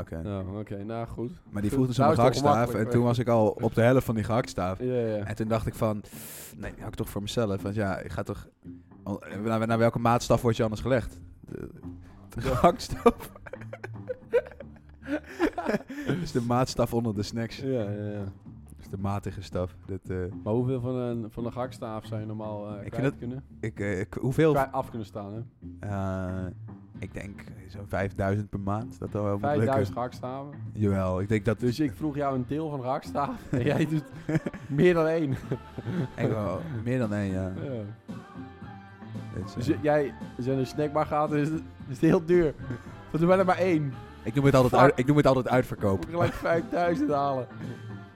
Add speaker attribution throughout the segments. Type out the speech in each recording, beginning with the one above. Speaker 1: Oké.
Speaker 2: Nou, oké, nou goed.
Speaker 1: Maar die vroeg dus om
Speaker 2: Nou
Speaker 1: een
Speaker 2: is het
Speaker 1: gehaktstaaf.
Speaker 2: toch
Speaker 1: En
Speaker 2: makkelijk,
Speaker 1: toen
Speaker 2: weet
Speaker 1: was ik al op de helft van die gehaktstaaf.
Speaker 2: Ja, ja.
Speaker 1: En toen dacht ik van, nee, hou ik toch voor mezelf. Want ja, ik ga toch... al- eh, Naar, naar welke maatstaf word je anders gelegd? De, de gehaktstaf. is Dus de maatstaf onder de snacks.
Speaker 2: Ja, ja, ja.
Speaker 1: is de matige staf. Dat, eh,
Speaker 2: Maar hoeveel van een, van een gakstaaf zou je normaal eh
Speaker 1: vind
Speaker 2: kwijt
Speaker 1: dat-
Speaker 2: kunnen?
Speaker 1: ik, eh, ik- hoeveel?
Speaker 2: Kwijt- af kunnen staan, hè?
Speaker 1: Eh, ik denk zo'n 5000 per maand. Dat al wel moet lukken.
Speaker 2: 5000 gakstaven.
Speaker 1: Jawel, ik denk dat...
Speaker 2: Dus ik vroeg jou een deel van een gakstaaf. en jij doet meer dan één.
Speaker 1: Ik wel, meer dan één, ja.
Speaker 2: Ja.
Speaker 1: Dit is, eh,
Speaker 2: Dus j- jij, als je naar de snackbar gaat, is het, is het heel duur. Want doen wij er maar één.
Speaker 1: ik, noem het altijd
Speaker 2: Fuck.
Speaker 1: uit, ik noem het altijd
Speaker 2: Moet
Speaker 1: uitverkoop.
Speaker 2: ik gelijk 5000 halen.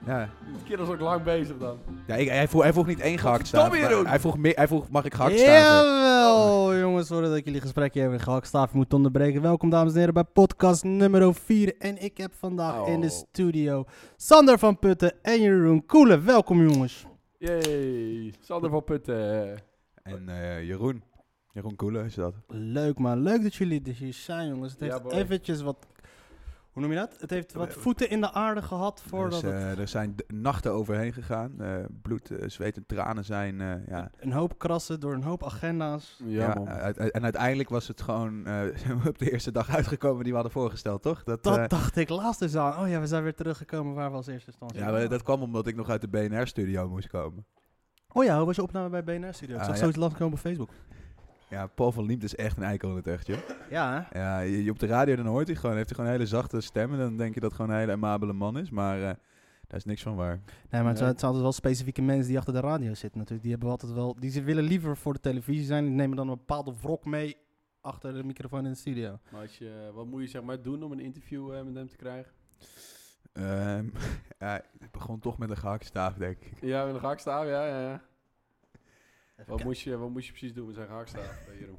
Speaker 1: Ja.
Speaker 2: Het kind is ook lang bezig dan.
Speaker 1: Ja, ik, hij, vroeg, hij vroeg niet één gehakt staan.
Speaker 2: Godverdomme, Jeroen!
Speaker 1: Hij vroeg, meer, hij vroeg, mag ik gehakt staan?
Speaker 3: Jawel, jongens, sorry dat ik jullie gesprekje even gehakstaaf moet onderbreken. Welkom, dames en heren, bij podcast nummer 4. En ik heb vandaag in de
Speaker 2: Oh.
Speaker 3: studio Sander van Putten en Jeroen Koelen. Welkom, jongens.
Speaker 2: Yay. Sander van Putten.
Speaker 1: En eh, Jeroen. Jeroen Koelen is dat.
Speaker 3: Leuk, man. Leuk dat jullie er hier zijn, jongens. Het
Speaker 2: Ja,
Speaker 3: heeft
Speaker 2: boy.
Speaker 3: eventjes wat... Hoe noem je dat? Het heeft wat voeten in de aarde gehad voordat
Speaker 1: Dus, eh,
Speaker 3: het...
Speaker 1: Er zijn d- nachten overheen gegaan. Eh, bloed, eh, zweet en tranen zijn... eh, ja.
Speaker 3: Een hoop krassen door een hoop agenda's.
Speaker 2: Ja, man.
Speaker 1: uit- uit- en uiteindelijk was het gewoon eh, op de eerste dag uitgekomen die we hadden voorgesteld, toch? Dat,
Speaker 3: Dat
Speaker 1: eh,
Speaker 3: dacht ik laatst eens aan. Oh ja, we zijn weer teruggekomen waar we als eerste stonden.
Speaker 1: ja, maar dat kwam omdat ik nog uit de BNR-studio moest komen.
Speaker 3: Oh ja, hoe was je opname bij BNR Studio? Ik
Speaker 1: Ah,
Speaker 3: zag
Speaker 1: ja.
Speaker 3: zoiets langskomen op Facebook.
Speaker 1: Ja, Paul van Liemt is echt een eikel in het echt, joh.
Speaker 3: Ja, hè?
Speaker 1: Ja, je, je op de radio dan hoort hij gewoon, heeft hij gewoon een hele zachte stem en dan denk je dat het gewoon een hele amabele man is, maar eh, daar is niks van waar.
Speaker 3: Nee, maar het zijn,
Speaker 2: Nee.
Speaker 3: het zijn altijd wel specifieke mensen die achter de radio zitten natuurlijk. Die hebben altijd wel... Die ze willen liever voor de televisie zijn. Die nemen dan een bepaalde wrok mee achter de microfoon in de studio.
Speaker 2: Maar als je, eh, wat moet je zeg maar doen om een interview eh, met hem te krijgen?
Speaker 1: Ehm, ja, het begon toch met een gehaktstaaf, denk ik.
Speaker 2: Ja, met een gakstaaf, ja, ja, ja. Wat
Speaker 3: kijken.
Speaker 2: moest, je, wat moest je precies doen met zijn gakstaaf, eh, Jeroen?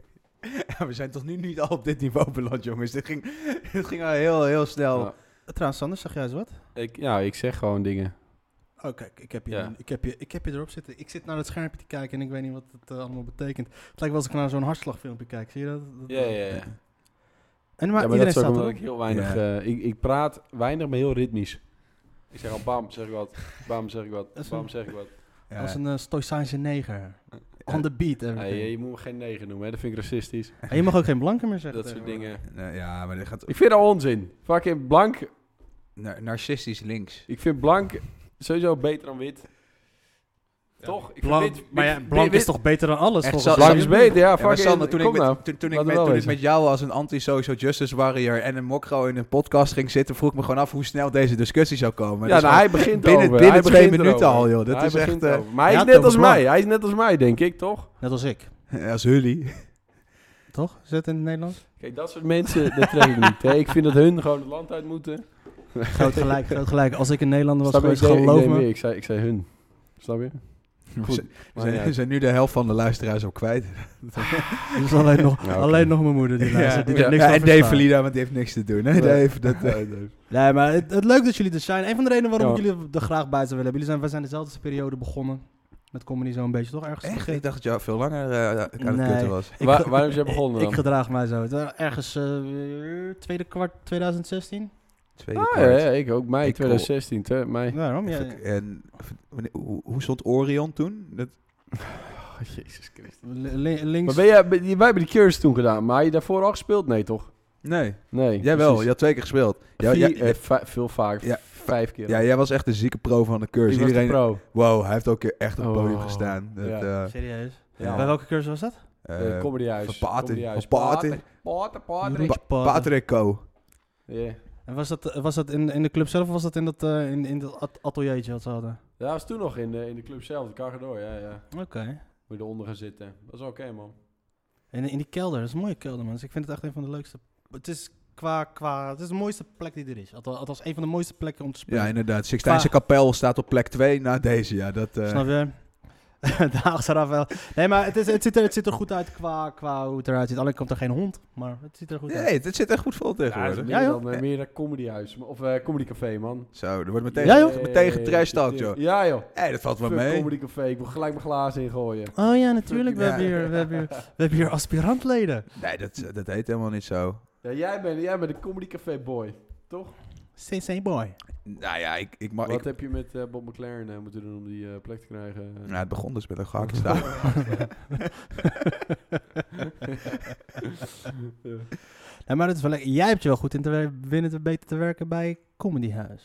Speaker 1: Ja, we zijn toch nu niet al op dit niveau beland, jongens. Dit ging, dit ging al heel, heel snel.
Speaker 2: Ja.
Speaker 3: Eh, Trouwens, Sander, zag jij eens wat?
Speaker 2: Ik, ja, ik zeg gewoon dingen.
Speaker 3: Oh, kijk, ik heb, je,
Speaker 2: Ja.
Speaker 3: ik, heb je, ik heb je erop zitten. Ik zit naar het schermpje te kijken en ik weet niet wat het eh, allemaal betekent. Het lijkt wel alsof ik naar zo'n hartslagfilmpje kijk. Zie je dat? Dat-
Speaker 2: Ja, ja, ja.
Speaker 3: En
Speaker 2: Maar, ja,
Speaker 3: maar,
Speaker 2: maar dat is
Speaker 3: iedereen
Speaker 2: ook
Speaker 3: staat
Speaker 2: omdat
Speaker 3: erop.
Speaker 2: ik heel weinig... eh, ik, ik praat weinig, maar heel ritmisch. Ik zeg al bam, zeg ik wat. Bam, zeg ik
Speaker 3: Dat
Speaker 2: wat.
Speaker 3: is
Speaker 2: Bam,
Speaker 3: een-
Speaker 2: zeg ik wat.
Speaker 1: Ja.
Speaker 3: Als een eh, stoïcijnse neger. On the beat.
Speaker 2: Hey,
Speaker 3: everything.
Speaker 2: je, je moet me geen negen noemen, hè. dat vind ik racistisch.
Speaker 3: En je mag ook geen blanke meer zeggen.
Speaker 2: Dat soort
Speaker 3: tegenwoordig.
Speaker 2: dingen.
Speaker 1: Nee, ja, maar dit gaat
Speaker 2: Ik vind dat onzin. Fucking blank.
Speaker 1: na- narcistisch links.
Speaker 2: Ik vind blank sowieso beter dan wit. Toch? Ik
Speaker 3: Blank,
Speaker 2: vind wit-
Speaker 3: maar ja,
Speaker 2: wit-
Speaker 3: blank
Speaker 2: wit-
Speaker 3: is toch beter dan alles?
Speaker 1: Echt,
Speaker 3: volgens
Speaker 1: zal-
Speaker 3: mij?
Speaker 2: Blank is beter, ja.
Speaker 1: Ja, maar
Speaker 2: Fucking,
Speaker 1: Sander, toen ik,
Speaker 2: kom
Speaker 1: met,
Speaker 2: nou.
Speaker 1: toen, toen ik,
Speaker 2: Laten we
Speaker 1: met,
Speaker 2: wel
Speaker 1: toen ik
Speaker 2: wezen.
Speaker 1: met jou als een anti-social justice warrior en een mokro in een podcast ging zitten, vroeg ik me gewoon af hoe snel deze discussie zou komen. Dus
Speaker 2: Ja,
Speaker 1: Dat is
Speaker 2: nou,
Speaker 1: gewoon-
Speaker 2: hij begint
Speaker 1: binnen-
Speaker 2: over.
Speaker 1: binnen
Speaker 2: hij
Speaker 1: twee
Speaker 2: begint
Speaker 1: minuten
Speaker 2: erover.
Speaker 1: al, joh. Dat
Speaker 2: Hij
Speaker 1: is echt,
Speaker 2: begint
Speaker 1: eh,
Speaker 2: erover. Maar hij
Speaker 3: Ja,
Speaker 2: is
Speaker 3: het
Speaker 2: net als
Speaker 3: over blank.
Speaker 2: mij. Hij is net als mij, denk ik, toch?
Speaker 3: Net als ik.
Speaker 1: als jullie.
Speaker 3: Toch? Is dat in het Nederlands?
Speaker 2: Kijk, dat soort mensen, dat trek ik niet. hè. Ik vind dat hun gewoon het land uit moeten.
Speaker 3: groot gelijk, groot gelijk. Als ik in Nederland was
Speaker 2: Snap je?
Speaker 3: geweest,
Speaker 2: Ik deed- ik
Speaker 3: geloof
Speaker 2: deed
Speaker 3: me.
Speaker 2: meer. Ik zei, ik zei hun. Snap je?
Speaker 1: We zijn- we
Speaker 2: maar
Speaker 1: zijn,
Speaker 2: ja.
Speaker 1: we zijn nu de helft van de luisteraars al kwijt.
Speaker 3: Dus alleen nog,
Speaker 2: Ja, oké.
Speaker 3: alleen nog mijn moeder die luistert, die er niks
Speaker 1: Ja,
Speaker 3: van
Speaker 1: en Dave
Speaker 3: verstaat.
Speaker 1: Verlida, want die heeft niks te doen. Hè?
Speaker 2: Nee.
Speaker 1: Dave, dat, eh,
Speaker 3: Nee, maar het, het leuk dat jullie er zijn. Een van de redenen waarom
Speaker 2: Ja.
Speaker 3: ik jullie er graag bij zou willen hebben. Jullie zijn, wij zijn dezelfde periode begonnen. Met comedy zo een beetje, toch? Ergens
Speaker 1: echt?
Speaker 3: begin-
Speaker 1: Ik dacht dat jou veel langer eh, aan het
Speaker 3: Nee.
Speaker 1: kutten was.
Speaker 3: Ik
Speaker 2: Waar-
Speaker 3: ge-
Speaker 2: waarom is jij begonnen
Speaker 3: Ik
Speaker 2: dan?
Speaker 3: gedraag mij zo. Het was Ergens eh, tweede kwart 2016.
Speaker 1: Tweede
Speaker 2: Ah, ja,
Speaker 1: kwart.
Speaker 2: ja, ik ook. Mei
Speaker 1: Ik
Speaker 2: 2016, hè, mei.
Speaker 3: Waarom? Ja,
Speaker 1: Even- En even- wanneer- hoe, hoe stond Orion toen? Dat,
Speaker 2: Oh, Jezus Christus.
Speaker 3: li- li- links.
Speaker 2: Maar ben jij, ben- wij hebben de Cures toen gedaan, maar had je daarvoor al gespeeld? Nee, toch?
Speaker 1: nee,
Speaker 2: Nee.
Speaker 1: jij wel. Je
Speaker 2: precies.
Speaker 1: had twee keer gespeeld. Jij,
Speaker 2: Vier,
Speaker 1: jij-
Speaker 2: eh, vij- veel vaker.
Speaker 1: Ja,
Speaker 2: vijf keer.
Speaker 1: ja, jij was echt de zieke pro van de
Speaker 2: Ik
Speaker 1: cursus.
Speaker 2: was de
Speaker 1: Iedereen,
Speaker 2: pro.
Speaker 1: wow, hij heeft ook echt op het podium
Speaker 2: Oh.
Speaker 1: gestaan. Dat,
Speaker 2: Ja.
Speaker 1: eh,
Speaker 3: Serieus?
Speaker 2: Ja.
Speaker 3: Bij welke cursus was dat?
Speaker 1: eh,
Speaker 2: Eh, comedyhuis.
Speaker 1: van Pater.
Speaker 2: Comedyhuis.
Speaker 1: Van Pater.
Speaker 2: Pater,
Speaker 3: Jeroen
Speaker 2: Pater.
Speaker 1: Pa-
Speaker 3: Padden.
Speaker 1: Pater en Co.
Speaker 2: Ja.
Speaker 3: En was dat, was dat in, in de club zelf of was dat in dat, eh, in, in dat at- ateliertje wat ze hadden?
Speaker 2: Ja, was toen nog in de, in de club zelf, de Cargador, ja, ja.
Speaker 3: Oké.
Speaker 2: Moet je eronder gaan zitten. Dat is oké, man.
Speaker 3: En in die kelder, dat is een mooie kelder, man. Dus ik vind het echt een van de leukste. Het is qua, qua, het is de mooiste plek die er is. Althans, althans een van de mooiste plekken om te spelen.
Speaker 1: Ja, inderdaad. Sixtijnse Kapel staat op plek 2 na deze. Ja, dat, eh,
Speaker 3: Snap je? de Haagse Rafael. Nee, maar het, is, het, ziet er, het ziet er goed uit qua, qua hoe het eruit ziet. Alleen komt er geen hond, maar het ziet er goed uit.
Speaker 1: nee, het zit echt goed vol tegenwoordig.
Speaker 2: meer
Speaker 3: Ja, joh.
Speaker 2: dan, eh, meer een comedyhuis. Of eh comedycafé, man.
Speaker 1: Zo, er wordt meteen,
Speaker 3: Ja, joh.
Speaker 1: meteen getrash talk, joh.
Speaker 2: Ja, joh.
Speaker 1: Hé, dat valt wel
Speaker 2: Fuck
Speaker 1: mee.
Speaker 2: comedycafé. Ik wil gelijk mijn glazen ingooien.
Speaker 3: Oh ja, natuurlijk. We,
Speaker 1: Ja.
Speaker 3: hebben hier, we, hebben hier, we hebben hier aspirantleden.
Speaker 1: Nee, dat, dat heet helemaal niet zo.
Speaker 2: Ja, jij bent, jij bent de comedycafé boy. Toch?
Speaker 3: CC boy.
Speaker 1: Nou ja, ik, ik mag...
Speaker 2: Wat
Speaker 1: Ik,
Speaker 2: heb je met eh, Bob McLaren eh, moeten doen om die eh, plek te krijgen?
Speaker 1: nou, het begon dus met een gehakt staan.
Speaker 3: Nee, maar dat is wel lekker. Jij hebt je wel goed in te wer- winnen te beter te werken bij Comedy House.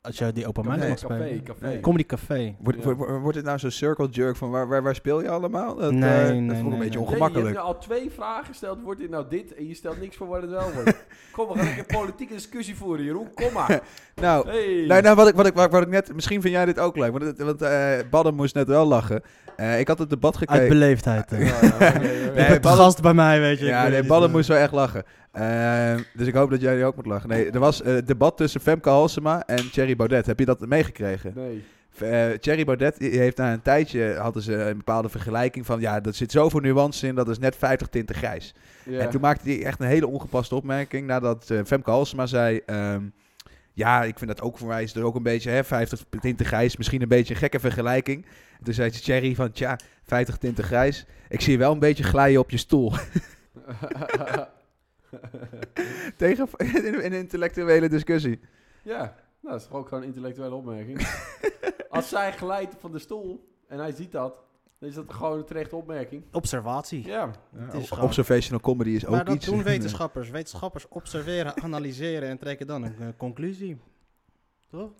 Speaker 3: Als jij die open mic
Speaker 1: Café,
Speaker 3: mag
Speaker 2: café,
Speaker 3: spelen.
Speaker 2: café.
Speaker 1: Nee.
Speaker 3: Comedy Café.
Speaker 1: Wordt,
Speaker 2: Ja.
Speaker 1: wordt- wordt- wordt het nou zo'n circle jerk van waar, waar, waar speel je allemaal? Dat, eh,
Speaker 3: Nee,
Speaker 1: dat
Speaker 3: nee,
Speaker 1: vond ik
Speaker 3: nee,
Speaker 1: een beetje
Speaker 3: nee.
Speaker 2: Nee, je
Speaker 1: ongemakkelijk.
Speaker 2: hebt nu al twee vragen gesteld. Wordt dit nou dit? En je stelt niks voor wat het wel wordt. Kom, we gaan een keer politieke discussie voeren, Jeroen. Kom maar.
Speaker 1: Nou,
Speaker 2: Hey.
Speaker 1: nou, nou wat, ik, wat, ik, wat, ik- wat ik net... Misschien vind jij dit ook leuk, want, het- want eh, Badden moest net wel lachen. Eh, ik had het debat
Speaker 3: Uit
Speaker 1: gekeken.
Speaker 3: beleefdheid. eh. hè.
Speaker 2: Ja, ja, oké, oké.
Speaker 1: Nee,
Speaker 3: je bent te
Speaker 1: Ballen-
Speaker 3: gast bij mij, weet je.
Speaker 1: Ja, nee, Ballen moest wel echt lachen. Eh, dus ik hoop dat jij die ook moet lachen. Nee, er was eh, debat tussen Femke Halsema en Thierry Baudet. Heb je dat meegekregen?
Speaker 2: Nee.
Speaker 1: Eh Thierry Baudet die heeft na een tijdje hadden ze een bepaalde vergelijking van ja, er zit zoveel nuance in, dat is net 50 tinten grijs.
Speaker 2: Ja.
Speaker 1: En toen maakte hij echt een hele ongepaste opmerking nadat eh, Femke Halsema zei. ehm, ja, ik vind dat ook voor mij is er ook een beetje, hè, 50 tinten grijs, misschien een beetje een gekke vergelijking. En toen zei Thierry van, tja, 50 tinten grijs, ik zie je wel een beetje glijden op je stoel. Tegen in een intellectuele discussie.
Speaker 2: ja, nou, dat is toch ook gewoon een intellectuele opmerking. Als zij glijdt van de stoel en hij ziet dat, dan is dat gewoon een terechte opmerking.
Speaker 3: Observatie.
Speaker 2: Ja.
Speaker 3: Het is gewoon-
Speaker 1: Observational comedy is ook
Speaker 3: Maar dat
Speaker 1: iets.
Speaker 3: doen wetenschappers. Wetenschappers observeren, analyseren en trekken dan een eh, conclusie. Toch?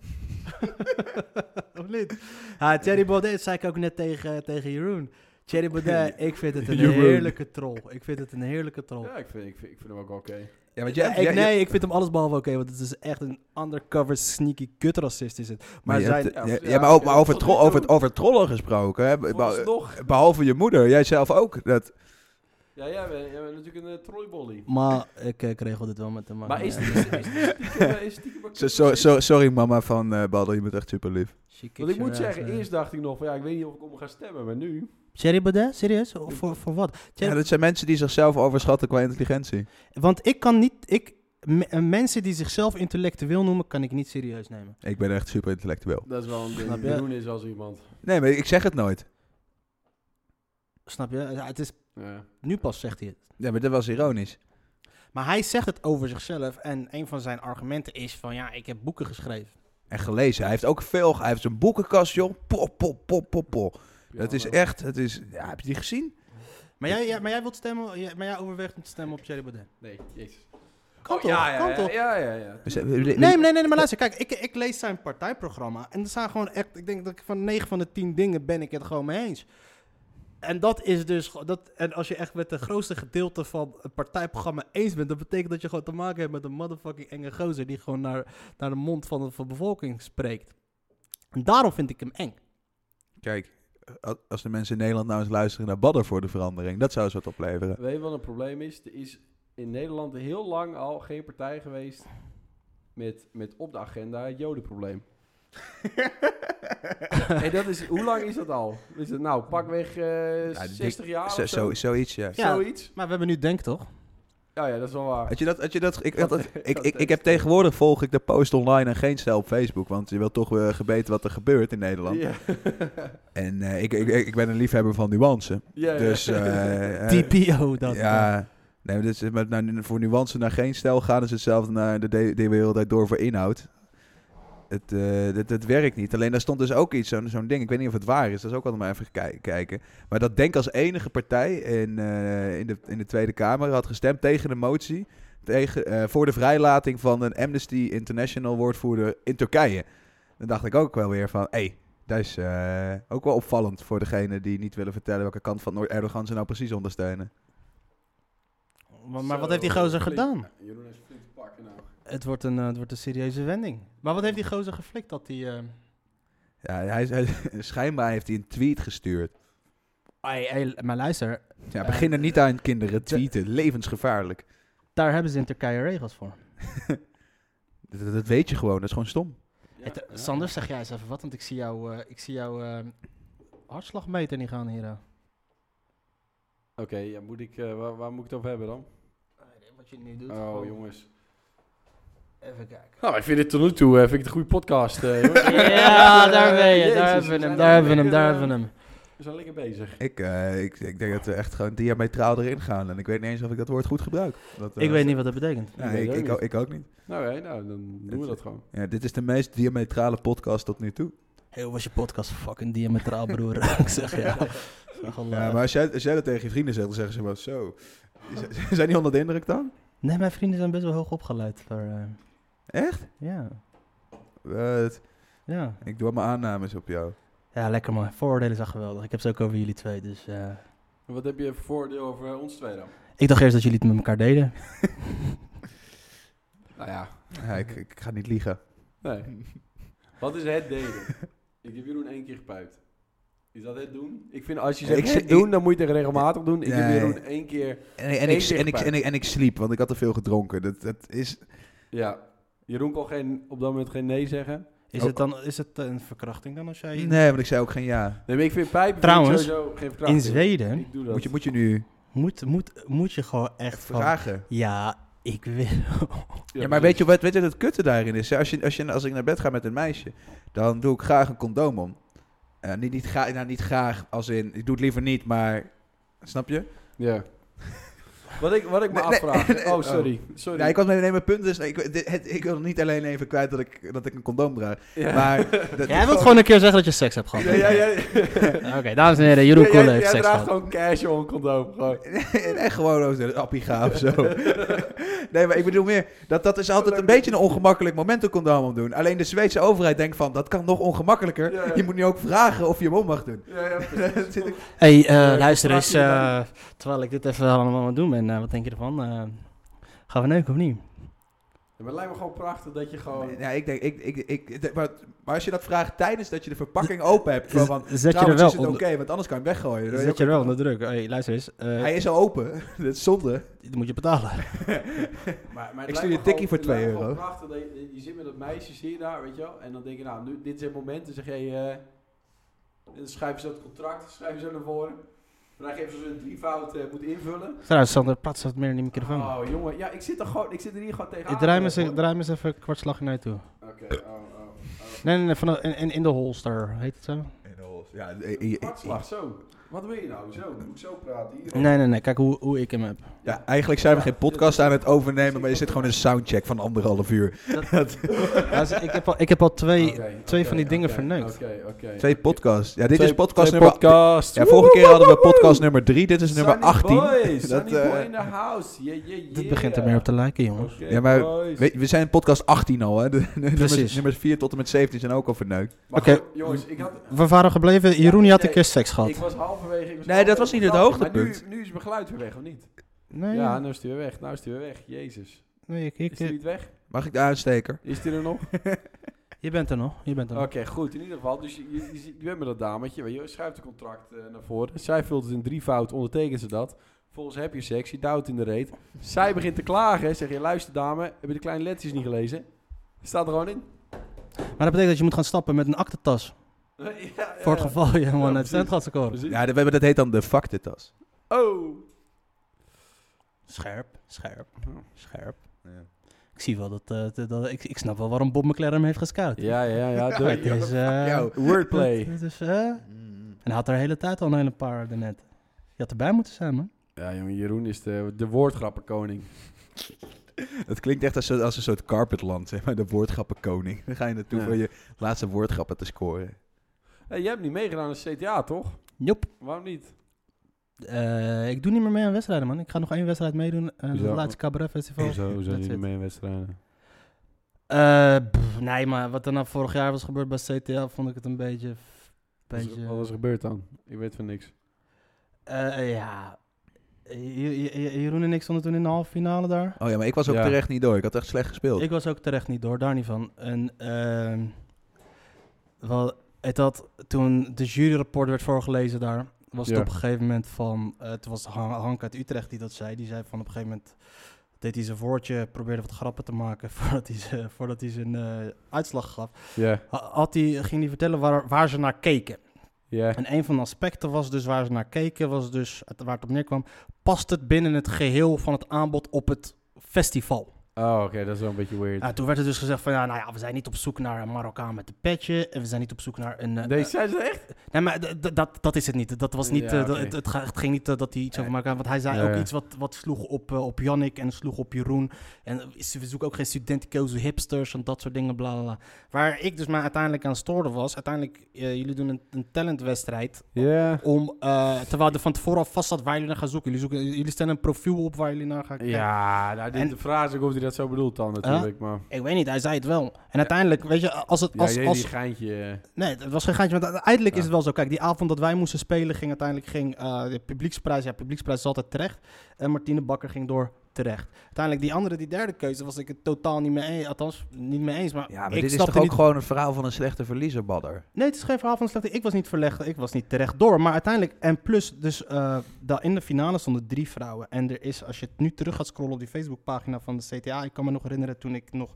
Speaker 3: of niet? Ah, Thierry Baudet zei ik ook net tegen, tegen Jeroen. Thierry Baudet, ik vind het een
Speaker 1: Jeroen.
Speaker 3: heerlijke troll. Ik vind het een heerlijke troll.
Speaker 2: Ja, ik vind, ik vind, ik vind hem ook oké.
Speaker 3: Eh,
Speaker 1: Ja, want jij,
Speaker 3: Ja, ik,
Speaker 1: jij-
Speaker 3: nee, ik vind hem allesbehalve oké, want het is echt een undercover sneaky kutracist is het. Maar,
Speaker 1: Maar, je
Speaker 3: zijn,
Speaker 1: hebt-
Speaker 2: ja,
Speaker 1: ja,
Speaker 2: ja,
Speaker 1: ja, maar, ook, maar
Speaker 2: ja,
Speaker 1: over,
Speaker 2: tot
Speaker 1: tro-
Speaker 2: nu toe.
Speaker 1: over, het- over trollen gesproken. Hè, be- be-
Speaker 2: Vooralsnog.
Speaker 1: behalve je moeder, jij zelf ook. Dat,
Speaker 2: Ja, jij bent, jij bent natuurlijk een eh, trolleybolly.
Speaker 3: maar ik, eh, ik regel dit wel met hem.
Speaker 2: Maar is
Speaker 3: ja.
Speaker 2: die is, die- is, die stiekem, eh, is stiekem een
Speaker 1: so- so- so- sorry mama van eh Badel, je bent echt super lief.
Speaker 3: She kicks
Speaker 2: Want ik
Speaker 3: your
Speaker 2: moet
Speaker 3: ass,
Speaker 2: zeggen,
Speaker 3: eh.
Speaker 2: eerst dacht ik nog van ja, ik weet niet of ik om ga stemmen, maar nu...
Speaker 3: Thierry Baudet, serieus? Of Voor, voor wat?
Speaker 1: Ja,
Speaker 3: Thierry-
Speaker 1: dat zijn mensen die zichzelf overschatten qua intelligentie.
Speaker 3: Want ik kan niet. Ik, me- eh, mensen die zichzelf intellectueel noemen, kan ik niet serieus nemen.
Speaker 1: Ik ben echt super intellectueel.
Speaker 2: Dat is wel een
Speaker 3: Snap
Speaker 2: ding.
Speaker 3: je?
Speaker 2: Jeroen is als iemand.
Speaker 1: Nee, maar ik zeg het nooit.
Speaker 3: Snap je? Ja, het is,
Speaker 2: Ja.
Speaker 3: nu pas zegt hij het.
Speaker 1: Ja, maar dat was ironisch.
Speaker 3: Maar hij zegt het over zichzelf. En een van zijn argumenten is van ja, ik heb boeken geschreven.
Speaker 1: En gelezen. Hij heeft ook veel. ge- Hij heeft een boekenkast, joh. Pop, pop, pop, pop, pop. Dat is echt. Het is, ja, heb je die gezien?
Speaker 3: Maar jij, jij- maar jij wilt stemmen, jij- maar jij overweegt om te stemmen op Thierry Baudet.
Speaker 2: Nee, jezus.
Speaker 3: Kan
Speaker 2: Oh,
Speaker 3: toch?
Speaker 2: Ja, ja,
Speaker 3: kan
Speaker 2: ja,
Speaker 3: toch?
Speaker 2: Ja, ja, ja.
Speaker 1: Nee,
Speaker 3: Nee, nee, nee, nee, maar luister, kijk, ik, ik lees zijn partijprogramma en er staan gewoon echt, ik denk dat ik van 9 van de 10 dingen ben ik het gewoon mee eens. En dat is dus, ge- dat, en als je echt met de grootste gedeelte van het partijprogramma eens bent, dat betekent dat je gewoon te maken hebt met een motherfucking enge gozer die gewoon naar, naar de mond van de, van de bevolking spreekt. En daarom vind ik hem eng.
Speaker 1: Kijk, a- als de mensen in Nederland nou eens luisteren naar Badder voor de verandering, dat zou eens wat opleveren.
Speaker 2: Weet je wat een probleem is? Er is in Nederland heel lang al geen partij geweest met, met op de agenda het jodenprobleem. en dat is, hoe lang is dat al? Is het nou pakweg eh
Speaker 1: Ja, dik-
Speaker 2: 60 jaar
Speaker 1: Ah, Zo,
Speaker 2: of zo?
Speaker 1: zo, zoiets, ja.
Speaker 3: Ja.
Speaker 2: Zoiets?
Speaker 3: Maar we hebben nu Denk toch?
Speaker 2: Ja, ja, dat is wel waar.
Speaker 1: Had je dat, had je dat, ik, want dat- ik, ik, ik heb
Speaker 2: tekst.
Speaker 1: tegenwoordig volg ik de post online en geen stijl op Facebook, want je wilt toch weer gebeten wat er gebeurt in Nederland.
Speaker 2: Ja.
Speaker 1: En eh, ik, ik, ik ben een liefhebber van nuance.
Speaker 2: Ja, ja.
Speaker 1: Dus, eh, eh,
Speaker 3: TPO dat.
Speaker 1: ja, nee, maar dit is, maar nou, voor nuance naar geen stijl gaan is hetzelfde naar de, de, de wereld uit door voor inhoud. Het, eh, dat, dat werkt niet. Alleen daar stond dus ook iets, zo'n zo'n ding. Ik weet niet of het waar is. Dat is ook altijd maar even kijk- kijken. Maar dat Denk als enige partij in, eh, in, de, in de Tweede Kamer had gestemd tegen de motie. Tegen, eh, voor de vrijlating van een Amnesty International woordvoerder in Turkije. Dan dacht ik ook wel weer van, hé, hey, dat is eh, ook wel opvallend voor degene die niet willen vertellen welke kant van Noord- Erdogan ze nou precies ondersteunen.
Speaker 3: Maar, maar wat
Speaker 2: Zo,
Speaker 3: heeft die gozer
Speaker 2: flink.
Speaker 3: gedaan?
Speaker 2: Jeroen is flink te pakken nou.
Speaker 3: Het wordt, een, eh, het wordt een serieuze wending. Maar wat heeft die gozer geflikt dat die... eh,
Speaker 1: Ja, hij, hij, schijnbaar heeft hij een tweet gestuurd.
Speaker 3: Ai, ai, maar luister,
Speaker 1: Ja, begin er niet aan, kinderen. Tweeten, levensgevaarlijk.
Speaker 3: daar hebben ze in Turkije regels voor.
Speaker 1: Dat, dat- dat weet je gewoon, dat is gewoon stom.
Speaker 2: Ja,
Speaker 3: Het- eh,
Speaker 2: ja.
Speaker 3: Sander, zeg jij eens even wat, want ik zie jouw eh, ik zie jouw eh, hartslagmeter niet gaan hier.
Speaker 2: Oké, ja, moet ik, eh, waar, waar moet ik het over hebben dan?
Speaker 3: Ah, Wat je nu doet.
Speaker 2: Oh, jongens.
Speaker 3: Even kijken.
Speaker 2: Nou, ik vind dit tot nu toe eh, vind ik het een goede podcast. eh, jongens.
Speaker 3: Ja, daar ben je,
Speaker 2: Jezus,
Speaker 3: daar
Speaker 2: we
Speaker 3: hebben we
Speaker 2: zijn
Speaker 3: hem, daar
Speaker 2: alweer,
Speaker 3: hebben we hem, daar
Speaker 2: eh,
Speaker 3: hebben we hem.
Speaker 2: We We zijn lekker bezig.
Speaker 1: Ik, eh, ik, ik denk dat we echt gewoon diametraal erin gaan. En ik weet niet eens of ik dat woord goed gebruik. Dat, eh,
Speaker 3: Ik weet niet wat dat betekent.
Speaker 1: Nee,
Speaker 2: Ik weet
Speaker 1: ik,
Speaker 2: het
Speaker 1: ik,
Speaker 2: ook
Speaker 1: ook, ik ook niet.
Speaker 2: Nou, hé, nou dan doen we dat gewoon.
Speaker 1: Ja, dit is de meest diametrale podcast tot nu toe.
Speaker 3: Heel was je podcast fucking diametraal, broer. ik zeg ja. Nogal,
Speaker 1: Ja,
Speaker 3: eh,
Speaker 1: maar als jij, als jij dat tegen je vrienden zegt, dan zeggen ze maar zo. Z- Zijn die onder de indruk dan?
Speaker 3: Nee, mijn vrienden zijn best wel hoog opgeleid. Voor, eh,
Speaker 1: Echt?
Speaker 3: ja,
Speaker 1: Wat?
Speaker 3: ja.
Speaker 1: ik doe allemaal aannames op jou.
Speaker 3: Ja, lekker man. Vooroordelen zijn geweldig. Ik heb ze ook over jullie twee, dus... eh,
Speaker 2: En Wat heb je voor voordeel over eh, ons twee dan?
Speaker 3: ik dacht eerst dat jullie het met elkaar deden.
Speaker 2: Nou ja,
Speaker 1: Ja, ik, ik ga niet liegen.
Speaker 2: nee. Wat is het delen? ik heb Jeroen één keer gepuikt. Is dat het doen? Ik vind als je
Speaker 1: Ja,
Speaker 2: zegt
Speaker 1: ik
Speaker 2: het
Speaker 1: zeg-
Speaker 2: doen, dan moet je het regelmatig doen. Ik
Speaker 1: Nee.
Speaker 2: heb Jeroen één keer...
Speaker 1: En, en,
Speaker 2: Eén
Speaker 1: ik, en, ik,
Speaker 2: zichtbaar.
Speaker 1: en, ik, en ik sliep, want ik had te veel gedronken. Dat, dat is...
Speaker 2: Ja, Jeroen kon geen, op dat moment geen nee zeggen.
Speaker 3: Is
Speaker 1: Oh.
Speaker 3: het dan is het eh, een verkrachting dan als jij...
Speaker 1: Nee, want ik zei ook geen ja.
Speaker 2: Nee, maar ik vind pijpen
Speaker 3: Trouwens,
Speaker 2: sowieso geen verkrachting.
Speaker 3: In Zweden
Speaker 2: Ik doe dat.
Speaker 1: Moet je, moet je nu
Speaker 3: moet, moet, moet je gewoon echt van...
Speaker 1: vragen.
Speaker 3: Ja, ik wil...
Speaker 1: Ja, maar weet je wat weet je wat het kutte daarin is? Als, je, als, je, als ik naar bed ga met een meisje, dan doe ik graag een condoom om. Eh, niet, niet, gra- nou, niet graag, als in, ik doe het liever niet, maar... Snap je?
Speaker 2: Ja. wat ik, wat ik me
Speaker 1: Nee, nee,
Speaker 2: afvraag...
Speaker 1: nee,
Speaker 2: oh, sorry. sorry.
Speaker 1: Nee, ik was nee, nee, mijn punt is, ik, dit- het, ik wil niet alleen even kwijt dat ik, dat ik een condoom draag.
Speaker 2: Ja.
Speaker 1: Maar dat-
Speaker 3: Jij wilt gewoon een keer zeggen dat je seks hebt gehad.
Speaker 2: Ja, ja, ja.
Speaker 3: Oké, dames en heren, Jeroen
Speaker 2: Ja,
Speaker 3: Koele
Speaker 2: jij- jij
Speaker 3: heeft seks
Speaker 2: draagt
Speaker 3: gehad.
Speaker 2: gewoon casual condoom. Gewoon.
Speaker 1: en echt gewoon over een appie gaan of
Speaker 3: Oh.
Speaker 1: zo. nee, maar ik bedoel meer, dat, dat is altijd een beetje een ongemakkelijk moment een condoom om doen. Alleen de Zweedse overheid denkt van, dat kan nog ongemakkelijker.
Speaker 2: Ja, ja.
Speaker 1: Je moet nu ook vragen of je hem om mag doen.
Speaker 2: Ja, ja, precies.
Speaker 1: Zit ik-
Speaker 3: Hé, hey,
Speaker 2: Eh,
Speaker 3: luister
Speaker 2: vraag
Speaker 3: eens,
Speaker 2: je
Speaker 3: eh, terwijl ik dit even allemaal aan het doen ben, eh, wat denk je ervan? Eh, gaan we neuken of niet?
Speaker 2: Ja, maar het lijkt me gewoon prachtig dat je gewoon...
Speaker 1: Ja, ik denk, ik, ik, ik, de- maar, maar als je dat vraagt tijdens dat je de verpakking open hebt, van, van
Speaker 3: Z- zet je er
Speaker 1: trouwens
Speaker 3: wel
Speaker 1: is het oké,
Speaker 3: onder,
Speaker 1: want anders kan je hem weggooien. Dan weet
Speaker 3: zet
Speaker 1: je
Speaker 3: je
Speaker 1: ook-
Speaker 3: er wel onder druk. Hey, luister eens, eh,
Speaker 1: Hij is al open, dat is zonde.
Speaker 3: dit moet je betalen.
Speaker 2: Maar, maar het
Speaker 1: Ik
Speaker 2: lijkt
Speaker 1: stuur
Speaker 2: me
Speaker 1: je een tikkie
Speaker 2: gewoon-
Speaker 1: voor
Speaker 2: het
Speaker 1: 2
Speaker 2: lijkt me gewoon
Speaker 1: euro.
Speaker 2: prachtig dat je, je zit met dat meisje, zie je daar, weet je wel. En dan denk je, nou, nu, dit is het moment. Dan zeg je, eh, en dan schrijven ze dat contract, schrijven ze naar voren. Maar dan geven ze een drievoud eh moet invullen.
Speaker 3: Trouwens, Sander, prat wat meer in die microfoon.
Speaker 2: Oh, jongen. Ja, ik zit, er gewoon, ik zit er hier gewoon tegenaan.
Speaker 3: Ik draai me, eens,
Speaker 2: hoor.
Speaker 3: draai me eens even een kwart slagje naar je toe.
Speaker 2: Oké, oh, oh, oh.
Speaker 3: Nee, nee, nee, van de- in, in, in de holster, heet het zo?
Speaker 1: Ja, eh,
Speaker 2: Hartslag, zo. Wat wil je nou? Zo, moet ik zo praten? Hier.
Speaker 3: Nee, nee, nee, kijk hoe, hoe ik hem heb.
Speaker 1: Ja, eigenlijk zijn we geen podcast aan het overnemen, maar je zit gewoon een soundcheck van anderhalf uur.
Speaker 3: Luister, ik, heb al, ik heb al twee,
Speaker 2: Oké,
Speaker 3: twee
Speaker 2: oké,
Speaker 3: van die dingen
Speaker 2: oké,
Speaker 3: verneukt.
Speaker 2: Oké, oké.
Speaker 1: Twee podcasts. Ja, dit
Speaker 2: Twee-
Speaker 1: is podcast
Speaker 2: twee
Speaker 1: nummer...
Speaker 2: podcast.
Speaker 1: Ja, vorige keer hadden we podcast nummer 3, dit is nummer
Speaker 2: Sunny
Speaker 1: 18.
Speaker 2: Boy,
Speaker 1: Dat,
Speaker 2: Sunny
Speaker 1: eh,
Speaker 2: boy in the house. Yeah, yeah, yeah.
Speaker 3: Dit begint er meer op te lijken, jongens.
Speaker 2: Oké,
Speaker 1: Ja, maar
Speaker 2: boys.
Speaker 1: Weet je, we zijn podcast 18 al, hè. De, de nummers,
Speaker 3: Precies.
Speaker 1: nummers 4 tot en met 17 zijn ook al verneukt.
Speaker 2: Maar
Speaker 3: Oké.
Speaker 2: goed, jongens, ik had...
Speaker 3: We waren gebleven, Jeroen die had een
Speaker 2: nee,
Speaker 3: keer seks
Speaker 2: Ik
Speaker 3: gehad.
Speaker 2: was halverwege... Ik was
Speaker 1: Nee, dat
Speaker 2: halverwege
Speaker 1: was niet het
Speaker 2: grapje, maar
Speaker 1: hoogtepunt.
Speaker 2: nu, nu is mijn geluid weer weg, of niet?
Speaker 3: Nee,
Speaker 2: Ja, nu is hij weer weg. Nou is hij weer weg. Jezus.
Speaker 3: nee ik,
Speaker 2: Is
Speaker 3: ik,
Speaker 2: hij niet weg?
Speaker 1: Mag ik de aansteker?
Speaker 2: Is hij er nog?
Speaker 3: Je bent er nog, je bent er
Speaker 2: Oké,
Speaker 3: nog.
Speaker 2: goed. In ieder geval, dus je, je, je ziet- je bent met dat dametje. Weet je, wel, je schuift het contract eh, naar voren. Zij vult het in drievoud, ondertekent ze dat. Volgens heb je seks, je duwt in de reet. Zij begint te klagen. Zeg je, luister dame, heb je de kleine lettertjes niet gelezen? Staat er gewoon in.
Speaker 3: Maar dat betekent dat je moet gaan stappen met een aktentas.
Speaker 2: Ja, ja.
Speaker 3: Voor het geval je gewoon het
Speaker 2: precies.
Speaker 3: cent gaat scoren.
Speaker 2: Precies.
Speaker 1: Ja, dat, we hebben- dat heet dan de factetas.
Speaker 2: Oh!
Speaker 3: Scherp, scherp, scherp.
Speaker 1: Ja.
Speaker 3: Ik zie wel dat, eh, dat, dat- ik, ik snap wel waarom Bob McLaren hem heeft gescout.
Speaker 2: Ja, ja, ja.
Speaker 3: Maar het
Speaker 2: de-
Speaker 3: is, eh,
Speaker 1: jou.
Speaker 2: Wordplay.
Speaker 3: het is, eh, en hij had er de hele tijd al een hele paar daarnet. Je had erbij moeten zijn, man.
Speaker 2: Ja, jongen, Jeroen is de, de woordgrappenkoning.
Speaker 1: Het klinkt echt als, zo- als een soort carpetland, zeg maar, de woordgrappenkoning. Dan ga je naartoe
Speaker 2: Ja.
Speaker 1: voor je laatste woordgrappen te scoren.
Speaker 2: Hey, jij hebt niet meegedaan aan de CTA, toch?
Speaker 3: Jop.
Speaker 2: Waarom niet?
Speaker 3: Eh, ik doe niet meer mee aan wedstrijden, man. Ik ga nog één wedstrijd meedoen. eh, het
Speaker 2: Hoezo?
Speaker 3: laatste Cabaret Festival. That's it.
Speaker 2: mee in wedstrijden?
Speaker 3: Eh, pff, nee, maar wat er nou vorig jaar was gebeurd bij CTA, vond ik het een beetje... beetje
Speaker 2: Wat is er gebeurd dan? Ik weet van niks.
Speaker 3: Eh, ja. Je- je- je- Jeroen en ik stonden toen in de halve finale daar.
Speaker 1: Oh ja, maar ik was ook
Speaker 2: Ja.
Speaker 1: terecht niet door. Ik had echt slecht gespeeld.
Speaker 3: Ik was ook terecht niet door, daar niet van. En ehm, wel, het had, toen de juryrapport werd voorgelezen daar, was het
Speaker 2: Ja.
Speaker 3: op een gegeven moment van... eh, het was Han- Hank uit Utrecht die dat zei. Die zei van op een gegeven moment... Deed hij zijn woordje, probeerde wat grappen te maken voordat hij, ze- voordat hij zijn eh, uitslag gaf.
Speaker 2: Ja,
Speaker 3: Ha- Had hij, ging hij vertellen waar, waar ze naar keken.
Speaker 2: ja.
Speaker 3: En een van de aspecten was dus waar ze naar keken, was dus het- waar het op neerkwam, past het binnen het geheel van het aanbod op het festival?
Speaker 2: Oh, oké, dat is wel een beetje weird.
Speaker 3: Ja, toen werd er dus gezegd van, ja, nou ja, we zijn niet op zoek naar een Marokkaan met een petje. En we zijn niet op zoek naar een... eh,
Speaker 2: Deze zijn ze echt?
Speaker 3: Nee, maar d- d- dat, dat is het niet. Dat was niet,
Speaker 2: Ja,
Speaker 3: eh, dat-
Speaker 2: oké.
Speaker 3: het, het, ga- het ging niet eh, dat hij iets over Marokkaan... Want hij zei
Speaker 2: Ja,
Speaker 3: ook
Speaker 2: ja.
Speaker 3: iets wat, wat sloeg op, eh, op Yannick en sloeg op Jeroen. En eh, ze- we zoeken ook geen studenticoze hipsters en dat soort dingen, bla, bla, bla. Waar ik dus maar uiteindelijk aan stoorde was... Uiteindelijk, eh, jullie doen een, een talentwedstrijd
Speaker 2: Ja.
Speaker 3: om... eh, terwijl er van tevoren al vast zat waar jullie naar gaan zoeken. Jullie, zoeken, jullie stellen een profiel op waar jullie naar gaan kijken.
Speaker 2: Ja, nou, dit,
Speaker 3: En-
Speaker 2: de vraag is ook of hij dat zo bedoelt dan natuurlijk, maar...
Speaker 3: Ik weet niet, hij zei het wel. En uiteindelijk, weet je, als het...
Speaker 2: Ja,
Speaker 3: Als,
Speaker 2: jullie
Speaker 3: als,
Speaker 2: geintje... eh.
Speaker 3: Nee, het was geen gaantje. Want uiteindelijk
Speaker 2: Ja.
Speaker 3: is het wel zo. Kijk, die avond dat wij moesten spelen ging uiteindelijk ging, eh, de publieksprijs. Ja, publieksprijs is altijd terecht. En Martine Bakker ging door terecht. Uiteindelijk die andere, die derde keuze, was ik het totaal niet mee eens. Althans, niet mee eens. Maar,
Speaker 1: Ja, maar
Speaker 3: ik
Speaker 1: dit is
Speaker 3: snapte
Speaker 1: toch ook
Speaker 3: niet...
Speaker 1: gewoon een verhaal van een slechte verliezer, Badder?
Speaker 3: Nee, het is geen verhaal van slechte. Ik was niet verlegd. Ik was niet terecht door. Maar uiteindelijk, en plus, dus eh, da- in de finale stonden drie vrouwen. En er is, als je het nu terug gaat scrollen op die Facebookpagina van de CTA. Ik kan me nog herinneren toen ik nog.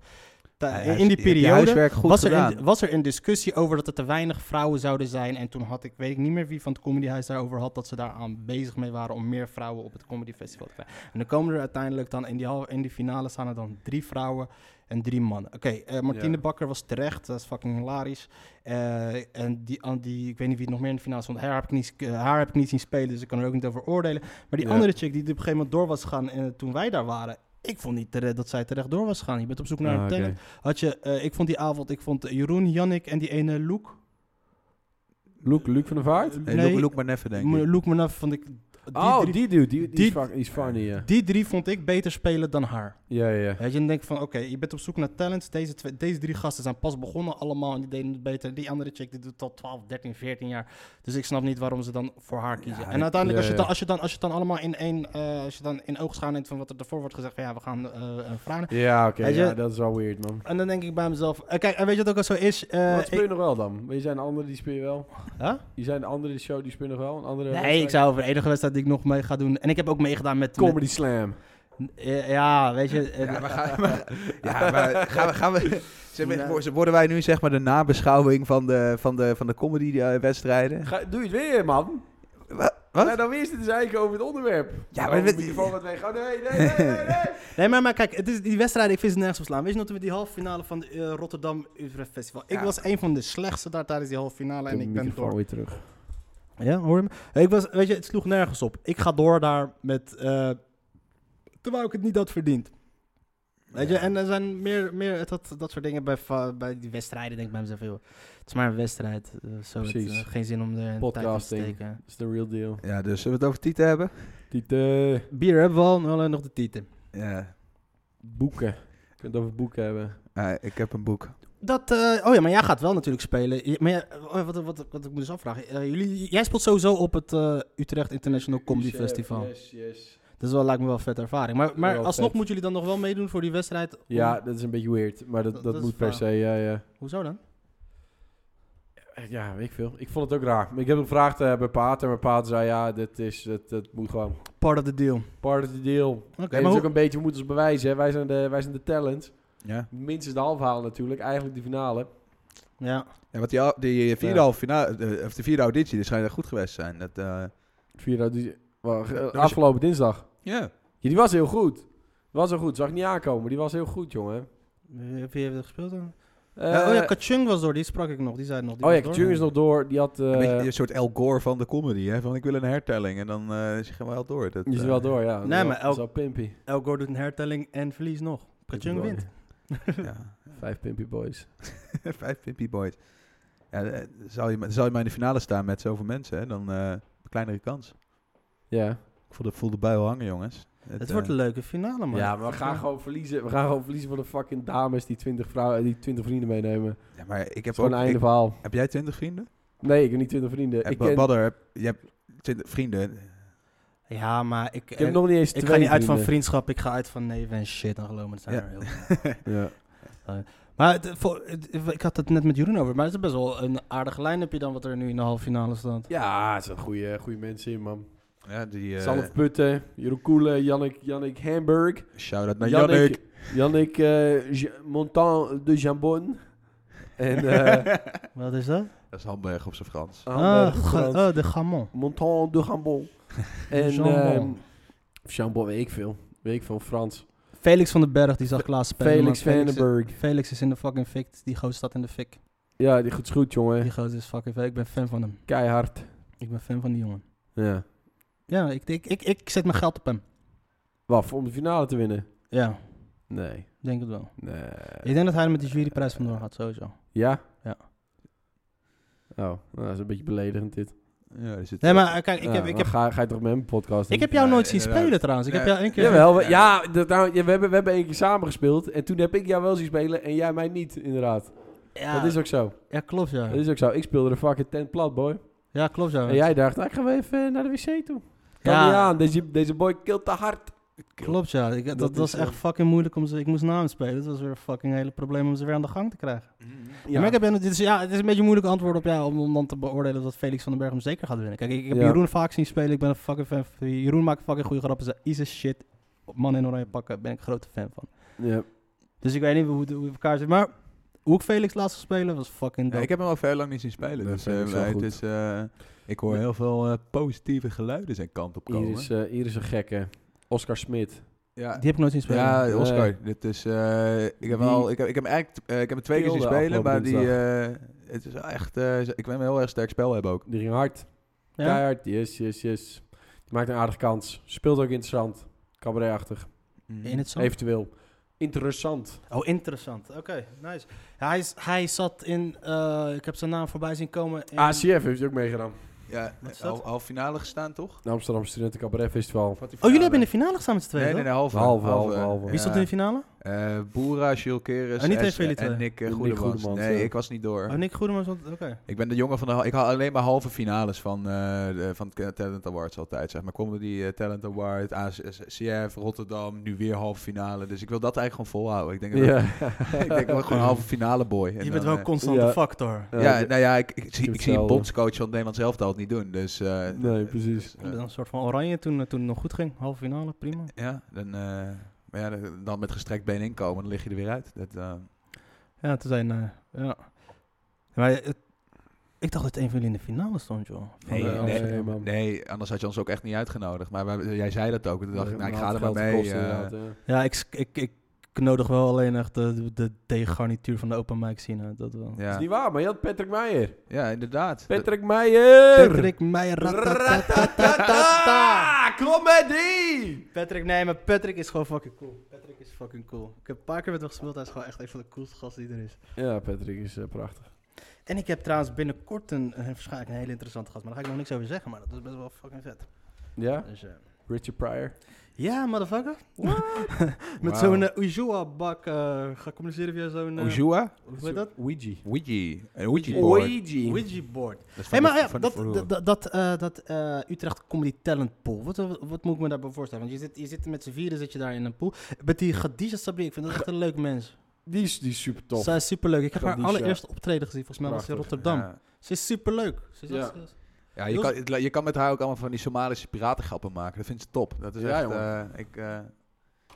Speaker 3: ta-
Speaker 1: Ja,
Speaker 3: in die
Speaker 1: je hebt je
Speaker 3: periode
Speaker 1: huiswerk goed
Speaker 3: was,
Speaker 1: gedaan.
Speaker 3: Er in, was er een discussie over dat er te weinig vrouwen zouden zijn. En toen had ik, weet ik niet meer wie van het Comedyhuis daarover had, dat ze daar aan bezig mee waren om meer vrouwen op het Comedy Festival te krijgen. En dan komen er uiteindelijk dan in die, hal- in die finale staan er dan drie vrouwen en drie mannen. Oké, eh, Martine
Speaker 2: Ja.
Speaker 3: Bakker was terecht, dat is fucking hilarisch. Eh, en die, aan die, ik weet niet wie het nog meer in de finale stond, haar heb ik niet, eh, haar heb ik niet zien spelen, dus ik kan er ook niet over oordelen. Maar die
Speaker 2: Ja.
Speaker 3: andere chick die op een gegeven moment door was gaan eh, toen wij daar waren. Ik vond niet terecht dat zij terecht door was gaan. Je bent op zoek naar
Speaker 2: Ah,
Speaker 3: een
Speaker 2: oké.
Speaker 3: talent. Had je, eh, ik vond die avond, ik vond eh, Jeroen, Jannik en die ene Luke.
Speaker 2: Luc, Luc van der Vaart?
Speaker 1: Nee,
Speaker 3: Nee.
Speaker 1: Loek, Loek maar neffen, denk
Speaker 3: M-
Speaker 1: ik.
Speaker 3: Luke Manaf vond ik. Die,
Speaker 2: oh,
Speaker 3: drie,
Speaker 2: die dude, die, die,
Speaker 3: die-
Speaker 2: is, fuck- die is funny, ja.
Speaker 3: die drie vond ik beter spelen dan haar.
Speaker 2: Ja, ja, ja.
Speaker 3: Weet je, en dan denk ik van, oké, je bent op zoek naar talents. Deze, twee, deze drie gasten zijn pas begonnen allemaal en die deden het beter. Die andere chick, die doet al 12, 13, 14 jaar. Dus ik snap niet waarom ze dan voor haar kiezen.
Speaker 1: Ja,
Speaker 3: en uiteindelijk, als,
Speaker 2: ja, eh,
Speaker 3: je dan,
Speaker 2: ja.
Speaker 3: als, je dan, als je het dan allemaal in één, eh, als je dan in oogschouw neemt van wat er daarvoor wordt gezegd, van ja, we gaan eh, een vrouw.
Speaker 2: Ja, oké,
Speaker 3: Weet je-
Speaker 2: ja, dat is wel weird, man.
Speaker 3: En dan denk ik bij mezelf, eh, kijk, en weet je wat ook al zo is? Eh,
Speaker 2: Wat speel je
Speaker 3: ik-
Speaker 2: nog wel dan? Maar Je zijn de andere die speel je wel.
Speaker 3: Huh?
Speaker 2: Je zijn de andere die show die speel je nog wel. Een andere
Speaker 3: Nee,
Speaker 2: eh, wedstrijd?
Speaker 3: ik zou over de enige wedstrijd die ik nog mee ga doen. En ik heb ook meegedaan met.
Speaker 2: Comedy Slam.
Speaker 3: met- eh, ja, weet je. eh,
Speaker 1: Ja, maar, gaan, maar, ja, maar gaan we... Gaan we zeg maar, wo- Worden wij nu zeg maar de nabeschouwing van de, van de, van de eh, comedy-wedstrijden?
Speaker 2: Ga, doe je het weer, man?
Speaker 1: Wat?
Speaker 2: Nou, dan wist het dus eigenlijk over het onderwerp.
Speaker 1: Ja,
Speaker 2: Oh,
Speaker 1: maar
Speaker 2: de
Speaker 1: we-
Speaker 2: microfoon gaat weg. Oh, nee, nee, nee, nee, nee.
Speaker 3: Nee, maar, maar kijk, het is, die wedstrijd, ik vind ze nergens op slaan. Weet je nog, toen we die halve finale van de eh, Rotterdam Utrecht Festival. Ik
Speaker 1: Ja.
Speaker 3: was een van de slechtste daar tijdens die halve finale. En
Speaker 2: Doe
Speaker 3: ik
Speaker 2: de
Speaker 3: ben
Speaker 2: microfoon
Speaker 3: door.
Speaker 2: weer terug.
Speaker 3: Ja, hoor je me? Hey, Ik was, weet je, het sloeg nergens op. Ik ga door daar met. eh, terwijl ik het niet had verdiend. Weet je, en er zijn meer, meer dat, dat soort dingen bij, fa- bij die wedstrijden. Denk ik bij mezelf, joh, het is maar een wedstrijd. eh, zo, het,
Speaker 2: Precies.
Speaker 3: eh, geen zin om er een tijd in te
Speaker 2: Podcasting.
Speaker 3: steken.
Speaker 2: Dat is de real deal.
Speaker 1: Ja, dus zullen we het over Tieten hebben?
Speaker 2: Tieten.
Speaker 3: Bier hebben we al, alleen nog de titel.
Speaker 1: Ja,
Speaker 2: Boeken. Je kunt het over boeken hebben.
Speaker 1: Ah, ik heb een boek.
Speaker 3: Dat, eh, oh ja, maar jij gaat wel natuurlijk spelen. Je- maar ja, oh, wat, wat, wat ik me dus afvraag. eh, jullie, jij speelt sowieso op het eh, Utrecht International Comedy
Speaker 2: Chef,
Speaker 3: Festival.
Speaker 2: Yes, yes.
Speaker 3: Dat is wel, lijkt me wel een vette ervaring. Maar, maar
Speaker 2: Wel
Speaker 3: alsnog
Speaker 2: vet.
Speaker 3: moeten jullie dan nog wel meedoen voor die wedstrijd? om-
Speaker 2: Ja, dat is een beetje weird. Maar dat,
Speaker 3: Dat-
Speaker 2: dat,
Speaker 3: dat is
Speaker 2: moet per
Speaker 3: waar.
Speaker 2: se, ja, ja.
Speaker 3: Hoezo dan?
Speaker 2: Ja, weet ik veel. Ik vond het ook raar. Maar Ik heb het gevraagd eh, bij Paat en mijn Paat zei ja, dit is, dat, dat moet gewoon
Speaker 3: Part of the deal. Oké,
Speaker 2: part of the deal. Oké,
Speaker 3: maar
Speaker 2: is
Speaker 3: hoe-
Speaker 2: ook een beetje, we moeten ons bewijzen. Hè. Wij, zijn de, wij zijn de talent.
Speaker 1: Ja.
Speaker 2: Minstens de halve halen natuurlijk, eigenlijk de finale.
Speaker 3: Ja.
Speaker 1: Ja, want die, al- die vierde,
Speaker 2: Ja.
Speaker 1: halve finale, eh, of de vierde auditie, die schijnt goed geweest te zijn. Dat, eh,
Speaker 2: Vier uit die, wa-
Speaker 1: was
Speaker 2: eh,
Speaker 1: je-
Speaker 2: afgelopen dinsdag.
Speaker 1: ja.
Speaker 2: Ja, die was heel goed. Die was heel goed, zag ik niet aankomen. Die was heel goed, jongen.
Speaker 3: Wie wie heeft er gespeeld dan?
Speaker 2: Eh,
Speaker 3: Ja, oh ja, Kachung was door. Die sprak ik nog. Die zei het nog. Die
Speaker 2: oh ja,
Speaker 3: was door.
Speaker 2: Jung is nog door. Die had... eh,
Speaker 1: Een beetje een soort El Gore van de comedy, hè? Van ik wil een hertelling en dan eh is je wel door. Dat,
Speaker 2: die is er
Speaker 1: eh,
Speaker 2: wel door, ja.
Speaker 3: Nee,
Speaker 2: Dat
Speaker 3: maar
Speaker 2: was
Speaker 3: elk-
Speaker 2: wel pimpy.
Speaker 3: El Gore doet een hertelling en verliest nog. Kachung
Speaker 2: Pimpy
Speaker 3: wint.
Speaker 1: ja.
Speaker 2: Vijf pimpy boys.
Speaker 1: Vijf Pimpy Boys. Ja, eh, zou, je, zou je maar in de finale staan met zoveel mensen, hè? Dan eh, kleinere kans.
Speaker 2: Ja.
Speaker 1: Ik voel de, voel de buil hangen, jongens.
Speaker 3: Het
Speaker 1: eh,
Speaker 3: wordt een leuke finale, man.
Speaker 2: Ja, maar we gaan gewoon verliezen. We gaan gewoon verliezen van de fucking dames die 20 vrouwen, die 20 vrienden meenemen. Het
Speaker 1: ja, maar ik
Speaker 2: is
Speaker 1: heb
Speaker 2: gewoon
Speaker 1: ook...
Speaker 2: een einde
Speaker 1: Ik,
Speaker 2: verhaal.
Speaker 1: heb jij twintig vrienden?
Speaker 2: Nee, ik heb niet 20 vrienden.
Speaker 1: Ik
Speaker 2: Ik, ken,
Speaker 1: Badder, heb, je hebt twintig vrienden.
Speaker 3: Ja, maar ik... eh,
Speaker 2: ik heb nog niet eens
Speaker 3: ik
Speaker 2: twee
Speaker 3: ga niet uit van
Speaker 2: vrienden.
Speaker 3: vriendschap, ik ga uit van neven en shit en geloof me, dat zijn
Speaker 1: Ja.
Speaker 3: er heel veel.
Speaker 2: Ja.
Speaker 3: Maar het, voor, het- ik had het net met Jeroen over, maar het is best wel een aardige line-upje dan wat er nu in de halve finale staat.
Speaker 2: Ja, het zijn goede, goede mensen eh, in, man.
Speaker 1: Ja, die... eh,
Speaker 2: Sanne Putten, Jeroen Koelen, Jannik, Jannik Hamburg.
Speaker 1: Shout-out
Speaker 3: Nou,
Speaker 1: naar Jannik.
Speaker 2: Jannik eh, Ja- Montan de Jambon. En eh
Speaker 3: Wat is dat?
Speaker 1: Dat is Hamburg op zijn Frans.
Speaker 2: Hamburg,
Speaker 3: ah, ga-
Speaker 2: Frans.
Speaker 3: oh, de gamon.
Speaker 2: Montan de Jambon. En
Speaker 3: Jambon.
Speaker 2: ehm, Jambon, weet ik veel. Weet ik veel, Frans.
Speaker 3: Felix van den Berg, die zag Klaas spelen.
Speaker 2: Felix
Speaker 3: maar
Speaker 2: Vandenberg.
Speaker 3: Felix is in de fucking fik. Die gozer staat in de fik.
Speaker 2: Ja, die goed is goed, jongen.
Speaker 3: Die gozer is fucking fik. Ik ben fan van hem.
Speaker 2: Keihard.
Speaker 3: Ik ben fan van die jongen.
Speaker 2: Ja.
Speaker 3: Ja, ik, ik, ik, ik zet mijn geld op hem.
Speaker 2: Wat, voor om de finale te winnen?
Speaker 3: Ja,
Speaker 2: Nee.
Speaker 3: ik denk het wel.
Speaker 2: Nee.
Speaker 3: Ik denk dat hij er met de juryprijs vandoor gaat, sowieso.
Speaker 2: Ja?
Speaker 3: Ja.
Speaker 2: Oh, nou, dat is een beetje beledigend dit.
Speaker 1: Ja, er zit-
Speaker 3: Nee, maar eh, kijk, ik
Speaker 2: Ja,
Speaker 3: heb,
Speaker 2: maar
Speaker 3: ik heb,
Speaker 2: ga, ga je toch met hem podcast
Speaker 3: ik heb jou
Speaker 1: Ja,
Speaker 3: nooit zien
Speaker 1: inderdaad.
Speaker 3: spelen trouwens. Ik heb
Speaker 1: Nee.
Speaker 3: jou één keer...
Speaker 2: Jawel, we, ja, dat, nou, ja, we, hebben, we hebben één keer samen gespeeld. En toen heb ik jou wel zien spelen en jij mij niet, inderdaad.
Speaker 3: Ja,
Speaker 2: Dat is ook zo.
Speaker 3: ja, klopt ja.
Speaker 2: Dat is ook zo. Ik speelde de fucking tent plat, boy.
Speaker 3: Ja, klopt ja.
Speaker 2: En jij dacht, nou, ik ga wel even naar de wc toe. Kan
Speaker 3: Ja.
Speaker 2: niet aan. Deze, deze boy kilt te hard.
Speaker 3: Klopt ja. Ik, dat
Speaker 2: Dat
Speaker 3: was
Speaker 2: is,
Speaker 3: echt
Speaker 2: eh,
Speaker 3: fucking moeilijk om ze... Ik moest na hem spelen. Het was weer een fucking hele probleem om ze weer aan de gang te krijgen.
Speaker 1: Mm-hmm.
Speaker 2: Ja.
Speaker 3: Maar ik heb, ja, dit is, ja, het is een beetje een moeilijk antwoord op ja, om, om dan te beoordelen dat Felix van den Berg hem zeker gaat winnen. Kijk, ik, ik heb
Speaker 2: Ja.
Speaker 3: Jeroen vaak zien spelen. Ik ben een fucking fan van... Jeroen maakt fucking goede grappen. Ze is a shit. Man in oranje pakken ben ik een grote fan van.
Speaker 2: Ja.
Speaker 3: Dus ik weet niet hoe het hoe het elkaar zit. Maar hoe ik Felix laatst zag spelen was fucking
Speaker 1: Ja,
Speaker 3: dope.
Speaker 1: ik heb hem al veel lang niet zien spelen.
Speaker 2: Dat
Speaker 1: Dus,
Speaker 2: vind
Speaker 1: eh,
Speaker 2: ik zo
Speaker 1: wij-
Speaker 2: goed.
Speaker 1: het is, eh, ik hoor heel veel eh, positieve geluiden zijn kant op komen.
Speaker 2: Hier is, eh, hier is een gekke. Oscar Smit.
Speaker 1: Ja,
Speaker 3: eh, Die heb ik nooit zien spelen.
Speaker 1: ja Oscar.
Speaker 2: Nee.
Speaker 1: Dit is, eh, ik, heb
Speaker 2: Die-
Speaker 1: al, ik, heb, ik, heb hem eigenlijk, eh, ik heb hem twee keer zien
Speaker 2: Speelde
Speaker 1: spelen, maar
Speaker 2: afgelopen
Speaker 1: die, eh, het is wel echt, eh, ik ben een heel erg sterk spel hebben ook.
Speaker 2: Die ging hard.
Speaker 3: Ja?
Speaker 2: Keihard. Yes, yes, yes. Die maakt een aardige kans. Speelt ook interessant. Cabaretachtig.
Speaker 1: Mhm.
Speaker 3: In het zand?
Speaker 2: Eventueel. Interessant.
Speaker 3: Oh, interessant. Oké, nice. Ja, hij, is- hij zat in... eh, ik heb zijn naam voorbij zien komen in...
Speaker 2: ACF heeft hij ook meegedaan.
Speaker 1: Ja,
Speaker 3: Wat is dat?
Speaker 1: half, half finale gestaan toch?
Speaker 2: De Amsterdam Studenten Cabaret Festival.
Speaker 3: oh, jullie hebben in de finale gestaan met z'n tweeën,
Speaker 1: Nee, nee,
Speaker 3: toch?
Speaker 1: nee, halve.
Speaker 2: Halve, halve, halve.
Speaker 3: Wie stond in de finale?
Speaker 1: Eh, Boera, Jules Keres
Speaker 3: Oh, niet eens
Speaker 1: S-
Speaker 3: van jullie
Speaker 1: en
Speaker 3: twee.
Speaker 1: Nick eh,
Speaker 2: Nick
Speaker 1: Goedemans.
Speaker 2: Goedemans,
Speaker 1: Nee,
Speaker 2: ja.
Speaker 1: ik was niet door.
Speaker 3: Oh, Nick Goedemans. want- Oké.
Speaker 1: Ik ben de jongen van de... hal- Ik haal alleen maar halve finales van, eh, de, van de Talent Awards altijd, zeg maar. Comedy die Talent Award, ACF, Rotterdam, nu weer halve finale. Dus ik wil dat eigenlijk gewoon volhouden. Ik denk, dat
Speaker 2: Ja.
Speaker 1: ik denk ik word gewoon halve finale boy. En
Speaker 3: Je
Speaker 1: dan,
Speaker 3: bent wel
Speaker 1: eh,
Speaker 3: een constante
Speaker 2: ja.
Speaker 3: factor.
Speaker 1: ja, nou ja, ik, ik, zie, ik zie een
Speaker 2: Hetzelfde.
Speaker 1: bondscoach van het Nederlands elftal het niet doen. Dus, eh,
Speaker 2: Nee, precies.
Speaker 1: dus, eh,
Speaker 3: Een soort van oranje toen, eh, toen het nog goed ging. Halve finale, prima.
Speaker 1: ja, dan, eh, maar ja, dan- dan met gestrekt been inkomen, dan lig je er weer uit. Dat, eh,
Speaker 3: Ja, toen zijn... eh, ja. Maar het- ik dacht dat een van jullie in de finale stond, joh. Van
Speaker 1: Nee,
Speaker 3: de
Speaker 1: nee,
Speaker 3: Amsterdam.
Speaker 2: nee, man.
Speaker 1: nee, anders had je ons ook echt niet uitgenodigd. Maar wij- jij zei dat ook. en Toen dacht ik, nou, ik ga er maar
Speaker 2: Geld
Speaker 1: mee.
Speaker 2: kost,
Speaker 1: eh,
Speaker 2: inderdaad, ja.
Speaker 3: Ja, ik, ik, ik nodig wel alleen echt de, de, de garnituur van de open mic zien uit. Dat wel.
Speaker 2: Dat is
Speaker 1: ja.
Speaker 2: niet waar, maar je had Patrick Meijer.
Speaker 1: ja, inderdaad.
Speaker 2: Patrick Meijer!
Speaker 3: Patrick Meijer. ratatatata.
Speaker 2: Ratatata! Comedy!
Speaker 3: Patrick, nee, maar Patrick is gewoon fucking cool. Patrick is fucking cool. Ik heb een paar keer met hem gespeeld. Hij is gewoon echt een van de coolste gasten die er is.
Speaker 2: Ja, Patrick is eh, prachtig.
Speaker 3: En ik heb trouwens binnenkort een, eh, waarschijnlijk een hele interessante gast. Maar daar ga ik nog niks over zeggen. Maar dat is best wel fucking vet.
Speaker 2: Ja?
Speaker 3: Dus, eh,
Speaker 2: Richard Pryor.
Speaker 3: ja, motherfucker. met
Speaker 1: Wauw.
Speaker 3: zo'n eh, Ujua-bak. eh, ga communiceren via zo'n... eh,
Speaker 1: Ojua?
Speaker 3: hoe heet dat?
Speaker 2: Ouija.
Speaker 1: Ouija. Een Ouija board.
Speaker 2: Ouija.
Speaker 3: Ouija-board.
Speaker 1: Dat is van
Speaker 3: Hé, maar
Speaker 1: de-
Speaker 3: ja,
Speaker 1: van de
Speaker 3: dat,
Speaker 1: vroeger.
Speaker 3: dat, dat, dat, eh, dat eh, Utrecht Comedy Talent Pool, wat, wat, wat moet ik me daarbij voorstellen? Want je zit, je zit met z'n vieren zit je daar in een pool. Met die Khadija Sabri, ik vind dat echt een leuk mens.
Speaker 2: Die is, die is super tof.
Speaker 3: Zij is superleuk. Ik heb haar
Speaker 2: Khadija.
Speaker 3: allereerste optreden gezien, volgens mij was ze in
Speaker 2: Prachtig,
Speaker 3: Rotterdam.
Speaker 1: Ja.
Speaker 3: Ze is superleuk. Ze is
Speaker 2: Ja.
Speaker 3: echt-
Speaker 1: Ja, je, kan, het- je kan met haar ook allemaal van die Somalische piratengrappen maken. Dat vindt ze top. Dat is
Speaker 2: Ja,
Speaker 1: echt...
Speaker 2: jongen.
Speaker 1: eh, ik, eh,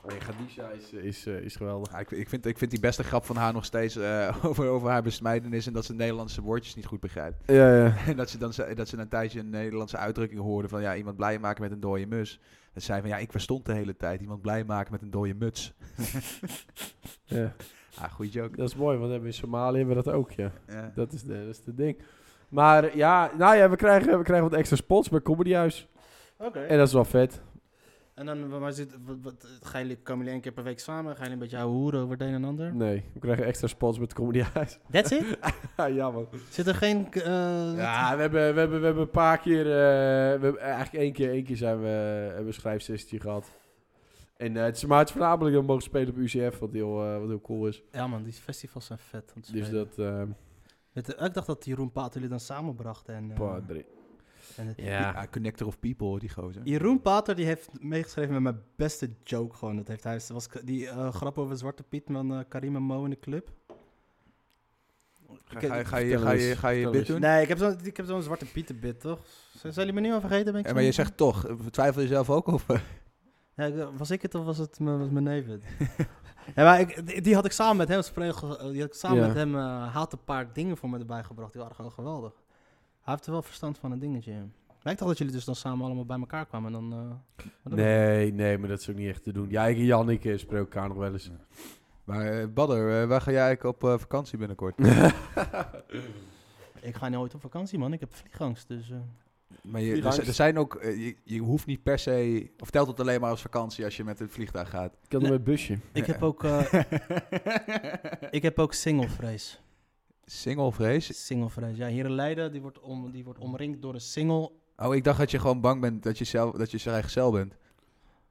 Speaker 2: Nee, Gadisha is, is, eh, is geweldig.
Speaker 1: ja, ik, ik, vind, ik vind die beste grap van haar nog steeds eh, over, over haar besmijdenis... en dat ze Nederlandse woordjes niet goed begrijpt.
Speaker 2: Ja, ja.
Speaker 1: En dat ze dan ze- dat ze een tijdje een Nederlandse uitdrukking hoorde... van ja, iemand blij maken met een dode mus. Dat zei van ja, ik verstond de hele tijd. Iemand blij maken met een dode muts. Ah, goed joke.
Speaker 2: Dat is mooi, want we hebben in Somalië hebben we dat ook, ja.
Speaker 1: Ja.
Speaker 2: Dat is de, dat is de ding. Maar ja, nou ja, we krijgen, we krijgen wat extra spots bij Comedy Huis.
Speaker 3: Oké.
Speaker 2: En dat is wel vet.
Speaker 3: En dan, wa- waar zit, wat, wat, gaan jullie, komen jullie één keer per week samen? Gaan jullie een beetje ouwe hoeren over het een en ander?
Speaker 2: Nee, we krijgen extra spots met Comedy Huis.
Speaker 3: That's it?
Speaker 2: ja, man.
Speaker 3: Zit er geen... eh,
Speaker 2: Ja, we hebben, we, hebben, we hebben een paar keer... eh, we hebben, eigenlijk één keer, één keer zijn we, eh, hebben we een schrijfsessie gehad. En eh, het is maar het is voornamelijk dat we mogen spelen op UCF, wat heel, eh, wat heel cool is.
Speaker 3: ja man, die festivals zijn vet. om te
Speaker 2: Dus
Speaker 3: spelen.
Speaker 2: dat... eh
Speaker 3: Met de- ik dacht dat Jeroen Paat jullie dan samenbracht. En, eh,
Speaker 2: padre.
Speaker 3: en het-
Speaker 1: Ja, connector of people, die gozer.
Speaker 3: Jeroen Pater die heeft meegeschreven met mijn beste joke gewoon. Dat heeft hij, dat was k- die eh, grap over Zwarte Piet van eh, Karim en Mo in de club.
Speaker 1: Ga,
Speaker 3: Ik-
Speaker 1: ga,
Speaker 3: ik-
Speaker 1: ga je,
Speaker 2: vertel
Speaker 1: ga je,
Speaker 2: eens,
Speaker 1: ga je
Speaker 2: vertel
Speaker 1: dit
Speaker 2: eens.
Speaker 1: doen?
Speaker 3: nee, ik heb zo'n ik heb zo'n Zwarte Piet bit, toch? Z- Zijn jullie me nu al vergeten? Ben ik
Speaker 1: Ja,
Speaker 3: zo
Speaker 1: maar je
Speaker 3: niet-
Speaker 1: zegt toch, eh, twijfel je zelf ook of...
Speaker 3: Ja, ik- was ik het of was het mijn, was mijn neef het? ja, maar ik, die- die had ik samen met hem, spreken- eh, die had ik samen
Speaker 2: Ja.
Speaker 3: met hem, eh, hij had een paar dingen voor me erbij gebracht. Die waren gewoon geweldig. Hij heeft er wel verstand van een dingetje. in. Lijkt toch dat jullie dus dan samen allemaal bij elkaar kwamen en dan... eh, wat dan-
Speaker 2: Nee, nee, maar dat is ook niet echt te doen. Ja, ik en Jannik eh, spreken elkaar nog wel eens.
Speaker 1: Maar eh, Badder, eh, waar ga jij eigenlijk op eh, vakantie binnenkort?
Speaker 3: Ik ga niet ooit op vakantie, man. Ik heb vliegangst, dus... eh.
Speaker 1: Maar je, er,
Speaker 2: Freelance.
Speaker 1: zi- er zijn ook, eh, je, je hoeft niet per se, of telt het alleen maar als vakantie als je met het vliegtuig gaat.
Speaker 2: Ik had hem
Speaker 3: Nee.
Speaker 2: met busje.
Speaker 3: Ik heb ook, eh ik heb ook singelvrees.
Speaker 1: Single vrees?
Speaker 3: Singelvrees. Ja, hier in Leiden, die wordt, om, die wordt omringd door een single.
Speaker 1: Oh, ik dacht dat je gewoon bang bent dat je, zelf, dat je vrijgezel bent.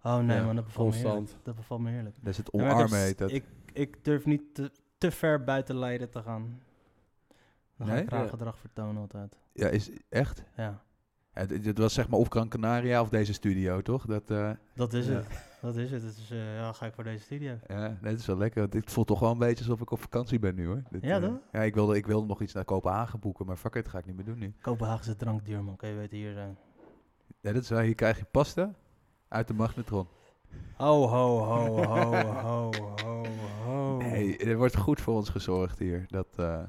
Speaker 3: Oh nee,
Speaker 2: Ja,
Speaker 3: man, dat bevalt me
Speaker 2: constant.
Speaker 3: heerlijk. Dat bevalt me heerlijk.
Speaker 1: Dat is het
Speaker 3: Ja, maar ik heb
Speaker 1: omarmen
Speaker 3: s-
Speaker 1: heet dat.
Speaker 3: Ik, ik durf niet te, te ver buiten Leiden te gaan. Dan ga
Speaker 1: Nee?
Speaker 3: ik raar
Speaker 2: Ja.
Speaker 3: gedrag vertonen altijd.
Speaker 1: Ja, is echt?
Speaker 3: Ja,
Speaker 1: Ja, dit, dit was zeg maar of Gran Canaria of deze studio, toch? Dat, eh,
Speaker 3: dat is
Speaker 1: Ja.
Speaker 3: het. Dat is het. Dus eh, ja, ga ik voor deze studio.
Speaker 1: ja, nee, dat is wel lekker. want Dit voelt toch wel een beetje alsof ik op vakantie ben nu, hoor. Dit,
Speaker 3: Ja,
Speaker 1: eh,
Speaker 3: toch?
Speaker 1: Ja, ik wilde, ik wilde nog iets naar Kopenhagen boeken, maar fuck it, ga ik niet meer doen nu.
Speaker 3: Kopenhagense drank duur, man. Kan je weten hier zijn.
Speaker 1: Ja, dat is waar. Hier krijg je pasta uit de magnetron.
Speaker 3: Ho, ho, ho, ho, ho, ho, ho.
Speaker 1: Nee, er wordt goed voor ons gezorgd hier. Dat eh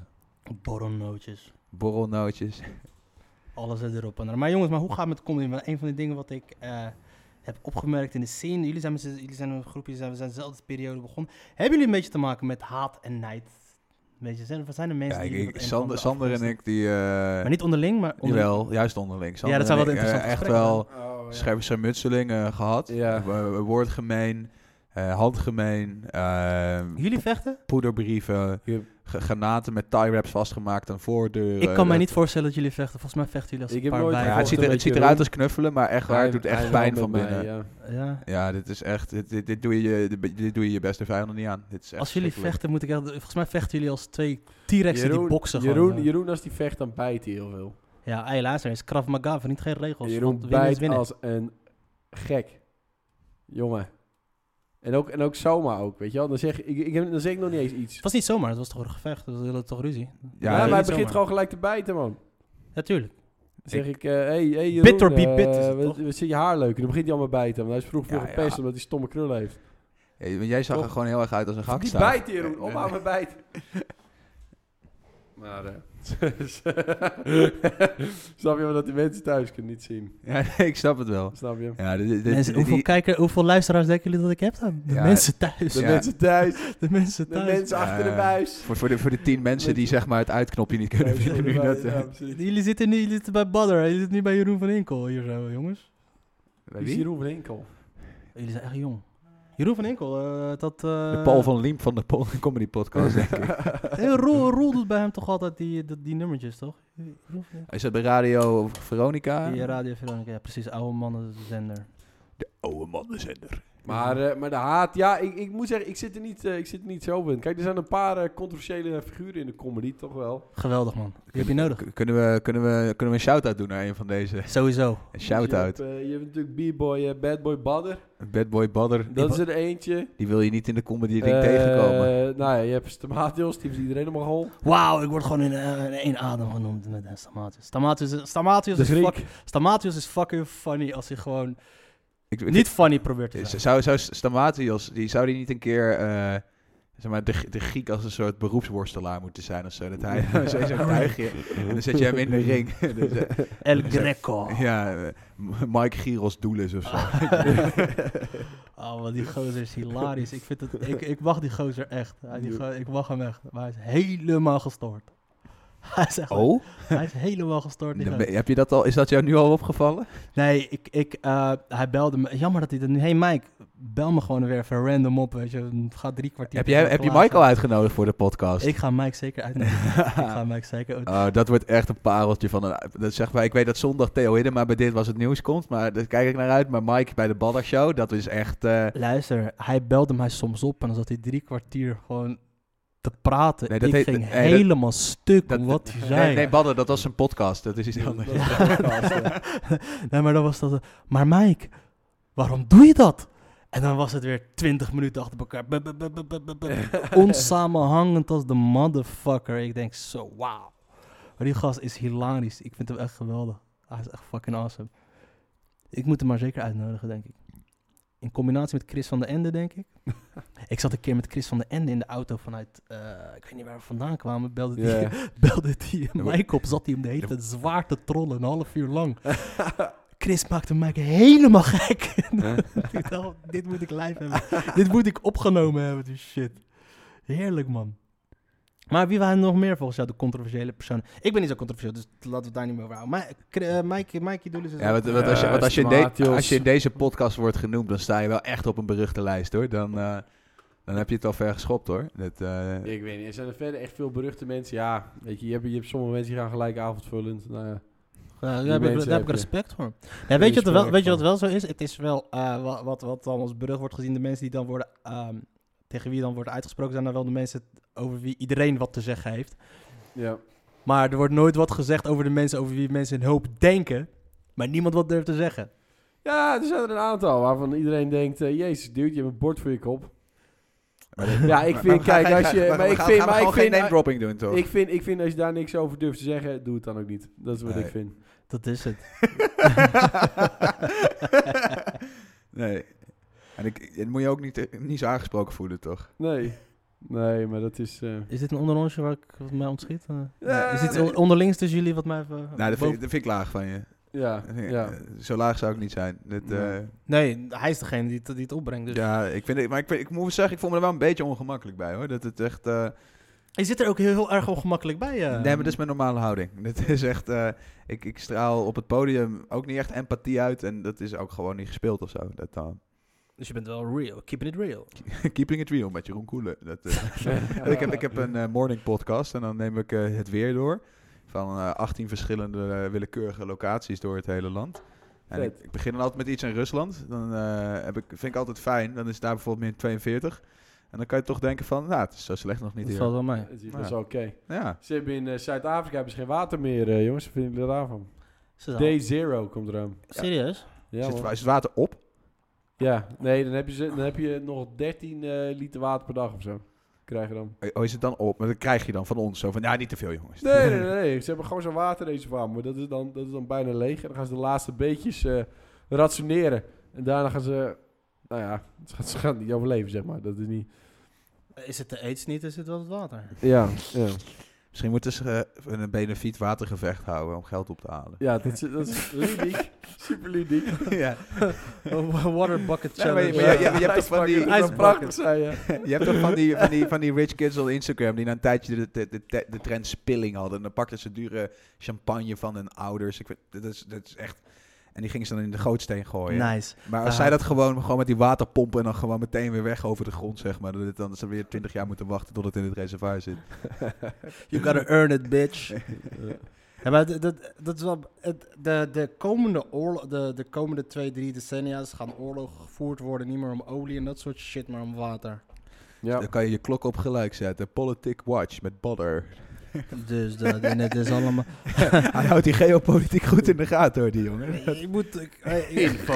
Speaker 3: Borrelnootjes.
Speaker 1: borrelnootjes.
Speaker 3: Alles zit erop en eraan. Maar jongens, maar hoe gaat het met comedy? Want een van de dingen wat ik eh, heb opgemerkt in de scene, jullie zijn, met z'n- jullie zijn een groepje, zijn, we zijn dezelfde periode begonnen. Hebben jullie een beetje te maken met haat en nijd? Een beetje, zijn, zijn er mensen
Speaker 1: Ja,
Speaker 3: die
Speaker 1: ik,
Speaker 3: jullie
Speaker 1: ik-
Speaker 3: op een of
Speaker 1: Sander,
Speaker 3: andere
Speaker 1: Sander en
Speaker 3: afgrond-
Speaker 1: ik, die... eh
Speaker 3: Maar niet onderling, maar onderling.
Speaker 1: Jawel, juist onderling. Sander
Speaker 3: dat zijn
Speaker 1: en
Speaker 3: wel
Speaker 1: ik, eh,
Speaker 3: interessante
Speaker 1: Echt
Speaker 3: gesprekken,
Speaker 1: wel scherpe schermutseling eh, gehad.
Speaker 2: Ja.
Speaker 1: Eh, wo- woordgemeen, eh, handgemeen, eh,
Speaker 3: Jullie vechten?
Speaker 1: poederbrieven,
Speaker 2: Ja.
Speaker 1: ge- granaten met tie-wraps vastgemaakt aan voordeuren.
Speaker 3: ik kan mij
Speaker 1: Dat- Nou
Speaker 3: niet voorstellen dat jullie vechten. Volgens mij vechten jullie als
Speaker 2: Ik
Speaker 3: een
Speaker 2: heb
Speaker 3: paar
Speaker 2: nooit
Speaker 1: Ja,
Speaker 3: bijen.
Speaker 2: gevochten.
Speaker 1: het ziet, er,
Speaker 2: Een
Speaker 1: het ziet
Speaker 2: beetje
Speaker 1: eruit
Speaker 2: roem.
Speaker 1: als knuffelen, maar echt waar, het doet echt pijn van binnen. ja.
Speaker 3: Ja.
Speaker 1: dit is echt, dit, dit, dit doe je, dit, dit doe je je beste vijanden niet aan. Dit is echt
Speaker 3: Als jullie
Speaker 1: verschrikkelijk.
Speaker 3: vechten, moet ik echt... Volgens mij vechten jullie als twee T-rexen die boksen gewoon.
Speaker 2: Jeroen,
Speaker 3: ja.
Speaker 2: Jeroen, als die vecht, dan bijt hij heel veel.
Speaker 3: Ja, hey, luister eens. Krav Maga verdient geen regels.
Speaker 2: Jeroen
Speaker 3: want winnen
Speaker 2: bijt
Speaker 3: is winnen.
Speaker 2: als een gek. Jongen. En ook, en ook zomaar ook, weet je wel. Dan zeg ik, ik, heb- dan zeg ik nog niet eens iets.
Speaker 3: Het was niet zomaar. Het was toch een gevecht. Dat was toch ruzie?
Speaker 2: Ja,
Speaker 1: Ja, dit-
Speaker 2: maar hij
Speaker 3: niet
Speaker 2: begint
Speaker 3: zomaar.
Speaker 2: gewoon gelijk te bijten, man.
Speaker 3: Natuurlijk.
Speaker 2: Dan zeg ik, eh hey, hey Jeroen,
Speaker 3: Bit or be
Speaker 2: eh,
Speaker 3: bit is het,
Speaker 2: wat-
Speaker 3: toch?
Speaker 2: wat zit je haar leuk? En dan begint hij allemaal bijten, want hij is vroeg voor
Speaker 1: Ja,
Speaker 2: gepest
Speaker 1: ja.
Speaker 2: omdat hij stomme krullen heeft.
Speaker 1: Ja, want jij zag er
Speaker 2: Toch?
Speaker 1: gewoon heel erg uit als een
Speaker 2: Die
Speaker 1: gakstaaf.
Speaker 2: bijt, Jeroen. Op aan mijn bijt. Maar, eh, Snap je wel dat die mensen thuis kunnen niet zien?
Speaker 1: Ja, nee, ik snap het wel.
Speaker 2: Snap je?
Speaker 1: Ja, dit, dit,
Speaker 3: Mensen,
Speaker 1: die-
Speaker 3: hoeveel, kijker, hoeveel luisteraars denken jullie dat ik heb dan? De
Speaker 1: Ja,
Speaker 3: mensen thuis.
Speaker 2: De
Speaker 1: Ja.
Speaker 2: mensen thuis.
Speaker 3: De mensen
Speaker 2: De
Speaker 3: thuis.
Speaker 2: mensen achter de
Speaker 1: Eh,
Speaker 2: buis.
Speaker 1: voor, voor, de, voor de tien mensen die zeg maar het uitknopje niet kunnen
Speaker 2: Thuis
Speaker 1: vinden.
Speaker 2: achter de
Speaker 1: Nu dat,
Speaker 2: buis,
Speaker 1: eh,
Speaker 2: ja, precies.
Speaker 3: Jullie zitten, nu, jullie zitten bij Badder. Jullie zitten nu bij Jeroen van Inkel hier zo, jongens.
Speaker 1: bij
Speaker 2: Wie is
Speaker 1: wie?
Speaker 2: Jeroen van Enkel?
Speaker 3: Jullie zijn echt jong. Jeroen van Inkel, eh, dat... eh,
Speaker 1: De Paul van Liem van de Paul Comedy Podcast, denk ik.
Speaker 3: Hey, Roel, Roel doet bij hem toch altijd die, die, die nummertjes, toch?
Speaker 1: Is dat bij Radio Veronica?
Speaker 3: Die Radio Veronica, ja, precies. Oude mannen zender.
Speaker 1: De oude mannenzender.
Speaker 2: Maar, eh, maar de haat, ja, ik, ik moet zeggen, ik zit, er niet, eh, ik zit er niet zo in. Kijk, er zijn een paar eh, controversiële figuren in de comedy, toch wel.
Speaker 3: Geweldig, man. Die heb je nodig.
Speaker 1: K- Kunnen we, kunnen, we, kunnen we een shout-out doen naar een van deze?
Speaker 3: Sowieso.
Speaker 1: Een
Speaker 2: je
Speaker 1: shout-out.
Speaker 2: hebt, eh, je hebt natuurlijk B-boy, eh, Bad Boy Badder.
Speaker 1: Badboy Badder,
Speaker 2: Dat is er eentje.
Speaker 1: die wil je niet in de comedy ring
Speaker 2: Eh,
Speaker 1: tegenkomen.
Speaker 2: Nou ja, je hebt Stamatios, die heeft iedereen helemaal hol.
Speaker 3: Wauw, ik word gewoon in, eh, in één adem genoemd met eh, Stamatius. Stamatius, is- Stamatius,
Speaker 2: De
Speaker 3: is
Speaker 2: Griek.
Speaker 3: fuck, Stamatius is fucking funny als hij gewoon
Speaker 1: Ik, ik-
Speaker 3: niet funny probeert te
Speaker 1: z-
Speaker 3: zijn.
Speaker 1: Zou, zou Stamatios, die zou die niet een keer... eh, Zeg maar, de, G- de Griek als een soort beroepsworstelaar moeten zijn of zo. Dat hij zo'n zo'n tuigje... En dan zet je hem in de ring. Dus, eh,
Speaker 3: El Greco.
Speaker 1: Ja, eh, M- Mike Giros Doelis of zo.
Speaker 3: Oh, wat die gozer is hilarisch. Ik, vind het, ik, ik mag die gozer echt. Hij- die go- ik mag hem echt. Maar hij is helemaal gestoord. Hij is, echt,
Speaker 1: Oh?
Speaker 3: hij is helemaal gestoord. die
Speaker 1: Dan
Speaker 3: gozer.
Speaker 1: ben- heb je dat al, is dat jou nu al opgevallen?
Speaker 3: Nee, ik, ik, eh, hij belde me. Jammer dat hij dat nu... Hey Mike, bel me gewoon weer even random op, weet je. Ga drie kwartier...
Speaker 1: Heb je, heb je Mike al uitgenodigd voor de podcast?
Speaker 3: Ik ga Mike zeker uitnodigen. ik ga Mike zeker uit.
Speaker 1: Oh, dat wordt echt een pareltje van een... Dat zeg maar, ik weet dat zondag Theo Hiddema bij Dit Was Het Nieuws komt, maar daar kijk ik naar uit. Maar Mike bij de Badder Show, dat is echt... eh,
Speaker 3: Luister, hij belde mij soms op en dan zat hij drie kwartier gewoon te praten.
Speaker 1: Nee, dat
Speaker 3: ik
Speaker 1: heet-
Speaker 3: ging
Speaker 1: nee, dat-
Speaker 3: helemaal stuk
Speaker 1: dat-
Speaker 3: om wat hij zei.
Speaker 1: nee, nee, Badder, dat was een podcast. Dat is iets anders.
Speaker 2: Dat is een podcast, hè.
Speaker 3: nee, maar dan was dat... eh, Maar Mike, waarom doe je dat? En dan was het weer twintig minuten achter elkaar. Bu- bu- bu- bu- bu- bu- bu- Onsamenhangend als de motherfucker. Ik denk zo, wauw. Maar die gast is hilarisch. Ik vind hem echt geweldig. Hij is echt fucking awesome. Ik moet hem maar zeker uitnodigen, denk ik. In combinatie met Chris van der Ende, denk ik. ik zat een keer met Chris van der Ende in de auto vanuit... eh, ik weet niet waar we vandaan kwamen. Belde die,
Speaker 2: Ja.
Speaker 3: belde die Mike op. Zat hij hem de hele tijd zwaar te trollen. Een half uur lang. Chris maakte Mike helemaal gek. Ik dacht, dit moet ik live hebben. dit moet ik opgenomen hebben. Dus shit. Heerlijk, man. Maar wie waren er nog meer volgens jou de controversiële personen? Ik ben niet zo controversieel, dus laten we het daar niet meer over houden. Maar eh, Mike, Mikey Doelis is...
Speaker 1: Ja,
Speaker 3: ook-
Speaker 1: want, want als, je,
Speaker 2: Ja,
Speaker 1: want als, je in de-
Speaker 2: smaad, Jos.
Speaker 1: als je in deze podcast wordt genoemd, dan sta je wel echt op een beruchte lijst hoor. Dan, eh, dan heb je het wel ver geschopt hoor. Dat, eh,
Speaker 2: Ik weet niet, er zijn er verder echt veel beruchte mensen. Ja, weet je, je hebt, je hebt sommige mensen die gaan gelijk avondvullend. Nou ja.
Speaker 3: Ja, daar
Speaker 2: Die
Speaker 3: heb, ik-
Speaker 2: mensen
Speaker 3: daar
Speaker 2: heb
Speaker 3: heb
Speaker 2: je.
Speaker 3: ik respect voor. Ja, weet, je wat er wel,
Speaker 2: Respect
Speaker 3: weet je wat
Speaker 2: voor.
Speaker 3: wel zo is? Het is wel eh, wa- wat, wat dan als berucht wordt gezien. De mensen die dan worden, ehm, tegen wie dan wordt uitgesproken, zijn dan wel de mensen over wie iedereen wat te zeggen heeft.
Speaker 2: ja.
Speaker 3: Maar er wordt nooit wat gezegd over de mensen over wie mensen een hoop denken. Maar niemand wat durft te zeggen.
Speaker 2: Ja, er zijn er een aantal waarvan iedereen denkt, eh, jezus dude, je hebt een bord voor je kop. Ja, ik
Speaker 1: maar- maar
Speaker 2: vind, kijk,
Speaker 1: ga-
Speaker 2: als
Speaker 1: ga-
Speaker 2: je...
Speaker 1: ga-
Speaker 2: maar
Speaker 1: we
Speaker 2: ik
Speaker 1: gaan- gaan we
Speaker 2: vind- maar ik
Speaker 1: gewoon geen
Speaker 2: vind-
Speaker 1: name dropping doen toch?
Speaker 2: Ik vind, ik vind als je daar niks over durft te zeggen, doe het dan ook niet. Dat is wat
Speaker 1: Nee.
Speaker 2: ik vind.
Speaker 3: Dat is het.
Speaker 1: nee. En ik, dat moet je ook niet, eh, niet zo aangesproken voelen toch?
Speaker 2: Nee. Nee, maar dat is... eh,
Speaker 3: Is dit een onderonsje waar ik wat mij ontschiet? Eh,
Speaker 2: Ja,
Speaker 3: is dit
Speaker 2: nee.
Speaker 3: on- onderlings tussen jullie wat mij... even eh,
Speaker 1: Nou, dat vind,
Speaker 3: boven- Ah,
Speaker 1: ik- dat vind ik laag van je.
Speaker 2: ja, ja.
Speaker 1: Eh, Zo laag zou ik niet zijn. Dat, eh,
Speaker 2: Nee.
Speaker 3: Nee, hij is degene die het, die het opbrengt. Dus.
Speaker 1: Ja, ik vind het, maar ik, vind- ik moet zeggen, ik voel me er wel een beetje ongemakkelijk bij hoor. Dat het echt. eh,
Speaker 3: Je zit er ook heel, heel erg ongemakkelijk bij. eh.
Speaker 1: nee, maar dat is mijn normale houding. Dat is echt. eh, ik, ik straal op het podium ook niet echt empathie uit. En dat is ook gewoon niet gespeeld of zo. Dat dan.
Speaker 3: Dus je bent wel real. Keeping it real.
Speaker 1: Keeping it real met Jeroen Koelen. Dat, eh, Want ik, heb, ik heb een eh, morning podcast en dan neem ik eh, het weer door. Van eh, 18 verschillende eh, willekeurige locaties door het hele land. En ik,
Speaker 2: Vet.
Speaker 1: ik begin dan altijd met iets in Rusland. Dan eh, heb ik, vind ik altijd fijn. Dan is het daar bijvoorbeeld min 42. En dan kan je toch denken van, nou, het is zo slecht nog niet
Speaker 3: Dat
Speaker 1: hier.
Speaker 3: valt wel mee.
Speaker 2: Dat is
Speaker 1: Ja.
Speaker 2: dat is oké.
Speaker 1: Ja.
Speaker 2: Ze hebben in eh, Zuid-Afrika hebben ze geen water meer, eh, jongens. Wat vinden jullie daarvan?
Speaker 3: Is het al-
Speaker 2: Day zero komt eraan.
Speaker 3: Serieus?
Speaker 2: Ja,
Speaker 1: Zit- is,
Speaker 2: hoor.
Speaker 1: het water op?
Speaker 2: ja, nee, dan heb je, ze- dan heb je nog 13 eh, liter water per dag of zo. Krijg je dan.
Speaker 1: Oh, is het dan op? Maar dat krijg je dan van ons. Zo van, ja, niet te veel jongens.
Speaker 2: Nee, nee, nee, nee. Ze hebben gewoon zo'n waterreservoir. Maar dat is, dan, dat is dan bijna leeg. En dan gaan ze de laatste beetjes eh, rationeren. En daarna gaan ze... Nou ja, ze gaan, ze gaan niet overleven, zeg maar. Dat is niet...
Speaker 3: Is het de aids niet, is het wel het water.
Speaker 2: Ja, ja.
Speaker 1: Misschien moeten ze eh, een benefiet watergevecht houden om geld op te halen.
Speaker 2: Ja, dat is, dat is ludiek. Super ludiek.
Speaker 1: ja.
Speaker 3: Oh, water bucket
Speaker 1: Ja, maar je-
Speaker 3: challenge.
Speaker 1: maar je- je- hebt toch van die-
Speaker 2: Dat zou
Speaker 3: ijsbakken.
Speaker 2: prachtig zijn, ja.
Speaker 1: Je hebt toch van die, van, die, van die rich kids op Instagram die na een tijdje de, de, de, de trend spilling hadden. En dan pakten ze dure champagne van hun ouders. Ik weet, dat, is, dat is echt... En die gingen ze dan in de gootsteen gooien.
Speaker 3: Nice.
Speaker 1: Maar als
Speaker 3: Ah.
Speaker 1: zij dat gewoon, gewoon met die waterpompen en dan gewoon meteen weer weg over de grond, zeg maar. Dat het dan ze weer 20 jaar moeten wachten tot het in het reservoir zit.
Speaker 3: You gotta earn it, bitch. Ja, maar dat, dat, dat is wel... Het, de, de, komende oorlog, de, de komende twee, drie decennia's gaan oorlogen gevoerd worden. Niet meer om olie en dat soort shit, maar om water.
Speaker 2: Ja,
Speaker 1: Dan kan je je klok op gelijk zetten. Politic Watch met Bodder.
Speaker 3: Dus dat, en het is allemaal...
Speaker 1: Hij houdt die geopolitiek goed in de gaten hoor, die jongen.
Speaker 3: Ik moet... Ik, eh, ik-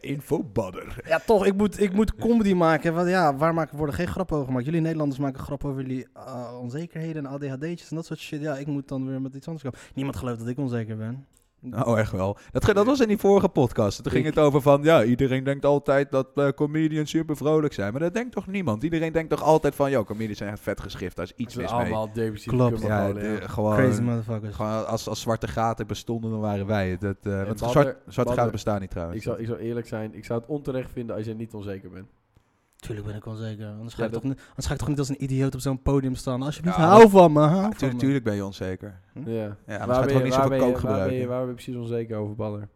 Speaker 1: Info Bodder.
Speaker 3: ja, toch, ik moet, ik moet comedy maken. Want ja, waar maken, worden geen grappen over gemaakt? Jullie Nederlanders maken grappen over jullie eh, onzekerheden en ADHD'tjes en dat soort shit. Ja, ik moet dan weer met iets anders komen. Niemand gelooft dat ik onzeker ben.
Speaker 1: Nou, echt wel. Dat, ge- dat was in die vorige podcast. Toen ging het over van, ja, iedereen denkt altijd dat eh, comedians super vrolijk zijn. Maar dat denkt toch niemand? Iedereen denkt toch altijd van, joh, comedians zijn echt vet geschift. Daar is
Speaker 2: Ze
Speaker 1: iets
Speaker 2: zijn
Speaker 1: mis mee.
Speaker 2: allemaal depressief.
Speaker 3: Klopt.
Speaker 1: Ja, de- gewoon,
Speaker 3: Crazy motherfuckers.
Speaker 1: gewoon als, als zwarte gaten bestonden, dan waren wij het. Dat, eh, want
Speaker 2: Badder-
Speaker 1: zwart- zwarte
Speaker 2: Badder-
Speaker 1: gaten bestaan niet trouwens.
Speaker 2: Ik zou, ik zou eerlijk zijn, ik zou het onterecht vinden als je niet onzeker bent.
Speaker 3: Tuurlijk ben ik onzeker. Anders ga,
Speaker 2: Ja,
Speaker 3: ik,
Speaker 2: dat-
Speaker 3: toch niet, anders ga ik toch niet als een idioot op zo'n podium staan. Alsjeblieft,
Speaker 1: Ja,
Speaker 3: hou
Speaker 1: dat-
Speaker 3: van me, hou van
Speaker 1: Tuurlijk,
Speaker 3: me.
Speaker 1: tuurlijk ben je onzeker.
Speaker 2: Ja.
Speaker 1: Ja, anders gaat het ook niet
Speaker 2: Hm?
Speaker 1: zoveel
Speaker 2: waar
Speaker 1: kook
Speaker 2: ben je, waar ben je,
Speaker 1: gebruiken.
Speaker 2: waar ben je precies onzeker over, Baller?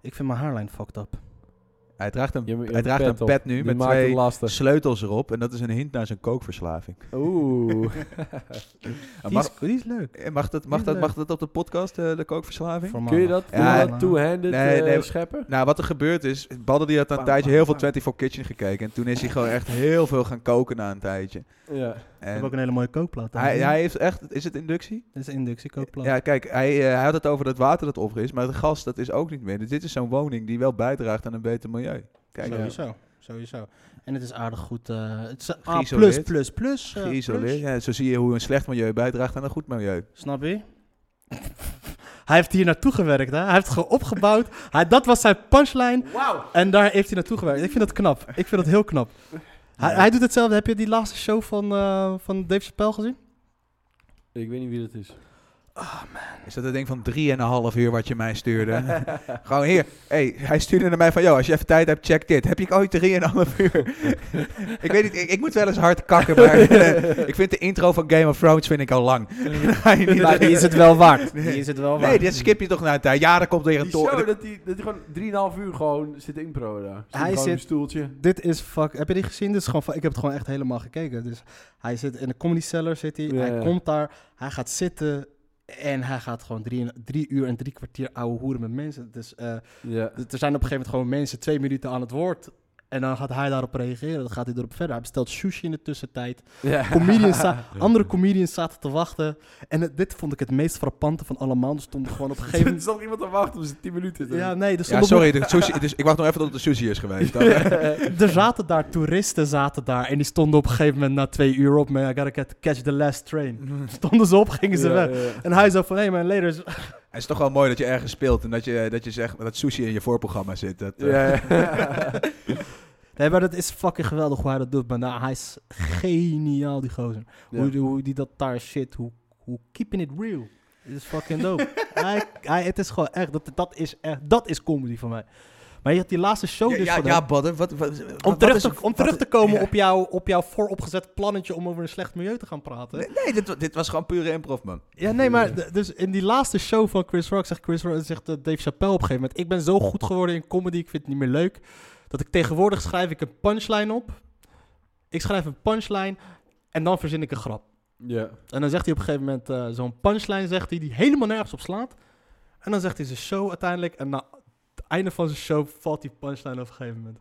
Speaker 3: Ik vind mijn haarlijn fucked up.
Speaker 1: Hij draagt een,
Speaker 2: Je hebt- je
Speaker 1: hij
Speaker 2: hebt
Speaker 1: draagt een
Speaker 2: op.
Speaker 1: pet nu
Speaker 2: Die
Speaker 1: met
Speaker 2: maakt het
Speaker 1: twee
Speaker 2: lastig.
Speaker 1: sleutels erop. En dat is een hint naar zijn kookverslaving.
Speaker 2: Oeh.
Speaker 1: En
Speaker 3: Die
Speaker 1: Mag,
Speaker 3: is, die is leuk.
Speaker 1: eh, mag, dat, mag,
Speaker 3: is
Speaker 1: dat,
Speaker 3: leuk.
Speaker 1: mag dat op de podcast, eh, de kookverslaving?
Speaker 3: Voor
Speaker 2: Kun je
Speaker 3: maandag.
Speaker 2: dat,
Speaker 1: Ja,
Speaker 2: ja, dat two-handed
Speaker 1: nee,
Speaker 2: eh,
Speaker 1: nee.
Speaker 2: scheppen?
Speaker 1: Nou, wat er gebeurd is, Badden die had een
Speaker 2: Bam,
Speaker 1: tijdje
Speaker 2: bam,
Speaker 1: heel veel
Speaker 2: bam.
Speaker 1: 24 Kitchen gekeken. En toen is hij gewoon echt heel veel gaan koken na een tijdje.
Speaker 2: Ja.
Speaker 3: Ik heb ook
Speaker 1: En
Speaker 3: een hele mooie kookplaat.
Speaker 1: hij, hij heeft echt, is het inductie?
Speaker 3: Dit is een inductiekookplaat.
Speaker 1: Ja, kijk, hij, eh, hij had het over dat water dat op is, maar het gas dat is ook niet meer. Dus dit is zo'n woning die wel bijdraagt aan een beter milieu. Kijk,
Speaker 2: Zo.
Speaker 1: eh,
Speaker 3: sowieso. Sowieso. En het is aardig goed. eh, het is A++++.
Speaker 1: Geïsoleerd.
Speaker 3: plus, plus, eh,
Speaker 1: geïsoleerd.
Speaker 3: plus.
Speaker 1: Ja, zo zie je hoe een slecht milieu bijdraagt aan een goed milieu.
Speaker 3: Snap je? Hij heeft hier naartoe gewerkt, hè? Hij heeft het gewoon opgebouwd. Hij, dat was zijn punchline.
Speaker 2: Wauw!
Speaker 3: En daar heeft hij naartoe gewerkt. Ik vind dat knap. Ik vind dat heel knap. Hij, hij doet hetzelfde. Heb je die laatste show van, eh, van Dave Chappelle gezien?
Speaker 2: Ik weet niet wie dat is.
Speaker 1: Is dat het ding van drieënhalf uur wat je mij stuurde? Gewoon hier. Hey, hij stuurde naar mij van, joh, als je even tijd hebt, check dit. Heb ik ooit drieënhalf uur? ik weet niet, ik, ik moet wel eens hard kakken, maar eh, ik vind de intro van Game of Thrones vind ik al lang. Dan ga je niet
Speaker 3: Maar die
Speaker 1: lekker-
Speaker 3: is het wel waard. Die is het wel waard.
Speaker 1: Nee, dit skip je toch naar tijd. Ja, daar komt weer een
Speaker 2: Die show,
Speaker 1: toren.
Speaker 2: dat die, dat die gewoon 3,5 uur gewoon zit impro daar. Zit
Speaker 3: Hij
Speaker 2: gewoon op een
Speaker 3: zit-
Speaker 2: stoeltje.
Speaker 3: Dit is fuck. Heb je die gezien? Dit is gewoon, fa- ik heb het gewoon echt helemaal gekeken. Dus hij zit in de comedy cellar, zit hij.
Speaker 2: Ja,
Speaker 3: hij
Speaker 2: ja.
Speaker 3: komt daar, hij gaat zitten en hij gaat gewoon drie, en- drie uur en drie kwartier ouwe hoeren met mensen. Dus eh,
Speaker 2: Ja.
Speaker 3: d- er zijn op een gegeven moment gewoon mensen twee minuten aan het woord. En dan gaat hij daarop reageren. Dan gaat hij erop verder. Hij bestelt sushi in de tussentijd. Comedians za- andere comedians zaten te wachten. En het- dit vond ik het meest frappante van allemaal. Er stonden gewoon op een gegeven
Speaker 2: Er
Speaker 3: moment...
Speaker 2: stond iemand te wachten op zijn 10 minuten. te
Speaker 3: Ja, nee, er
Speaker 1: Ja,
Speaker 3: stonden op een
Speaker 1: sorry, de sushi, het is- ik wacht nog even tot de sushi is geweest. Dan, eh,
Speaker 3: er zaten daar toeristen zaten daar en die stonden op een gegeven moment na twee uur op met I gotta get- catch the last train. Stonden ze op, gingen ze
Speaker 2: Ja,
Speaker 3: weg.
Speaker 2: ja.
Speaker 3: En hij zo van, hé hey man, later. is-
Speaker 1: het is toch wel mooi dat je ergens speelt en dat je, dat je zegt dat sushi in je voorprogramma zit. Dat, eh,
Speaker 2: Ja, ja.
Speaker 3: Nee, maar dat is fucking geweldig hoe hij dat doet. Maar nou, hij is geniaal, die gozer.
Speaker 2: Ja.
Speaker 3: Hoe, die- hoe die dat daar shit, hoe, hoe keeping it real. Dit is fucking dope. hij, hij, het is gewoon echt, dat, dat is echt, dat is comedy voor mij. Maar je had die laatste show
Speaker 1: ja,
Speaker 3: dus
Speaker 1: ja,
Speaker 3: van
Speaker 1: ja,
Speaker 3: hem.
Speaker 1: Badden, wat, wat, wat-
Speaker 3: Om
Speaker 1: wat
Speaker 3: terug,
Speaker 1: is-
Speaker 3: te, om
Speaker 1: wat-
Speaker 3: terug te komen
Speaker 1: ja.
Speaker 3: op, jou, op jouw vooropgezet plannetje om over een slecht milieu te gaan praten.
Speaker 1: Nee, nee, dit, wa- dit was gewoon pure improv, man.
Speaker 3: Ja, nee,
Speaker 1: Eh.
Speaker 3: maar d- dus in die laatste show van Chris Rock zegt, Chris Rock, zegt eh, Dave Chappelle op een gegeven moment... Ik ben zo goed geworden in comedy, ik vind het niet meer leuk. Dat ik tegenwoordig schrijf ik een punchline op. Ik schrijf een punchline en dan verzin ik een grap.
Speaker 2: ja.
Speaker 3: En dan zegt hij op een gegeven moment eh, zo'n punchline zegt hij, die helemaal nergens op slaat. En dan zegt hij zijn show uiteindelijk en na het einde van zijn show valt die punchline op een gegeven moment.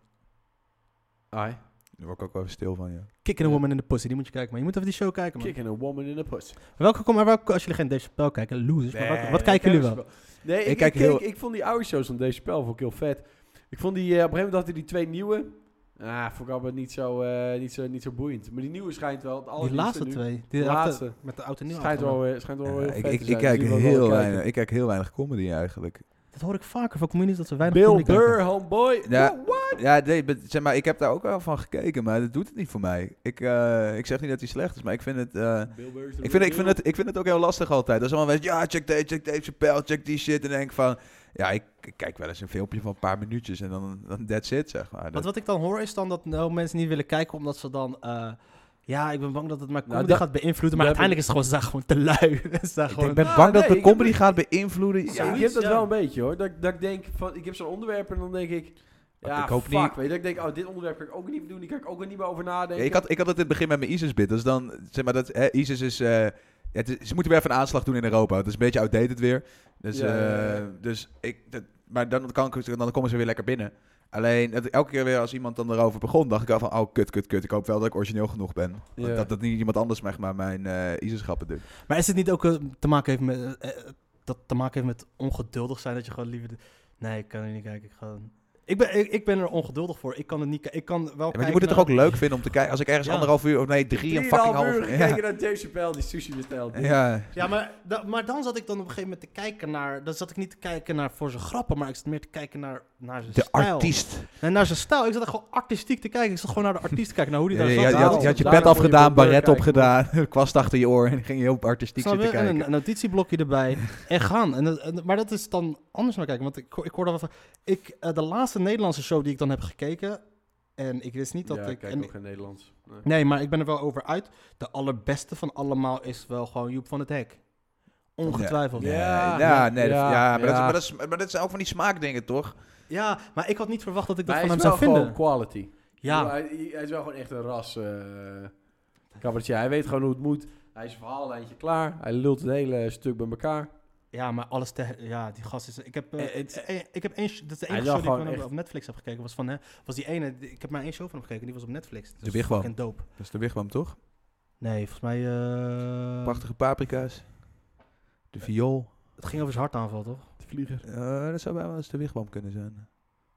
Speaker 2: Ai.
Speaker 1: Daar word ik ook wel even stil van, ja.
Speaker 3: Kicking a
Speaker 2: Ja.
Speaker 3: woman in the pussy, die moet je kijken, maar je moet even die show kijken, man.
Speaker 2: Kicking a woman in a pussy.
Speaker 3: Welke, kom- maar welke, als jullie geen Dave Chappelle kijken, losers, maar
Speaker 1: Nee,
Speaker 3: welke- wat,
Speaker 1: nee,
Speaker 3: kijken jullie wel?
Speaker 2: Nee, ik,
Speaker 1: Ik
Speaker 2: ik,
Speaker 1: kijk
Speaker 2: keek-
Speaker 1: heel-
Speaker 2: ik vond die oude shows van deze spel vond ik heel vet. Ik vond die, eh, op een gegeven moment had hij die twee nieuwe. Ah, vond ik allemaal niet zo, eh, niet, zo, niet zo boeiend. Maar die nieuwe schijnt wel. Het
Speaker 3: Die laatste
Speaker 2: nu,
Speaker 3: twee.
Speaker 2: De
Speaker 3: Die laatste.
Speaker 2: laatste.
Speaker 3: Met de auto nieuw.
Speaker 2: Schijnt wel, eh, schijnt wel heel
Speaker 1: ik,
Speaker 2: vet
Speaker 1: ik,
Speaker 2: te
Speaker 1: ik,
Speaker 2: zijn.
Speaker 1: kijk
Speaker 2: Dus die wil ik wel
Speaker 1: heel
Speaker 2: kijken.
Speaker 1: weinig, ik kijk heel weinig comedy eigenlijk.
Speaker 3: Dat hoor ik vaker van comedians dat ze weinig
Speaker 2: Bill
Speaker 3: comedy kijken.
Speaker 2: Burr, homeboy.
Speaker 1: Ja.
Speaker 2: Wow, wow.
Speaker 1: Ja, nee, maar zeg maar, ik heb daar ook wel van gekeken, maar dat doet het niet voor mij. Ik, eh, ik zeg niet dat hij slecht is, maar ik vind het... eh,
Speaker 2: Bill Burr is de
Speaker 1: ik vind, ik, vind
Speaker 2: real
Speaker 1: het, ik vind het ook heel lastig altijd. Als allemaal mensen, ja, check deze, check deze Chappelle, check die shit. En dan denk ik van, ja, ik, ik kijk wel eens een filmpje van een paar minuutjes en dan, dan that's it, zeg maar.
Speaker 3: Want
Speaker 1: Dat,
Speaker 3: wat ik dan hoor is dan dat nou mensen niet willen kijken omdat ze dan... eh, ja, ik ben bang dat het mijn
Speaker 2: Nou,
Speaker 3: comedy
Speaker 2: dat-
Speaker 3: gaat beïnvloeden. Maar
Speaker 2: dat heb
Speaker 3: uiteindelijk is het gewoon, ze zijn gewoon te lui. Ze zijn
Speaker 1: ik
Speaker 3: gewoon-
Speaker 1: ben
Speaker 2: Ah,
Speaker 1: bang dat
Speaker 2: nee,
Speaker 1: de
Speaker 2: ik heb
Speaker 1: comedy
Speaker 2: het-
Speaker 1: gaat beïnvloeden. Ja,
Speaker 2: Ja, ik heb
Speaker 3: Zoiets,
Speaker 2: dat
Speaker 3: ja.
Speaker 2: wel een beetje hoor. Dat, dat ik denk van, ik heb zo'n onderwerp en dan denk ik, ja,
Speaker 1: Oh, ik hoop
Speaker 2: fuck,
Speaker 1: niet-
Speaker 2: Weet je, dat ik denk, oh, dit onderwerp kan ik ook niet meer doen, die kan ik ook weer niet meer over nadenken.
Speaker 1: Ja, ik, had, ik had het in het begin met mijn ISIS-bit. Dat is dan, zeg maar, dat, hè, ISIS is, eh, ja, het is- Ze moeten weer even een aanslag doen in Europa. Het is een beetje outdated weer. Dus,
Speaker 2: Ja, ja, ja.
Speaker 1: eh, dus ik, dat- maar dan, kan ik, dan komen ze weer lekker binnen. Alleen, dat, elke keer weer als iemand dan erover begon, dacht ik al van... Oh, kut, kut, kut. Ik hoop wel dat ik origineel genoeg ben. Want
Speaker 2: Ja. Oh,
Speaker 1: Dat, dat niet iemand anders zeg maar, mijn eh ISIS-grappen doet.
Speaker 3: Maar is het niet ook eh, te maken heeft met... eh, eh, dat te maken heeft met ongeduldig zijn? Dat je gewoon liever... de- Nee, ik kan er niet kijken. Ik, ga... ik, ben, ik, ik ben er ongeduldig voor. Ik kan het niet... ki- Ik kan wel
Speaker 1: Ja,
Speaker 3: kijken
Speaker 1: maar je moet het toch
Speaker 3: naar-
Speaker 1: ook leuk vinden om te kijken... Als ik ergens
Speaker 3: Ja.
Speaker 1: anderhalf uur... Of nee, drie, en fucking half
Speaker 2: uur
Speaker 1: uur...
Speaker 2: gekeken
Speaker 1: Ja.
Speaker 2: naar Dave Chappelle die sushi bestelt.
Speaker 1: Ja.
Speaker 3: Ja, maar, da- maar dan zat ik dan op een gegeven moment te kijken naar... Dan zat ik niet te kijken naar voor zijn grappen, maar ik zat meer te kijken naar, naar zijn
Speaker 1: De
Speaker 3: stijl.
Speaker 1: artiest.
Speaker 3: Nee, naar zijn stijl. Ik zat echt gewoon artistiek te kijken. Ik zat gewoon naar de artiest te kijken, naar hoe die
Speaker 1: Ja,
Speaker 3: daar
Speaker 1: je,
Speaker 3: zat.
Speaker 1: had- je had, je had je
Speaker 2: Daarom
Speaker 1: pet
Speaker 2: kon je
Speaker 1: afgedaan,
Speaker 2: Bill Burr
Speaker 1: baret
Speaker 2: kijken,
Speaker 1: opgedaan, kwast achter je oor en ging je heel artistiek
Speaker 3: Snap je?
Speaker 1: zitten
Speaker 3: En
Speaker 1: kijken.
Speaker 3: een, een notitieblokje erbij en gaan. En, dat- en- maar dat is dan anders naar kijken. Want ik, ho- ik hoorde wel van... Ik, eh, de laatste Nederlandse show die ik dan heb gekeken... En ik wist niet dat ik...
Speaker 2: kijk
Speaker 3: en-
Speaker 2: ook geen Nederlands. Nee.
Speaker 3: nee, maar ik ben er wel over uit. De allerbeste van allemaal is wel gewoon Joep van het Hek. Ongetwijfeld.
Speaker 1: Nee, ja,
Speaker 3: Ja,
Speaker 2: Ja,
Speaker 1: nee, dat- ja,
Speaker 2: ja,
Speaker 1: maar, Dat is,
Speaker 2: ja.
Speaker 1: maar, dat is, maar dat zijn ook van die smaakdingen, toch?
Speaker 3: maar ik had niet verwacht dat ik dat
Speaker 2: Maar
Speaker 3: van
Speaker 2: hij
Speaker 3: hem
Speaker 2: is
Speaker 3: zou
Speaker 2: wel
Speaker 3: vinden.
Speaker 2: gewoon quality.
Speaker 3: Ja,
Speaker 2: Hij, hij is wel gewoon echt een ras eh cabaretier. Hij weet gewoon hoe het moet. Hij is een verhaallijntje klaar. Hij lult het hele stuk bij elkaar.
Speaker 3: Ja, maar alles te... Ja, die gast is... Ik heb, eh,
Speaker 2: Eh, het-
Speaker 3: eh, ik heb één... sh- Dat is de
Speaker 2: Hij
Speaker 3: enige
Speaker 2: is wel
Speaker 3: show die ik
Speaker 2: gewoon
Speaker 3: van hem
Speaker 2: echt-
Speaker 3: op Netflix heb gekeken. Was van, hè, was die ene... die- Ik heb maar één show van hem gekeken. Die was op Netflix. Dat
Speaker 1: De
Speaker 3: is
Speaker 1: Wigwam.
Speaker 3: fucking dope.
Speaker 1: Dat is de wigwam, toch?
Speaker 3: Nee, volgens mij... eh,
Speaker 1: Prachtige paprika's. De viool.
Speaker 3: Het ging over zijn hartaanval, toch?
Speaker 2: De vlieger.
Speaker 1: Eh, dat zou bij wel eens de wigwam kunnen zijn.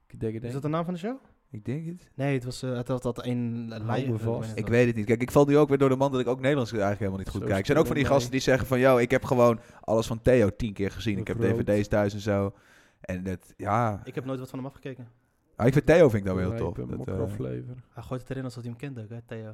Speaker 2: Ik denk, ik
Speaker 3: Is
Speaker 2: denk.
Speaker 3: dat de naam van de show?
Speaker 1: Ik denk het.
Speaker 3: Nee, het was eh, het had dat één lijn.
Speaker 2: me vast.
Speaker 1: Ik weet het niet. Kijk, ik val nu ook weer door de man dat ik ook Nederlands eigenlijk helemaal niet goed
Speaker 2: Zo
Speaker 1: kijk. Er zijn ook van die
Speaker 2: stil, nee.
Speaker 1: gasten die zeggen van... ...yo, ik heb gewoon alles van Theo tien keer gezien. Ik heb
Speaker 2: Groot.
Speaker 1: dvd's thuis en zo. En dat, ja...
Speaker 3: Ik heb nooit wat van hem afgekeken.
Speaker 1: Ah, ik vind Theo vind ik dan wel heel tof. Dat, eh,
Speaker 3: Hij gooit het erin alsof hij hem kent ook, hè, Theo.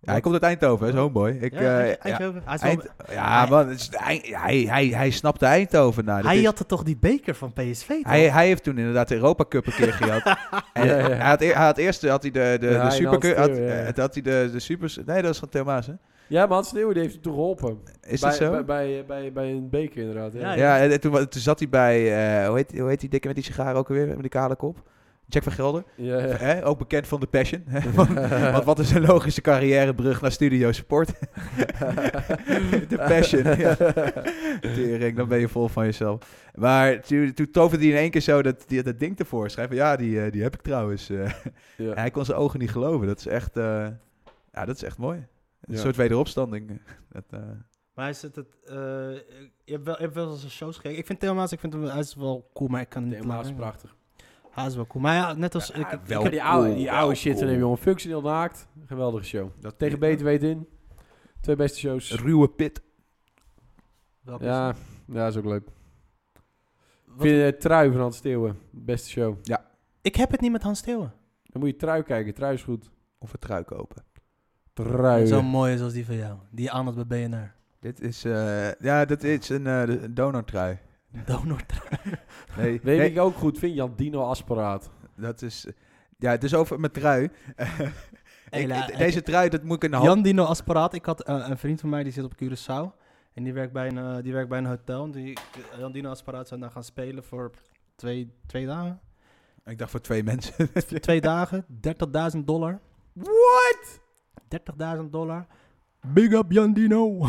Speaker 1: ja, hij komt uit Eindhoven, hè, is homeboy. Ik,
Speaker 3: ja,
Speaker 1: eh,
Speaker 3: hij,
Speaker 1: ja, ah,
Speaker 3: hij, hij, is wel-
Speaker 1: Eind- ja, man, het is- hij, hij, hij, hij snapte Eindhoven. Nou, dat
Speaker 3: hij
Speaker 1: is-
Speaker 3: had er toch die beker van PSV? toch?
Speaker 1: hij, hij heeft toen inderdaad de Europa Cup een keer gehad. en
Speaker 2: Ja, ja.
Speaker 1: Hij, had, eer- hij had eerst had hij de, de,
Speaker 2: Ja,
Speaker 1: de
Speaker 2: in
Speaker 1: Super Cup-
Speaker 2: Hans
Speaker 1: Had,
Speaker 2: Steeuwen, ja.
Speaker 1: eh, had hij de, de Supers... Nee, dat is van Theo Maas, hè?
Speaker 2: Ja, maar Hans Sneeuw die heeft hem toen geholpen.
Speaker 1: Is
Speaker 2: bij,
Speaker 1: dat zo?
Speaker 2: Bij, bij, bij, bij een beker inderdaad. Ja.
Speaker 3: Ja,
Speaker 1: Ja, en, en toen, wa- toen zat hij bij, eh, hoe, heet, hoe heet die dikke met die sigaar ook alweer, met die kale kop? Jack van Gelder,
Speaker 2: Ja, ja.
Speaker 1: hè? ook bekend van The Passion. hè? Want, want wat is een logische carrièrebrug naar Studio Support? The Passion, ja. Tering, dan ben je vol van jezelf. Maar toen, toen toverde hij in één keer zo dat, die, dat ding tevoorschijn. Van, ja, die, eh, die heb ik trouwens. eh.
Speaker 2: Ja.
Speaker 1: En hij kon zijn ogen niet geloven. Dat is echt, eh, ja, dat is echt mooi. Een
Speaker 2: Ja.
Speaker 1: soort wederopstanding. Dat, eh,
Speaker 3: Maar hij zit het. eh, je, hebt wel, je hebt wel eens een shows gekeken. Ik vind Theo Maas, ik vind hem, hij is wel cool, maar ik kan hem niet
Speaker 2: Theo Maas is
Speaker 3: laten.
Speaker 2: prachtig.
Speaker 3: Hij is wel cool. Maar ja, net als. ik,
Speaker 1: ja,
Speaker 3: ik
Speaker 1: wel
Speaker 3: heb-
Speaker 2: die oude, die
Speaker 1: cool,
Speaker 2: oude
Speaker 1: wel
Speaker 2: shit van
Speaker 1: cool.
Speaker 2: hem, jongen. Functioneel naakt. Geweldige show.
Speaker 1: dat
Speaker 2: Tegen beter weet in. Twee beste shows.
Speaker 1: Ruwe pit.
Speaker 3: welke is
Speaker 2: Ja,
Speaker 3: het?
Speaker 2: ja, is ook leuk. Ik
Speaker 3: Wat-
Speaker 2: vind eh, Trui van Hans Steeuwen. Beste show.
Speaker 3: ik heb het niet met Hans Steeuwen.
Speaker 2: Dan moet je Trui kijken. Trui is goed.
Speaker 1: Of een trui kopen.
Speaker 2: Trui.
Speaker 3: Zo mooi als die van jou. Die aan het bij BNR.
Speaker 1: Dit is, eh, ja, dat is een, eh, de- een donortrui.
Speaker 3: Donor
Speaker 1: Nee,
Speaker 2: Weet
Speaker 1: nee,
Speaker 2: ik ook goed vind, Jan Dino Asperaat.
Speaker 1: dat is, ja, het is over mijn trui. Ik-
Speaker 3: Hela,
Speaker 1: ik- deze Nou, trui, dat moet ik in de hand.
Speaker 3: Jan Dino Asparaat. Ik had eh, een vriend van mij die zit op Curaçao. En die werkt bij een, eh, die werkt bij een hotel. En Die, Jan Dino Asparaat zou daar gaan spelen voor twee, twee dagen.
Speaker 1: Ik dacht voor twee mensen.
Speaker 3: twee dagen, 30.000 dollar.
Speaker 2: What?
Speaker 3: 30.000 dollar. Big up Jan Dino.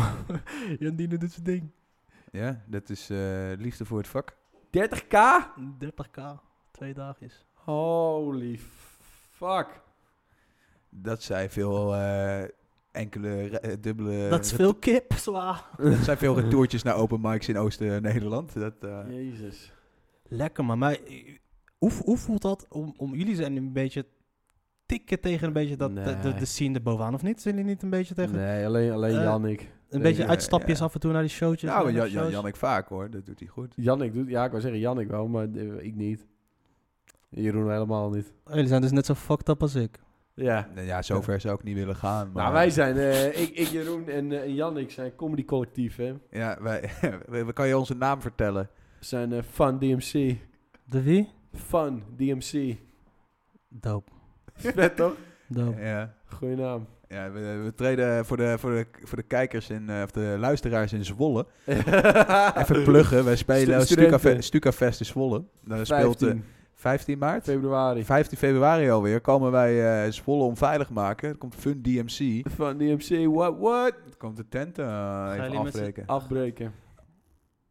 Speaker 3: Jan Dino doet zijn ding.
Speaker 1: ja, dat is eh, liefde voor het vak.
Speaker 2: 30k?
Speaker 3: 30k, twee dagjes.
Speaker 2: Holy fuck.
Speaker 1: Dat zijn veel eh, enkele, re- eh, dubbele...
Speaker 3: Dat is veel kip, zwaar.
Speaker 1: dat zijn veel retourtjes naar open mics in Oost-Nederland. Dat, eh,
Speaker 2: Jezus.
Speaker 3: Lekker, maar mij, hoe, hoe voelt dat om, om jullie zijn een beetje tikken tegen een beetje dat, de, de,
Speaker 2: Nee.
Speaker 3: de scene erbovenaan, of niet? Zijn jullie niet een beetje tegen?
Speaker 2: Nee, alleen, alleen
Speaker 3: Eh,
Speaker 2: Jannik.
Speaker 3: Een
Speaker 1: Nee,
Speaker 3: beetje
Speaker 1: ja,
Speaker 3: uitstapjes
Speaker 1: ja.
Speaker 3: af en toe naar die showtjes.
Speaker 1: nou,
Speaker 3: en
Speaker 1: Jan,
Speaker 3: naar
Speaker 1: Jan,
Speaker 3: shows.
Speaker 1: Jannik vaak hoor, dat doet hij goed.
Speaker 2: Jannik doet, ja, ik wou zeggen Jannik wel, maar eh, ik niet. Jeroen helemaal niet.
Speaker 3: Oh, jullie zijn dus net zo fucked up als ik.
Speaker 2: Ja.
Speaker 1: Nou ja, zover zou ik niet willen gaan. Maar
Speaker 2: Nou, wij zijn, eh, ik, ik, Jeroen en eh, en Jannik zijn comedy collectief, hè.
Speaker 1: Ja, wij, we- kan je onze naam vertellen?
Speaker 2: Zijn eh, Fun DMC.
Speaker 3: De wie?
Speaker 2: Fun DMC.
Speaker 3: Doop.
Speaker 2: Vet toch?
Speaker 3: Doop.
Speaker 1: Ja.
Speaker 2: Goeie naam.
Speaker 1: Ja, we, we treden voor de, voor de, voor de kijkers in, eh, of de luisteraars in Zwolle. Even pluggen. Wij spelen
Speaker 2: Ah. Stu- studenten.
Speaker 1: Stucafest Stuka Fest in Zwolle. Daar speelt eh,
Speaker 2: 15
Speaker 1: 15
Speaker 3: eh.
Speaker 1: maart.
Speaker 2: februari.
Speaker 1: 15 februari alweer komen wij eh Zwolle onveilig maken. Er komt Fun DMC.
Speaker 2: Fun DMC, what, what?
Speaker 1: Er komt de tent eh even
Speaker 3: jullie met z'n-
Speaker 1: afbreken.
Speaker 2: Afbreken.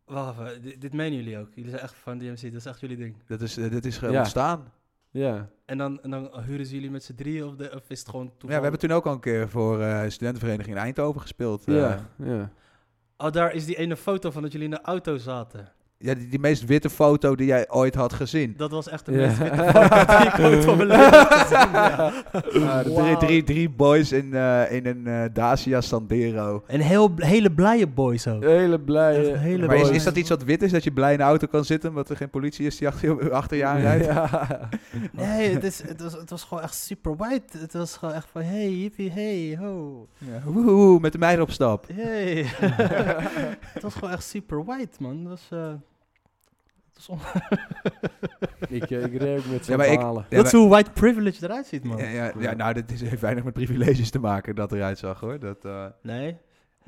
Speaker 3: Wacht even, dit, dit menen jullie ook. Jullie zijn echt van DMC, dat is echt jullie ding.
Speaker 1: Dat is, eh, dit is eh,
Speaker 2: Ja.
Speaker 1: ontstaan.
Speaker 2: Ja.
Speaker 3: En dan, en dan huren ze jullie met z'n drieën of, de, of is het gewoon
Speaker 1: Ja,
Speaker 3: toevallig?
Speaker 1: we hebben toen ook al een keer voor eh studentenvereniging in Eindhoven gespeeld. eh.
Speaker 2: Ja, ja.
Speaker 3: Oh, daar is die ene foto van dat jullie in de auto zaten.
Speaker 1: ja, die, die meest witte foto die jij ooit had gezien.
Speaker 3: Dat was echt de
Speaker 2: Ja.
Speaker 3: meest witte foto die ik ooit van mijn leven heb gezien, ja.
Speaker 2: Ah,
Speaker 1: Eh, de drie,
Speaker 3: Wauw.
Speaker 1: drie, drie boys in, eh, in een eh, Dacia Sandero.
Speaker 3: En heel, hele blije boys ook.
Speaker 2: Hele blij.
Speaker 3: Echt hele
Speaker 1: Maar is,
Speaker 3: boys.
Speaker 1: is dat iets wat wit is, dat je blij in de auto kan zitten, omdat er geen politie is die achter je, achter je aanrijdt?
Speaker 2: Ja.
Speaker 3: Nee, het, is, het, was, het was gewoon echt super white. Het was gewoon echt van, hey, hippie, hey, ho,
Speaker 1: Ja. Woehoe, met de meiden op stap.
Speaker 3: hey. het was gewoon echt super white, man. Dat was... eh, het was on-
Speaker 2: ik, eh, ik reed ook met
Speaker 1: Ja,
Speaker 2: zijn
Speaker 1: maar ik-
Speaker 2: verhalen.
Speaker 1: Ja,
Speaker 3: dat is hoe white privilege eruit ziet, man.
Speaker 1: Ja, ja, ja, nou, dit is, heeft weinig met privileges te maken dat eruit zag, hoor. Dat, eh,
Speaker 3: Nee.
Speaker 1: nee.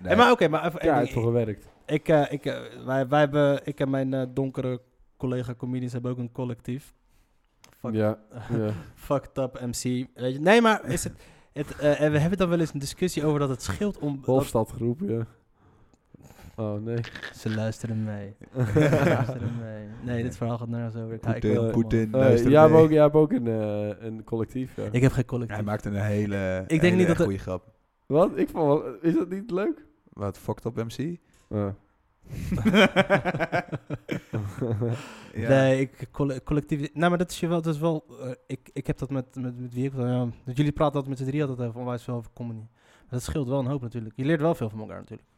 Speaker 3: Hey, maar oké, maar even...
Speaker 2: Ja,
Speaker 3: één
Speaker 2: het
Speaker 3: ding.
Speaker 2: voor gewerkt.
Speaker 3: Ik, eh, ik, eh, wij, wij hebben, ik en mijn eh, donkere collega comedians hebben ook een collectief. Fuck,
Speaker 2: Ja, ja.
Speaker 3: Fucked up MC. Weet je? Nee, maar is het, het, eh, en we hebben dan wel eens een discussie over dat het scheelt om... dat-
Speaker 2: Hofstadgroep, ja. Oh nee.
Speaker 3: ze luisteren mee. Ze luisteren mee. Nee, dit verhaal gaat nergens over. Ik, ik, wil
Speaker 1: Poetin,
Speaker 3: het allemaal.
Speaker 1: Poetin,
Speaker 2: Eh,
Speaker 1: luister
Speaker 2: jij, hebt
Speaker 1: mee.
Speaker 2: ook, jij hebt ook een, eh, een collectief, ja.
Speaker 3: ik heb geen collectief.
Speaker 1: Hij maakte een hele,
Speaker 3: denk
Speaker 1: hele
Speaker 3: niet dat er-
Speaker 1: goede grap.
Speaker 2: Wat? Ik vond wel- Is dat niet leuk?
Speaker 1: Wat, fucked up MC?
Speaker 2: Ah.
Speaker 1: Ja.
Speaker 3: Nee, ik, coll- collectief... Nou, maar dat is je wel... Dat is wel eh, ik, ik heb dat met, met, met wie ik... wel, ja, dat jullie praten altijd met z'n drieën altijd over onwijs veel over comedy. Maar dat scheelt wel een hoop natuurlijk. Je leert wel veel van elkaar natuurlijk.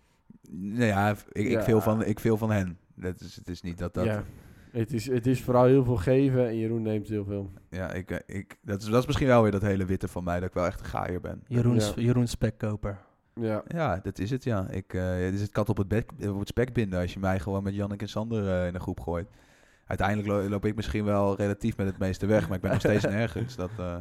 Speaker 1: Nou ja, ik, ik,
Speaker 2: Ja.
Speaker 1: Veel van, ik veel van hen. Dat is, het is niet dat dat...
Speaker 2: Ja.
Speaker 1: Ja,
Speaker 2: Het, is, het is vooral heel veel geven en Jeroen neemt heel veel.
Speaker 1: ik, eh, ik, dat, is, dat is misschien wel weer dat hele witte van mij, dat ik wel echt een gaaier ben.
Speaker 3: Jeroen,
Speaker 2: Ja.
Speaker 3: Sp- Jeroen Spekkoper.
Speaker 2: Ja.
Speaker 1: Ja, dat is het, ja. Ik, eh het is het kat op het, bek, op het spek binden als je mij gewoon met Jannik en Sander eh, in een groep gooit. Uiteindelijk lo- loop ik misschien wel relatief met het meeste weg, maar ik ben nog steeds nergens. Dat, eh,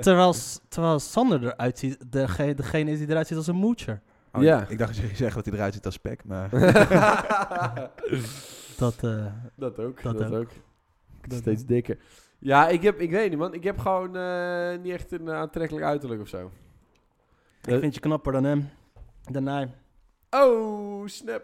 Speaker 3: Terwijl, s- terwijl Sander eruit ziet... Degene, degene is die eruit ziet als een moetjer.
Speaker 1: oh,
Speaker 2: Ja.
Speaker 1: ik, ik dacht dat je zegt dat hij eruit ziet als spek, maar...
Speaker 3: Dat... eh,
Speaker 2: dat ook. Dat,
Speaker 3: Dat
Speaker 2: ook.
Speaker 3: ook.
Speaker 2: Steeds dikker. Ja, ik heb, ik weet niet man, ik heb gewoon eh, niet echt een eh, aantrekkelijk uiterlijk of zo. Eh,
Speaker 3: ik vind je knapper dan hem. Dan hij.
Speaker 2: Oh, snap.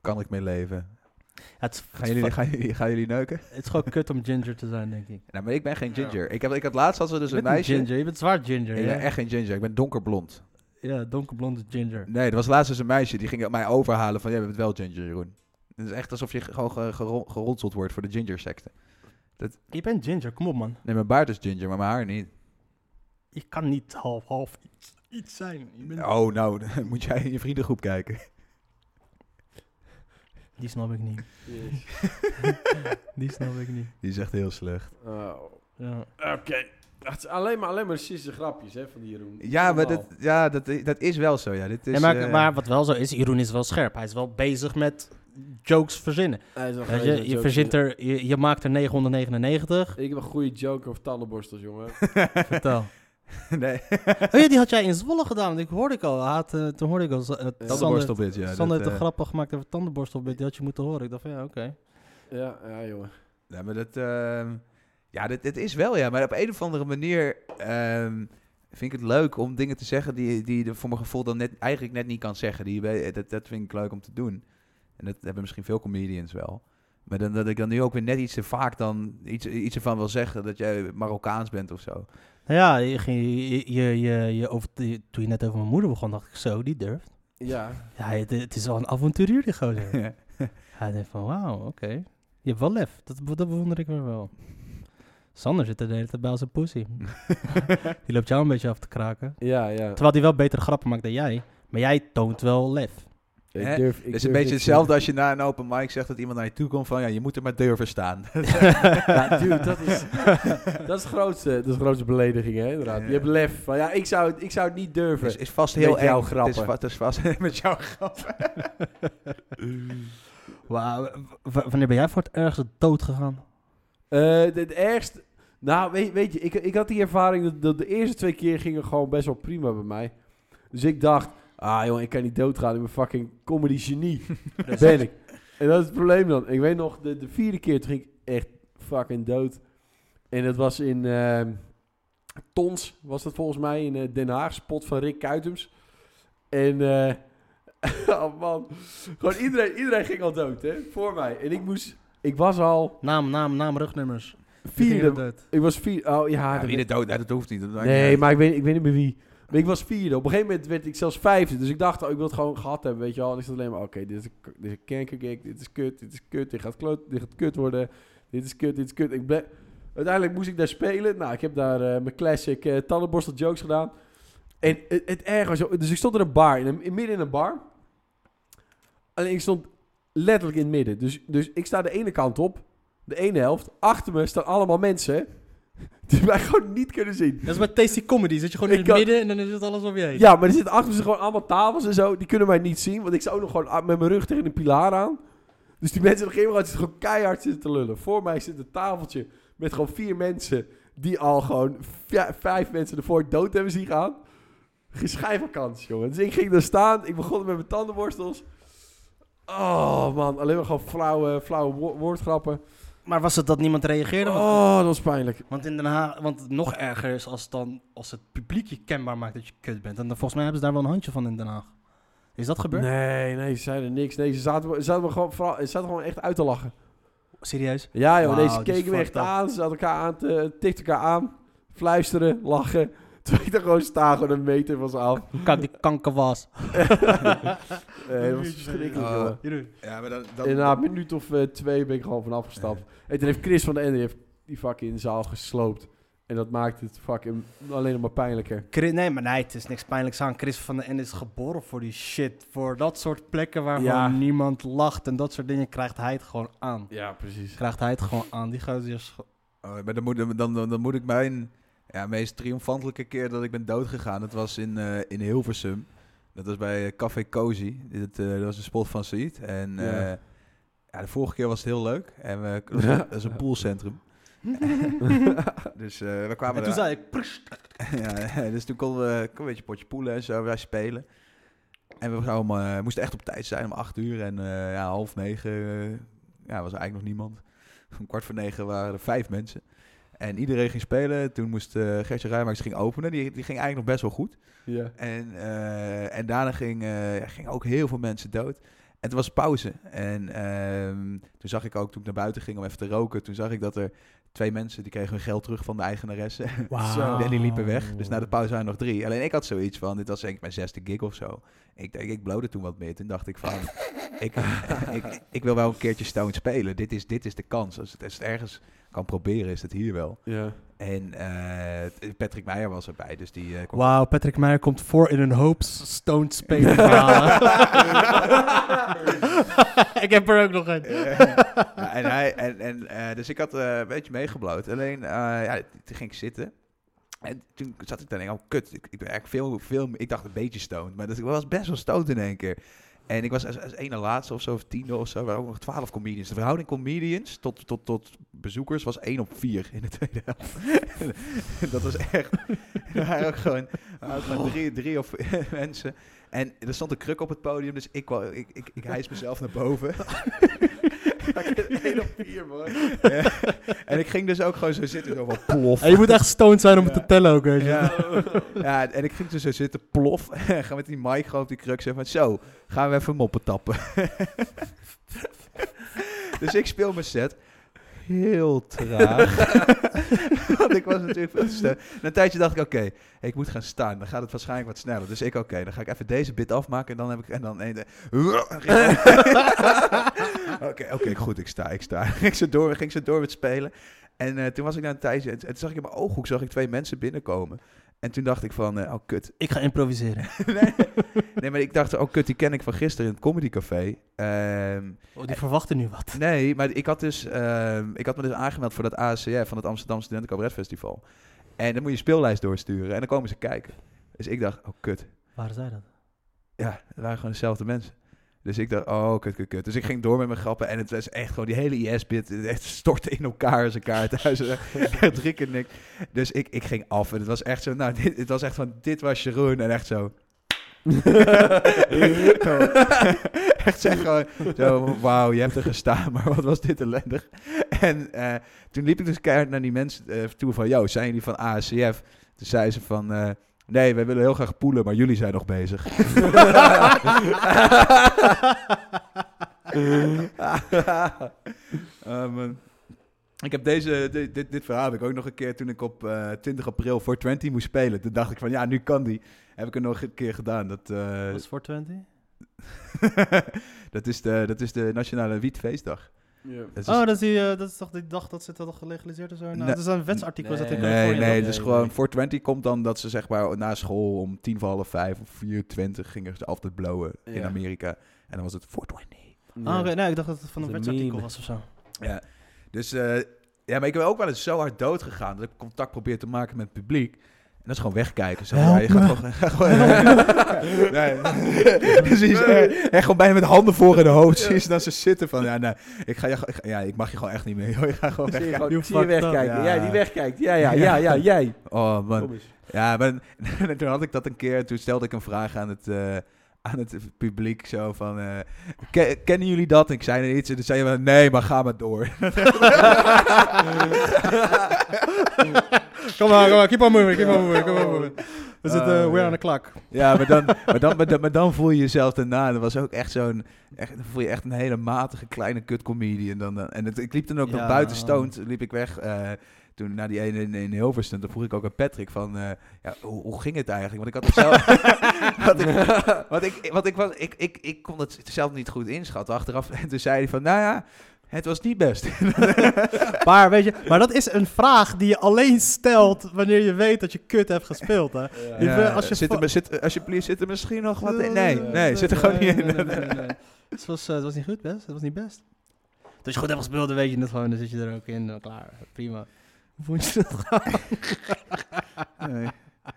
Speaker 1: kan ik mee leven.
Speaker 3: Ja, het, is-
Speaker 1: Gaan jullie, gaan jullie, gaan jullie neuken?
Speaker 3: het is gewoon kut om ginger te zijn, denk ik.
Speaker 1: Nou, maar ik ben geen ginger. Ik, heb, ik had laatst hadden we dus
Speaker 3: je
Speaker 1: een
Speaker 3: bent
Speaker 1: meisje...
Speaker 3: een ginger. Je bent zwaar ginger.
Speaker 1: Ik
Speaker 3: Ja,
Speaker 1: ben echt geen ginger, ik ben donkerblond.
Speaker 3: ja donkerblonde ginger.
Speaker 1: Nee, er was laatst eens een meisje die ging mij overhalen van... Jij bent wel ginger, Jeroen. Het is echt alsof je gewoon ge- gero- geronseld wordt voor de ginger-secte.
Speaker 3: Je bent ginger, kom op man.
Speaker 1: Nee, mijn baard is ginger, maar mijn haar niet.
Speaker 3: Je kan niet half-half iets, iets zijn. Je bent-
Speaker 1: Oh, nou, dan moet jij in je vriendengroep kijken.
Speaker 3: Die snap ik niet.
Speaker 2: Yes.
Speaker 3: Die snap ik niet.
Speaker 1: Die is echt heel slecht.
Speaker 2: Oh,
Speaker 3: Ja.
Speaker 2: Oké. Het is alleen maar, alleen maar racistische grapjes hè, van die Jeroen.
Speaker 1: Ja, maar dat,
Speaker 2: Normaal.
Speaker 1: ja, dat, i- dat is wel zo, ja. Dit is,
Speaker 3: Nee, maar,
Speaker 1: eh,
Speaker 3: maar wat wel zo is, Jeroen is wel scherp. Hij is wel bezig met jokes verzinnen.
Speaker 2: Hij is wel
Speaker 3: Weet
Speaker 2: geen
Speaker 3: je,
Speaker 2: zo'n
Speaker 3: je,
Speaker 2: joker.
Speaker 3: verzint er, je, je maakt er 999.
Speaker 2: Ik heb een goede joker of tandenborstels, jongen.
Speaker 3: Vertel.
Speaker 1: nee,
Speaker 3: Oh ja, die had jij in Zwolle gedaan. Ik hoorde ik al. Hij Had, eh, toen hoorde ik al. Z- eh, Sander,
Speaker 1: tandenborstelbit, ja.
Speaker 3: Sander heeft
Speaker 1: dat,
Speaker 3: een
Speaker 1: eh,
Speaker 3: grap gemaakt over tandenborstel. Die had je moeten horen. Ik dacht van ja, oké.
Speaker 2: ja, ja, jongen.
Speaker 1: Nee, maar dat... ehm, ja, dit, dit is wel, ja. Maar op een of andere manier ehm, vind ik het leuk om dingen te zeggen... die, die je voor mijn gevoel dan net, eigenlijk net niet kan zeggen. Die, je bij- dat, dat vind ik leuk om te doen. En dat hebben misschien veel comedians wel. Maar dan, dat ik dan nu ook weer net iets te vaak dan iets, iets ervan wil zeggen... dat jij Marokkaans bent of zo.
Speaker 3: Nou ja, je, ging- je, je, je, je over, je- toen je net over mijn moeder begon, dacht ik zo, die durft.
Speaker 2: Ja.
Speaker 3: Ja, het, het is wel een avonturier, die gozer.
Speaker 1: Ja.
Speaker 3: Hij denkt van, wauw, oké. Je hebt wel lef. Dat, be- dat bewonder ik weer wel. Sander zit er de hele tijd bij als een pussy. die loopt jou een beetje af te kraken.
Speaker 2: Ja, ja.
Speaker 3: Terwijl die wel betere grappen maakt dan jij. Maar jij toont wel lef.
Speaker 1: Hè?
Speaker 2: durf,
Speaker 1: Het
Speaker 2: ik
Speaker 1: is
Speaker 2: durf
Speaker 1: een beetje
Speaker 2: niks
Speaker 1: hetzelfde als je na een open mic zegt dat iemand naar je toe komt van ja, je moet er maar durven staan.
Speaker 2: Ja, dude, dat is, dat is, de grootste, dat is de grootste belediging, hè, inderdaad. Je hebt lef. Van, ja, ik zou, het- ik zou het niet durven.
Speaker 1: is, is vast
Speaker 2: Met
Speaker 1: heel
Speaker 2: jouw
Speaker 1: eng.
Speaker 2: grappen.
Speaker 1: Het is, va- het is vast met jouw grappen.
Speaker 3: Wauw, w- w- wanneer ben jij voor het ergste dood gegaan?
Speaker 2: Eh, de- het ergste... Nou, weet, weet je, ik, ik had die ervaring dat, dat de eerste twee keer gingen gewoon best wel prima bij mij. Dus ik dacht, ah jongen, ik kan niet doodgaan, ik ben fucking comedy genie. Dat ben ik. En dat is het probleem dan. Ik weet nog, de, de vierde keer toen ging ik echt fucking dood. En dat was in ehm, Tons, was dat volgens mij, in eh, Den Haag, spot van Rick Kuitems. En, eh, oh man, gewoon iedereen, iedereen ging al dood, hè, voor mij. En ik moest, ik was al
Speaker 3: Naam, naam, naam, rugnummers.
Speaker 2: vierde,
Speaker 3: dood.
Speaker 2: ik was vier. Oh ja, dat
Speaker 1: wie
Speaker 2: weet-
Speaker 1: de dood, nee, dat hoeft niet. Dat maakt niet
Speaker 2: nee,
Speaker 1: uit.
Speaker 2: maar ik weet, ik weet niet meer wie. Maar ik was vierde. Op een gegeven moment werd ik zelfs vijfde. Dus ik dacht, oh, ik wil het gewoon gehad hebben, weet je wel. En ik zat alleen maar, oké, dit is een k- dit is een kankergig, dit is kut, dit is kut, dit gaat, kloot, dit gaat kut worden. Dit is kut, dit is kut. Ik ble- Uiteindelijk moest ik daar spelen. Nou, ik heb daar eh, mijn classic eh, tandenborstel jokes gedaan. En het, het erg was, joh, dus ik stond in een bar, in, een- in, midden in een bar. Alleen ik stond letterlijk in het midden. Dus, dus ik sta de ene kant op, de ene helft. Achter me staan allemaal mensen die mij gewoon niet kunnen zien.
Speaker 3: Dat is met tasty comedy. Zit je gewoon in
Speaker 2: Ik
Speaker 3: het
Speaker 2: kan-
Speaker 3: midden en dan is het alles op je heen.
Speaker 2: Ja, maar er zitten achter ze gewoon allemaal tafels en zo. Die kunnen mij niet zien, want ik sta ook nog gewoon a- met mijn rug tegen een pilaar aan. Dus die mensen op een gegeven moment zitten gewoon keihard zitten te lullen. Voor mij zit een tafeltje met gewoon vier mensen die al gewoon vi- vijf mensen ervoor dood hebben zien gaan. Geen kans, jongen. Dus ik ging daar staan. Ik begon met mijn tandenborstels. Oh man, alleen maar gewoon flauwe, flauwe wo- woordgrappen.
Speaker 3: Maar was het dat niemand reageerde? Want-
Speaker 2: Oh, dat was pijnlijk.
Speaker 3: Want in Den Haag, want het nog erger is als, dan, als het publiek je kenbaar maakt dat je kut bent. En dan, volgens mij hebben ze daar wel een handje van in Den Haag. Is dat gebeurd?
Speaker 2: Nee, nee, ze zeiden niks. Nee, ze zaten, me- ze zaten, me gewoon, vooral- ze zaten gewoon echt uit te lachen.
Speaker 3: Serieus?
Speaker 2: Ja, joh,
Speaker 3: Wauw,
Speaker 2: deze
Speaker 3: dit is
Speaker 2: keken me echt
Speaker 3: fucked up.
Speaker 2: aan. Ze zaten elkaar aan, te, tikten elkaar aan, fluisteren, lachen. Terwijl ik daar gewoon sta, gewoon een meter van ze af.
Speaker 3: Kan die kanker was.
Speaker 2: Nee, dat was verschrikkelijk,
Speaker 1: Oh.
Speaker 2: jongen.
Speaker 1: Ja, maar dat,
Speaker 2: En na een minuut of eh, twee ben ik gewoon van afgestapt. En toen heeft Chris van de Ende die heeft die fucking in de zaal gesloopt. En dat maakt het fucking alleen nog maar pijnlijker.
Speaker 3: Chris- nee, maar nee, het is niks pijnlijks aan. Chris van den Ende is geboren voor die shit. Voor dat soort plekken waar
Speaker 2: Ja.
Speaker 3: gewoon niemand lacht en dat soort dingen krijgt hij het gewoon aan.
Speaker 2: Ja, precies.
Speaker 3: Krijgt hij het gewoon aan. Die gozer is ge-
Speaker 1: Oh, maar dan moet, dan, dan, dan moet ik mijn ja, meest triomfantelijke keer dat ik ben doodgegaan. Dat was in, eh, in Hilversum. Dat was bij eh, Café Cozy. Dit, eh, dat was een spot van Seed. En
Speaker 2: Ja.
Speaker 1: eh, ja, de vorige keer was het heel leuk. En we, dat, was, dat is een poolcentrum. dus eh, we kwamen
Speaker 3: En toen
Speaker 1: daar-
Speaker 3: zei ik, "Prst."
Speaker 1: ja, dus toen konden we kon een beetje potje poelen en zo, wij spelen. En we zouden, eh, moesten echt op tijd zijn om acht uur en eh, ja, half negen eh, ja, was er eigenlijk nog niemand. Om kwart voor negen waren er vijf mensen. En iedereen ging spelen. Toen moest eh Gertje Rijmaaks ging openen. Die, die ging eigenlijk nog best wel goed.
Speaker 2: Ja.
Speaker 1: En, eh, en daarna ging, eh, ja, gingen ook heel veel mensen dood. En toen was pauze. En ehm, toen zag ik ook, toen ik naar buiten ging om even te roken, toen zag ik dat er twee mensen, die kregen hun geld terug van de eigenaresse.
Speaker 3: Wauw.
Speaker 1: En die liepen weg. Dus na de pauze waren er nog drie. Alleen ik had zoiets van, dit was denk ik mijn zesde gig of zo. Ik denk, ik blode toen wat meer. Toen dacht ik van, ik, ik, ik wil wel een keertje Stone spelen. Dit is, dit is de kans. Als het, als het ergens kan proberen, is het hier wel.
Speaker 2: Ja.
Speaker 1: En eh, Patrick Meijer was erbij, dus die eh, kwam...
Speaker 3: Wauw, Patrick Meijer komt voor in een hoop s- stoned spelen verhalen. ik heb er ook nog een.
Speaker 1: Eh, ja, en hij, en, en, eh, dus ik had eh, een beetje meegebloot. Alleen, eh, ja, toen ging ik zitten. En toen zat ik daar en denk ik, oh kut, ik, ik ben eigenlijk veel, veel, ik dacht een beetje stoned. Maar dat, ik was best wel stoned in één keer. En ik was als, als ene laatste of zo, of tiende of zo, waren ook nog twaalf comedians. De verhouding comedians tot, tot, tot bezoekers was één op vier in de tweede helft. dat was echt, er waren ook gewoon, er waren ook maar drie, drie of mensen. En er stond een kruk op het podium, dus ik, kwam- ik, ik, ik hijs mezelf naar boven. Eén op vier, man. Ja. En ik ging dus ook gewoon zo zitten, zo van plof.
Speaker 3: En je moet echt stoned zijn om het te tellen ook, weet je.
Speaker 1: Ja. ja, en ik ging dus zo zitten, plof. Gaan met die mic gewoon op die kruk zeggen van... Zo, gaan we even moppen tappen. dus ik speel mijn set heel traag. Want ik was natuurlijk veel te snel. Na een tijdje dacht ik, oké, ik moet gaan staan. Dan gaat het waarschijnlijk wat sneller. Dus ik, oké, dan ga ik even deze bit afmaken. En dan heb ik... En dan en- Oké, oké, goed, ik sta, ik sta. ging ze door, ging ze door met spelen. En eh, toen was ik naar een tijdje... En, en toen zag ik in mijn ooghoek zag ik twee mensen binnenkomen. En toen dacht ik van, eh, oh kut.
Speaker 3: Ik ga improviseren.
Speaker 1: nee, nee, maar ik dacht, oh kut, die ken ik van gisteren in het comedycafé. Ehm
Speaker 3: Oh, die verwachten nu wat.
Speaker 1: Nee, maar ik had, dus, ehm, ik had me dus aangemeld voor dat ACF van het Amsterdam Studenten Cabaret Festival. En dan moet je speellijst doorsturen en dan komen ze kijken. Dus ik dacht, oh kut.
Speaker 3: Waar zijn dat?
Speaker 1: Ja, het waren gewoon dezelfde mensen. Dus ik dacht, oh kut, kut, kut. Dus ik ging door met mijn grappen en het was echt gewoon die hele IS-bit. het echt stortte in elkaar als een kaarthuis. het rikken niks. Dus ik, ik ging af en het was echt zo, nou, dit, het was echt van, dit was Jeroen en echt zo. echt zeg gewoon, zo, wauw, je hebt er gestaan, maar wat was dit ellendig. En eh, toen liep ik dus keihard naar die mensen eh, toe van, yo, zijn jullie van ASCF? Toen zei ze van, eh, nee, wij willen heel graag poelen, maar jullie zijn nog bezig. Ah, man. Ik heb deze, di- dit, dit verhaal heb ik ook nog een keer toen ik op eh, 20 april voor 20 moest spelen. Toen dacht ik van, ja, nu kan die. Heb ik er nog een keer gedaan. Dat, eh,
Speaker 3: Was 420?
Speaker 1: dat, is, de, dat is de Nationale Wietfeestdag.
Speaker 2: Ja.
Speaker 1: Dat is-
Speaker 3: Oh, dat is, die, eh, dat is toch die dag dat ze het hadden gelegaliseerd of zo? Nou,
Speaker 1: dus- Nee.
Speaker 3: dat is een wetsartikel.
Speaker 2: Nee.
Speaker 3: dat in
Speaker 1: Nee,
Speaker 3: Californië
Speaker 1: nee,
Speaker 3: dan.
Speaker 1: het is
Speaker 2: nee,
Speaker 1: gewoon
Speaker 2: nee.
Speaker 1: 420 komt dan dat ze zeg maar na school om tien voor half vijf of 420 gingen ze altijd blowen in
Speaker 2: Ja.
Speaker 1: Amerika. En dan was het 420.
Speaker 3: Ah,
Speaker 1: eh,
Speaker 3: oké, nee, ik dacht dat het van
Speaker 2: Dat
Speaker 3: een
Speaker 2: is een
Speaker 3: wetsartikel
Speaker 2: meme.
Speaker 3: was of zo.
Speaker 1: Ja, dus eh, ja, maar ik ben ook wel eens zo hard dood gegaan dat ik contact probeer te maken met het publiek. En dat is gewoon wegkijken. Zo, ja, je gaat
Speaker 3: Help
Speaker 1: gewoon. ga gewoon- nee. Precies. eh, echt gewoon bijna met handen voor in de hoofd. Zie je ze dan ze zitten van. Ja, nee, ik, ga, je- ik, ga- ja, ik mag je gewoon echt niet meer. joh. Ik ga gewoon
Speaker 2: Zie je
Speaker 1: wegkijken.
Speaker 2: gewoon-
Speaker 3: You
Speaker 2: zie je
Speaker 3: fucked up.
Speaker 2: wegkijken.
Speaker 1: Ja.
Speaker 2: Jij die wegkijkt. Ja, ja, ja, ja, jij.
Speaker 1: Oh, man.
Speaker 2: Kom eens.
Speaker 1: Ja, maar en toen had ik dat een keer. Toen stelde ik een vraag aan het, eh, aan het publiek. Zo van, eh, "Ken- kennen jullie dat? En ik zei er iets. En toen zei je, nee, maar ga maar door.
Speaker 3: Kom maar, kom maar, keep on moving, keep on moving, keep on moving. We
Speaker 1: Ah,
Speaker 3: zitten, eh, weer
Speaker 1: ja.
Speaker 3: aan de klak.
Speaker 1: Ja, maar dan, maar, dan, maar, dan, maar dan voel je jezelf daarna. Dat was ook echt zo'n... Echt, dan voel je echt een hele matige kleine kutcomedian. Dan, dan, en het, ik liep dan ook nog
Speaker 3: Ja.
Speaker 1: buiten stoned, liep ik weg. eh, toen naar die ene in, in Hilversum, toen vroeg ik ook aan Patrick van... eh, ja, hoe, hoe ging het eigenlijk? Want ik had het zelf... wat ik, wat ik, wat ik, was, ik, ik, ik kon het zelf niet goed inschatten achteraf. En toen zei hij van, nou ja, het was niet best.
Speaker 3: Maar weet je, maar dat is een vraag die je alleen stelt wanneer je weet dat je kut hebt gespeeld, hè?
Speaker 2: Ja.
Speaker 3: Ja. wil- als je
Speaker 1: zit er,
Speaker 3: va-
Speaker 1: maar- zit, alsjeblieft, zit er misschien nog wat in?
Speaker 3: Nee,
Speaker 1: Nee, nee, zit er gewoon niet in.
Speaker 3: Het was, eh, het was niet goed, best. Het was niet best. Dus je goed hebt gespeeld, dan weet je het gewoon. Dan zit je er ook in. Dan klaar. Prima. Hoe vond je dat?
Speaker 1: Nee.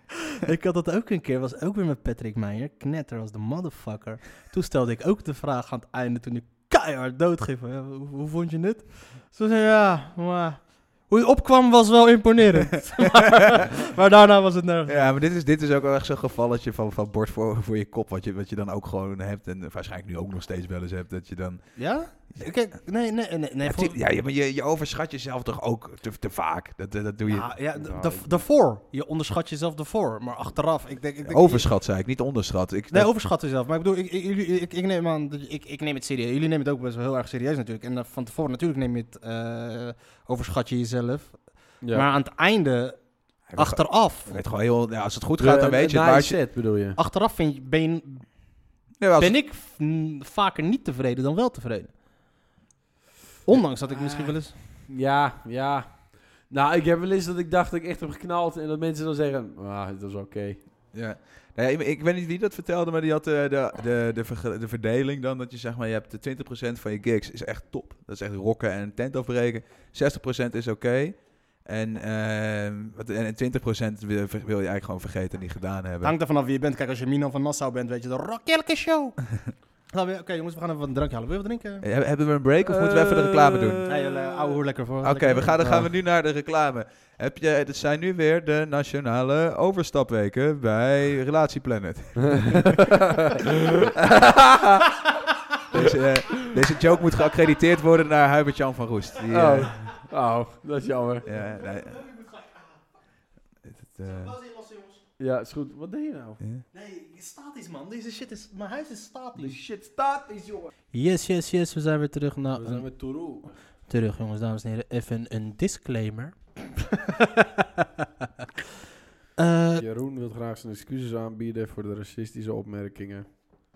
Speaker 3: ik had dat ook een keer. was ook weer met Patrick Meijer. Knetter was de motherfucker. Toen stelde ik ook de vraag aan het einde toen ik keihard doodging. van, ja, hoe, hoe vond je het? Ze zei ja, maar... Hoe het opkwam was wel imponerend. maar, maar daarna was het nergens.
Speaker 1: Ja, maar dit is, dit is ook wel echt zo'n gevalletje van, van bord voor, voor je kop. Wat je, wat je dan ook gewoon hebt. En waarschijnlijk nu ook nog steeds wel eens hebt. Dat je dan.
Speaker 3: Ja? Kijk, nee, nee, nee. nee
Speaker 1: Ja,
Speaker 3: voor-
Speaker 1: tu- ja, je- maar je, je overschat jezelf toch ook te, te vaak. Dat, dat, dat doe je.
Speaker 3: Ja, Ah, ja, d-
Speaker 2: Nou,
Speaker 3: da-
Speaker 2: ik-
Speaker 3: daarvoor. Je onderschat jezelf daarvoor. Maar achteraf, ik denk... Ik denk
Speaker 1: overschat, zei ik, niet onderschat. Ik,
Speaker 3: Nee,
Speaker 1: dat-
Speaker 3: overschat jezelf. Maar ik bedoel, ik, ik, jullie- ik, ik neem aan... dat- Ik, ik neem het serieus. Jullie nemen het ook best wel heel erg serieus natuurlijk. En eh, van tevoren natuurlijk neem je het... eh, overschat je jezelf.
Speaker 2: Ja.
Speaker 3: Maar aan het einde,
Speaker 1: hij werd gewoon-
Speaker 3: achteraf...
Speaker 1: hij werd gewoon heel, ja, als het goed gaat, dan weet je het.
Speaker 2: Nice
Speaker 1: Maar als je-
Speaker 2: Eh, set bedoel je?
Speaker 3: Achteraf vind je, ben, je-
Speaker 1: nee, maar als-
Speaker 3: ben ik f- n- vaker niet tevreden dan wel tevreden. Ondanks
Speaker 1: Ah.
Speaker 3: dat ik misschien wel eens...
Speaker 2: Ja, ja. Nou, ik heb wel eens dat ik dacht dat ik echt heb geknald en dat mensen dan zeggen, ah, dat was oké.
Speaker 1: Ja. Nou ja, ik, ik weet niet wie dat vertelde, maar die had eh, de, de, de, verge- de verdeling dan. Dat je zeg maar, je hebt de 20% van je gigs is echt top. Dat is echt rocken en een tent afbreken. 60% is oké. En, ehm, wat- en 20% wil, wil je eigenlijk gewoon vergeten en niet gedaan
Speaker 3: Het
Speaker 1: hebben.
Speaker 3: hangt er vanaf wie je bent. Kijk, als je Milan van Nassau bent, weet je, de rockerlijke show. Laten we- Oké jongens, we gaan even wat drankje halen. Wil je wat drinken?
Speaker 1: Eh, hebben we een break of moeten we even de reclame doen?
Speaker 2: Eh,
Speaker 3: Nee, joh, ouwe hoer lekker voor.
Speaker 1: Oké, we gaan, dan gaan we nu naar de reclame. Heb je, het zijn nu weer de nationale overstapweken bij Relatieplanet. deze, eh, deze joke moet geaccrediteerd worden naar Hubert-Jan van Roest. Die, eh,
Speaker 2: Oh. oh, dat is jammer.
Speaker 1: ja, nee. Het, het, eh,
Speaker 2: Ja, is goed. Wat deed je nou?
Speaker 1: ja.
Speaker 3: Nee, statisch man. Deze shit is... Mijn huis
Speaker 2: Die
Speaker 3: is statisch.
Speaker 2: shit staat is, jongen.
Speaker 3: Yes, yes, yes. We zijn weer terug naar...
Speaker 2: We zijn met Tourou.
Speaker 3: Terug jongens, dames en heren. Even een disclaimer. Eh,
Speaker 2: Jeroen wil graag zijn excuses aanbieden voor de racistische opmerkingen.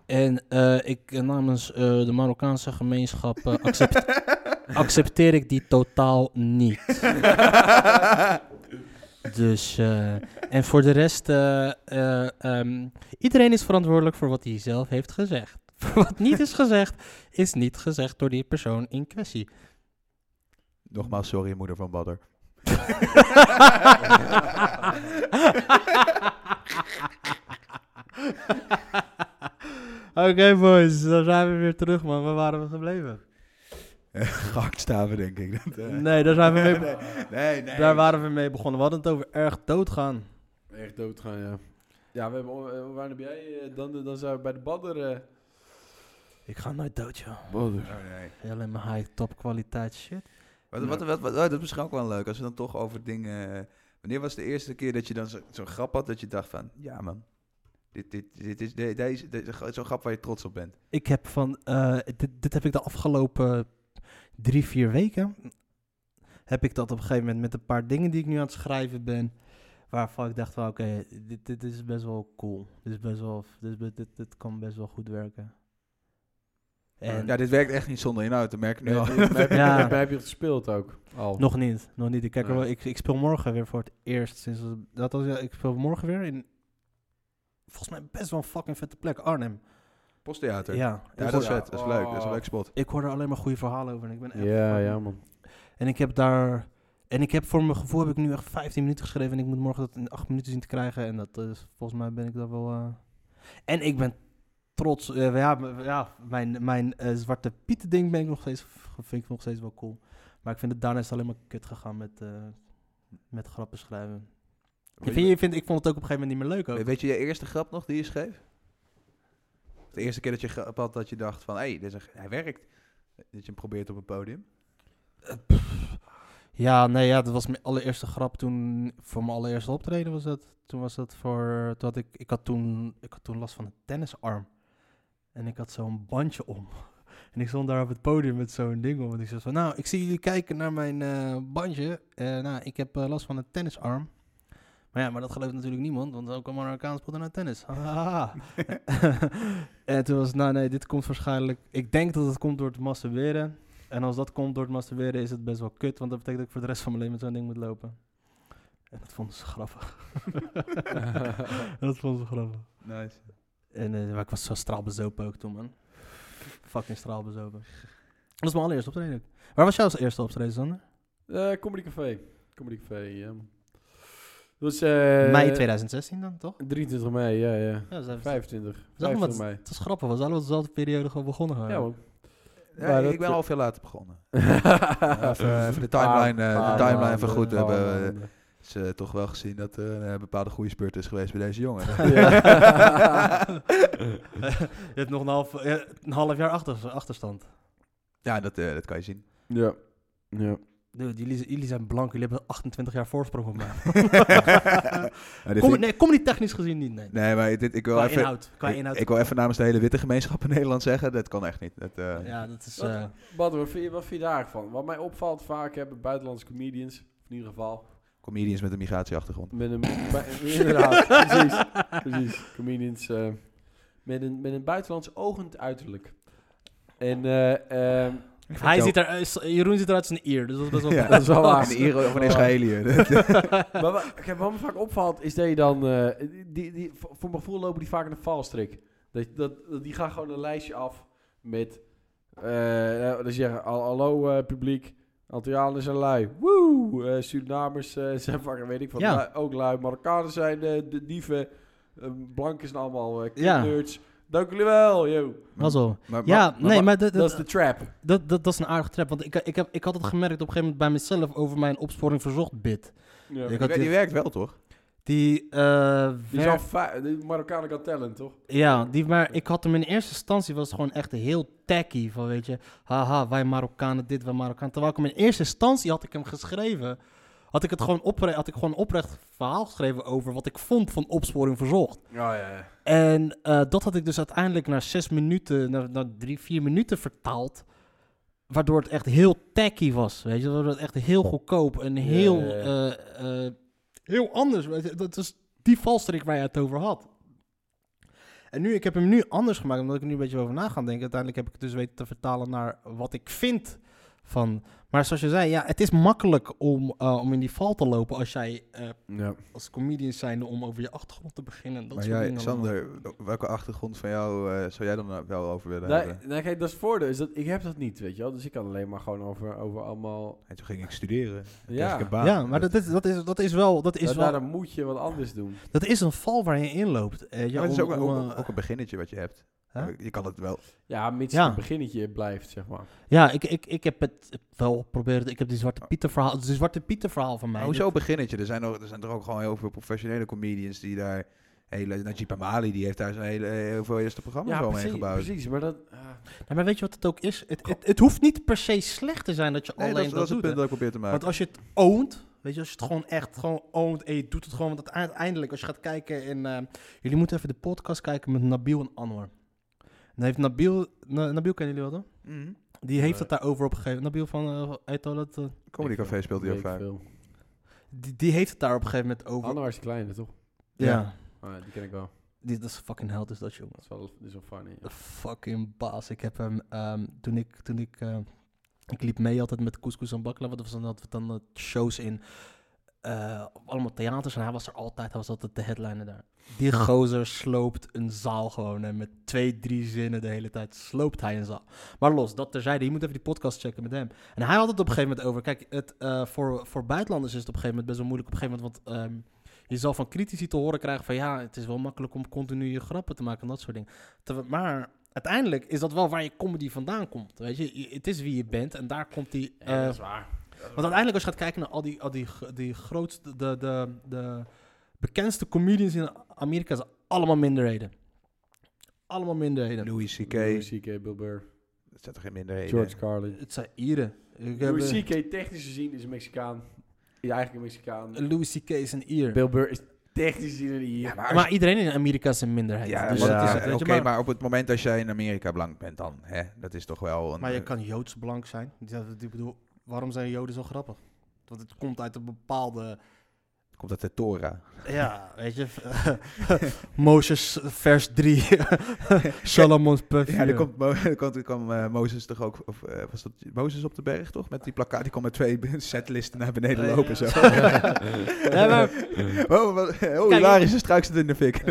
Speaker 3: En eh, ik eh, namens eh, de Marokkaanse gemeenschap eh, accept- accepteer ik die totaal niet. Dus, eh, en voor de rest, eh, eh, ehm, iedereen is verantwoordelijk voor wat hij zelf heeft gezegd. Voor wat niet is gezegd, is niet gezegd door die persoon in kwestie.
Speaker 1: Nogmaals, sorry, moeder van Badder.
Speaker 3: Oké boys, dan zijn we weer terug man. Waar waren we gebleven?
Speaker 1: Gehaktstaven, denk ik. Dat, eh,
Speaker 3: Nee, daar, zijn we mee
Speaker 1: nee, nee, nee.
Speaker 3: daar waren we mee begonnen. We hadden het over erg doodgaan.
Speaker 2: Echt doodgaan, ja. Ja, we hebben, eh, waar heb jij? eh, Dan, dan zijn we bij de badder. eh
Speaker 3: Ik ga nooit dood joh.
Speaker 2: badder.
Speaker 1: Oh, nee.
Speaker 3: Alleen maar high top kwaliteit shit.
Speaker 1: Wat, wat, wat, wat- oh, dat is misschien ook wel leuk. Als we dan toch over dingen. eh, Wanneer was de eerste keer dat je dan zo- zo'n grap had dat je dacht van, ja man, dit, dit, dit is de- deze, deze, zo'n grap waar je trots op bent.
Speaker 3: Ik heb van, eh, dit, dit heb ik de afgelopen drie, vier weken, heb ik dat op een gegeven moment met een paar dingen die ik nu aan het schrijven ben, waarvan ik dacht van oké, dit, dit is best wel cool. Dit is best wel, dit, is be- dit, dit kan best wel goed werken. En
Speaker 1: ja, Nou, dit werkt echt niet zonder inhoud, dat merk ik nu al.
Speaker 2: Maar heb je-
Speaker 3: Ja.
Speaker 2: maar heb je het gespeeld ook? Al.
Speaker 3: nog niet, nog niet. Ik, kijk er
Speaker 2: Nee.
Speaker 3: wel, ik, ik speel morgen weer voor het eerst sinds, dat was, ja, ik speel morgen weer in, volgens mij best wel een fucking vette plek, Arnhem.
Speaker 1: Posttheater. Ja,
Speaker 3: Ja,
Speaker 1: dat is vet, dat is leuk, dat is een
Speaker 2: Oh.
Speaker 1: leuk spot.
Speaker 3: Ik hoor er alleen maar goede verhalen over en ik ben echt
Speaker 2: Ja,
Speaker 3: fucking-
Speaker 2: ja, man.
Speaker 3: En ik heb daar. En ik heb voor mijn gevoel heb ik nu echt 15 minuten geschreven. En ik moet morgen dat in 8 minuten zien te krijgen. En dat is, volgens mij ben ik daar wel. eh, En ik ben trots. eh, ja, m- ja, mijn, mijn eh, zwarte pieten ding ben ik nog steeds, vind ik nog steeds wel cool. Maar ik vind het daarna is het alleen maar kut gegaan met, eh, met grappen schrijven. Ik vind, je vind, ik vond het ook op een gegeven moment niet meer leuk. Ook.
Speaker 1: Weet je je eerste grap nog die je schreef? De eerste keer dat je grap had dat je dacht van, hé, hey, dit is een- hij werkt. Dat je hem probeert op een podium.
Speaker 3: Ja, nee, ja, dat was mijn allereerste grap toen voor mijn allereerste optreden was dat. Toen was dat voor, toen had ik, ik had toen, ik had toen last van een tennisarm. En ik had zo'n bandje om. En ik stond daar op het podium met zo'n ding om. En ik zei van, nou, ik zie jullie kijken naar mijn eh, bandje. Eh, nou, ik heb eh, last van een tennisarm. Maar ja, maar dat gelooft natuurlijk niemand, want ook een Marokkaan speelt naar tennis. Hahaha. en toen was het, nou nee, dit komt waarschijnlijk... Ik denk dat het komt door het masturberen. En als dat komt door het masturberen is het best wel kut, want dat betekent dat ik voor de rest van mijn leven met zo'n ding moet lopen. En dat vonden ze grappig. dat vonden ze grappig.
Speaker 1: Nice.
Speaker 3: En eh, maar ik was zo straalbezopen ook toen, man. Fucking straalbezopen. Dat is mijn allereerste optreden. ook. Waar was jouw eerste optreden, Sander?
Speaker 2: Eh, Comedy Café. Comedy Café, ja. man. Dat was... eh,
Speaker 3: Mei 2016 dan, toch?
Speaker 2: 23 mei, ja, ja.
Speaker 3: Ja, dat is,
Speaker 2: 25.
Speaker 3: dat is
Speaker 2: 25
Speaker 3: allemaal-
Speaker 2: mei.
Speaker 3: het is grappig. We zijn allemaal dezelfde periode gewoon begonnen.
Speaker 2: Ja,
Speaker 3: gewoon.
Speaker 2: man.
Speaker 1: Ja,
Speaker 2: Maar dat-
Speaker 1: ik ben
Speaker 3: eh,
Speaker 1: al veel later begonnen. even, even de timeline, eh,
Speaker 2: Paar
Speaker 1: de timeline eh,
Speaker 2: maanden,
Speaker 1: van goed
Speaker 2: paar
Speaker 1: hebben
Speaker 2: maanden.
Speaker 1: ze toch wel gezien dat er een eh, bepaalde goede spurt is geweest bij deze jongen.
Speaker 3: Je hebt nog een half, eh, een half jaar achter, achterstand.
Speaker 1: ja, dat, eh, dat kan je zien.
Speaker 2: Ja. Ja.
Speaker 3: Dude, jullie, jullie zijn blank. Jullie hebben 28 jaar voorsprong op mij.
Speaker 1: Maar dit
Speaker 3: Kom,
Speaker 1: vind ik-
Speaker 3: nee, kom niet technisch gezien niet, nee.
Speaker 1: nee, maar dit, ik wil
Speaker 3: Qua
Speaker 1: even...
Speaker 3: inhoud. Qua
Speaker 1: ik-
Speaker 3: inhoud.
Speaker 1: Ik, wil even namens de hele witte gemeenschap in Nederland zeggen, dat kan echt niet. Dat, eh,
Speaker 3: ja, dat is...
Speaker 2: Wat-
Speaker 3: eh,
Speaker 2: Bart, wat vind, je, wat vind je daarvan? Wat mij opvalt vaak hebben buitenlandse comedians, of in ieder geval,
Speaker 1: Comedians met een migratieachtergrond.
Speaker 2: met een... bij- inderdaad, precies. Precies. Comedians eh, met, een, met een buitenlands oogend uiterlijk. En eh, ehm,
Speaker 3: hij ziet er, eh, s- Jeroen ziet eruit als een ier, dus dat is best wel...
Speaker 1: Ja.
Speaker 2: dat is wel waar.
Speaker 1: Een Iro of een
Speaker 3: Ah.
Speaker 1: Israëliër.
Speaker 2: maar wa- kijk, wat me vaak opvalt is dat je dan... eh, die, die, voor voor mijn gevoel lopen die vaak in een valstrik. Dat, dat, dat- die gaan gewoon een lijstje af met... eh nou, dan zeggen, "Al- hallo eh, publiek, Antillianen zijn lui. Woe! Eh, Surinamers eh, zijn vaak, weet ik van,
Speaker 3: Ja.
Speaker 2: lui- ook lui. Marokkanen zijn eh, de dieven. Eh, blanken zijn allemaal uh,
Speaker 3: Ja.
Speaker 2: nerds. Dank jullie wel, yo.
Speaker 3: Mazzel.
Speaker 1: Maar-
Speaker 3: Ja,
Speaker 1: maar-
Speaker 3: nee, maar dat,
Speaker 2: Dat
Speaker 3: dat,
Speaker 2: is de trap.
Speaker 3: dat, dat, dat is een aardige trap. Want ik, ik, heb, ik had het gemerkt op een gegeven moment bij mezelf over mijn opsporing verzocht bit.
Speaker 2: Ja.
Speaker 3: Ik
Speaker 1: Die,
Speaker 3: had
Speaker 1: wer- die werkt wel, toch?
Speaker 3: Die, eh,
Speaker 2: Die
Speaker 3: wer-
Speaker 2: zijn fi- de Marokkanen got talent, toch?
Speaker 3: Ja, die, maar ik had hem in eerste instantie was het gewoon echt heel tacky. Van weet je, haha, wij Marokkanen dit, wij Marokkanen. Terwijl ik hem in eerste instantie had ik hem geschreven. Had ik het gewoon, opre had ik gewoon oprecht verhaal geschreven over wat ik vond van opsporing verzocht.
Speaker 2: Ja, ja, ja.
Speaker 3: En eh, dat had ik dus uiteindelijk na zes minuten, na, na drie, vier minuten vertaald. Waardoor het echt heel tacky was, weet je. Waardoor het echt heel goedkoop en heel,
Speaker 2: ja, ja.
Speaker 3: eh, eh, heel anders. Weet je? Dat is die valstrik waar je het over had. En nu, ik heb hem nu anders gemaakt, omdat ik er nu een beetje over na ga denken. Uiteindelijk heb ik het dus weten te vertalen naar wat ik vind van... Maar zoals je zei, ja, het is makkelijk om, eh, om in die val te lopen als jij eh,
Speaker 2: ja.
Speaker 3: als comedian zijnde om over je achtergrond te beginnen. en Dat
Speaker 1: maar
Speaker 3: soort
Speaker 1: jij,
Speaker 3: dingen allemaal.
Speaker 1: Sander, welke achtergrond van jou eh, zou jij dan wel over willen
Speaker 2: Nee,
Speaker 1: hebben?
Speaker 2: nee, kijk, dat is het voordeel. Is dat, ik heb dat niet, weet je wel. Dus ik kan alleen maar gewoon over, over allemaal...
Speaker 1: En toen ging ik studeren. Toen kreeg
Speaker 2: Ja.
Speaker 1: ik een baan.
Speaker 3: Ja, maar dat is, dat is, dat is wel, dat is
Speaker 2: Daar-
Speaker 3: wel,
Speaker 2: Nou, Daarom moet je wat anders doen.
Speaker 3: dat is een val waar je inloopt. Eh, ja,
Speaker 1: Maar het
Speaker 3: om-
Speaker 1: is ook,
Speaker 3: om,
Speaker 1: ook-
Speaker 3: eh,
Speaker 1: ook een beginnetje wat je hebt.
Speaker 3: Hè?
Speaker 1: Je kan het wel.
Speaker 2: Ja, mits
Speaker 3: Ja.
Speaker 2: het beginnetje blijft, zeg maar.
Speaker 3: ja ik, ik, ik heb het wel geprobeerd. Ik heb die Zwarte Pieter verhaal, het is een Zwarte Pieter verhaal van mij.
Speaker 1: Maar Nou, hoezo beginnetje? Er zijn, ook, er zijn er ook gewoon heel veel professionele comedians die daar... Hele, Najib Amali, die heeft daar zijn hele, heel veel eerste programma's al mee
Speaker 2: precies,
Speaker 1: gebouwd.
Speaker 2: precies. Maar dat... ah.
Speaker 3: Ja, maar weet je wat het ook is? Het, het, het hoeft niet per se slecht te zijn dat je
Speaker 1: Nee,
Speaker 3: alleen
Speaker 1: dat, is-
Speaker 3: dat,
Speaker 1: dat is het punt
Speaker 3: doet. hè.
Speaker 1: dat ik probeer te maken.
Speaker 3: Want als je het oont, weet je, als je het gewoon echt gewoon oont en je doet het gewoon. Want het- uiteindelijk, als je gaat kijken in... eh, jullie moeten even de podcast kijken met Nabil en Anwar. Dan heeft Nabil, Na- Nabil kennen jullie wel, toch?
Speaker 1: Mhm.
Speaker 3: Die heeft
Speaker 2: Nee.
Speaker 3: het daarover opgegeven. Nabil van eh Etoilet, eh,
Speaker 1: Comedy
Speaker 2: Ik veel.
Speaker 1: Café speelt hij ook
Speaker 2: Weet ik
Speaker 1: vaak.
Speaker 2: veel.
Speaker 3: Die, die heeft het daar op een gegeven moment over.
Speaker 2: Anwar is de kleine, toch?
Speaker 3: ja.
Speaker 1: Ja.
Speaker 2: Ah, die ken ik wel.
Speaker 3: Die, dat is fucking held is dat, jongen.
Speaker 2: Dat is wel, dat is wel funny. ja.
Speaker 3: Fucking baas. Ik heb hem, ehm, toen ik, toen ik, eh, ik liep mee altijd met Couscous en Bakla. Wat was dan, hadden we dan eh, shows in eh, op allemaal theaters. En hij was er altijd, hij was altijd de headliner daar. Die gozer sloopt een zaal gewoon. En met twee, drie zinnen de hele tijd sloopt hij een zaal. Maar los, dat terzijde. Je moet even die podcast checken met hem. En hij had het op een gegeven moment over. Kijk, het, eh, voor, voor buitenlanders is het op een gegeven moment best wel moeilijk. Op een gegeven moment, want ehm, je zal van critici te horen krijgen van... ja, het is wel makkelijk om continu je grappen te maken en dat soort dingen. Terwijl- maar uiteindelijk is dat wel waar je comedy vandaan komt. Weet je, Je- het is wie je bent en daar komt die...
Speaker 2: Ja,
Speaker 3: eh,
Speaker 2: dat is waar.
Speaker 3: want uiteindelijk als je gaat kijken naar al die, al die, gro- die grootste, de, de, de bekendste comedians in Amerika... zijn allemaal minderheden. Allemaal minderheden.
Speaker 1: Louis C.K.
Speaker 2: Louis CK, Bill Burr.
Speaker 1: Dat zijn toch geen minderheden?
Speaker 2: George Carlin.
Speaker 3: Het zijn Ieren. Ik heb,
Speaker 2: Louis
Speaker 3: eh,
Speaker 2: C.K. technisch gezien is een Mexicaan. Is eigenlijk een Mexicaan.
Speaker 3: Louis C.K. is een Ier.
Speaker 2: Bill Burr is technisch gezien een Ier.
Speaker 1: Ja, maar,
Speaker 3: Maar iedereen in Amerika is een minderheid.
Speaker 1: ja,
Speaker 3: dus
Speaker 1: maar-
Speaker 3: dat is
Speaker 1: ja,
Speaker 3: het, weet
Speaker 1: oké,
Speaker 3: je, maar, maar,
Speaker 1: maar op het moment dat jij in Amerika blank bent dan, hè, dat is toch wel een...
Speaker 3: je kan Joods blank zijn. Dat- Ik bedoel, waarom zijn Joden zo grappig? Want het komt uit een bepaalde...
Speaker 1: Komt dat de Torah?
Speaker 3: Ja, weet je... Mozes vers 3. Salomon's puff.
Speaker 1: Ja, er komt, Mo- er komt, er kwam eh, Mozes toch ook, of eh, was dat Mozes op de berg toch? Met die plakkaat, die kwam met twee setlisten naar beneden
Speaker 3: Oh, Ja,
Speaker 1: lopen zo.
Speaker 3: ja. Ja, maar
Speaker 1: oh, wat, oh
Speaker 3: Kijk,
Speaker 1: hilarisch, een struik zit in de fik.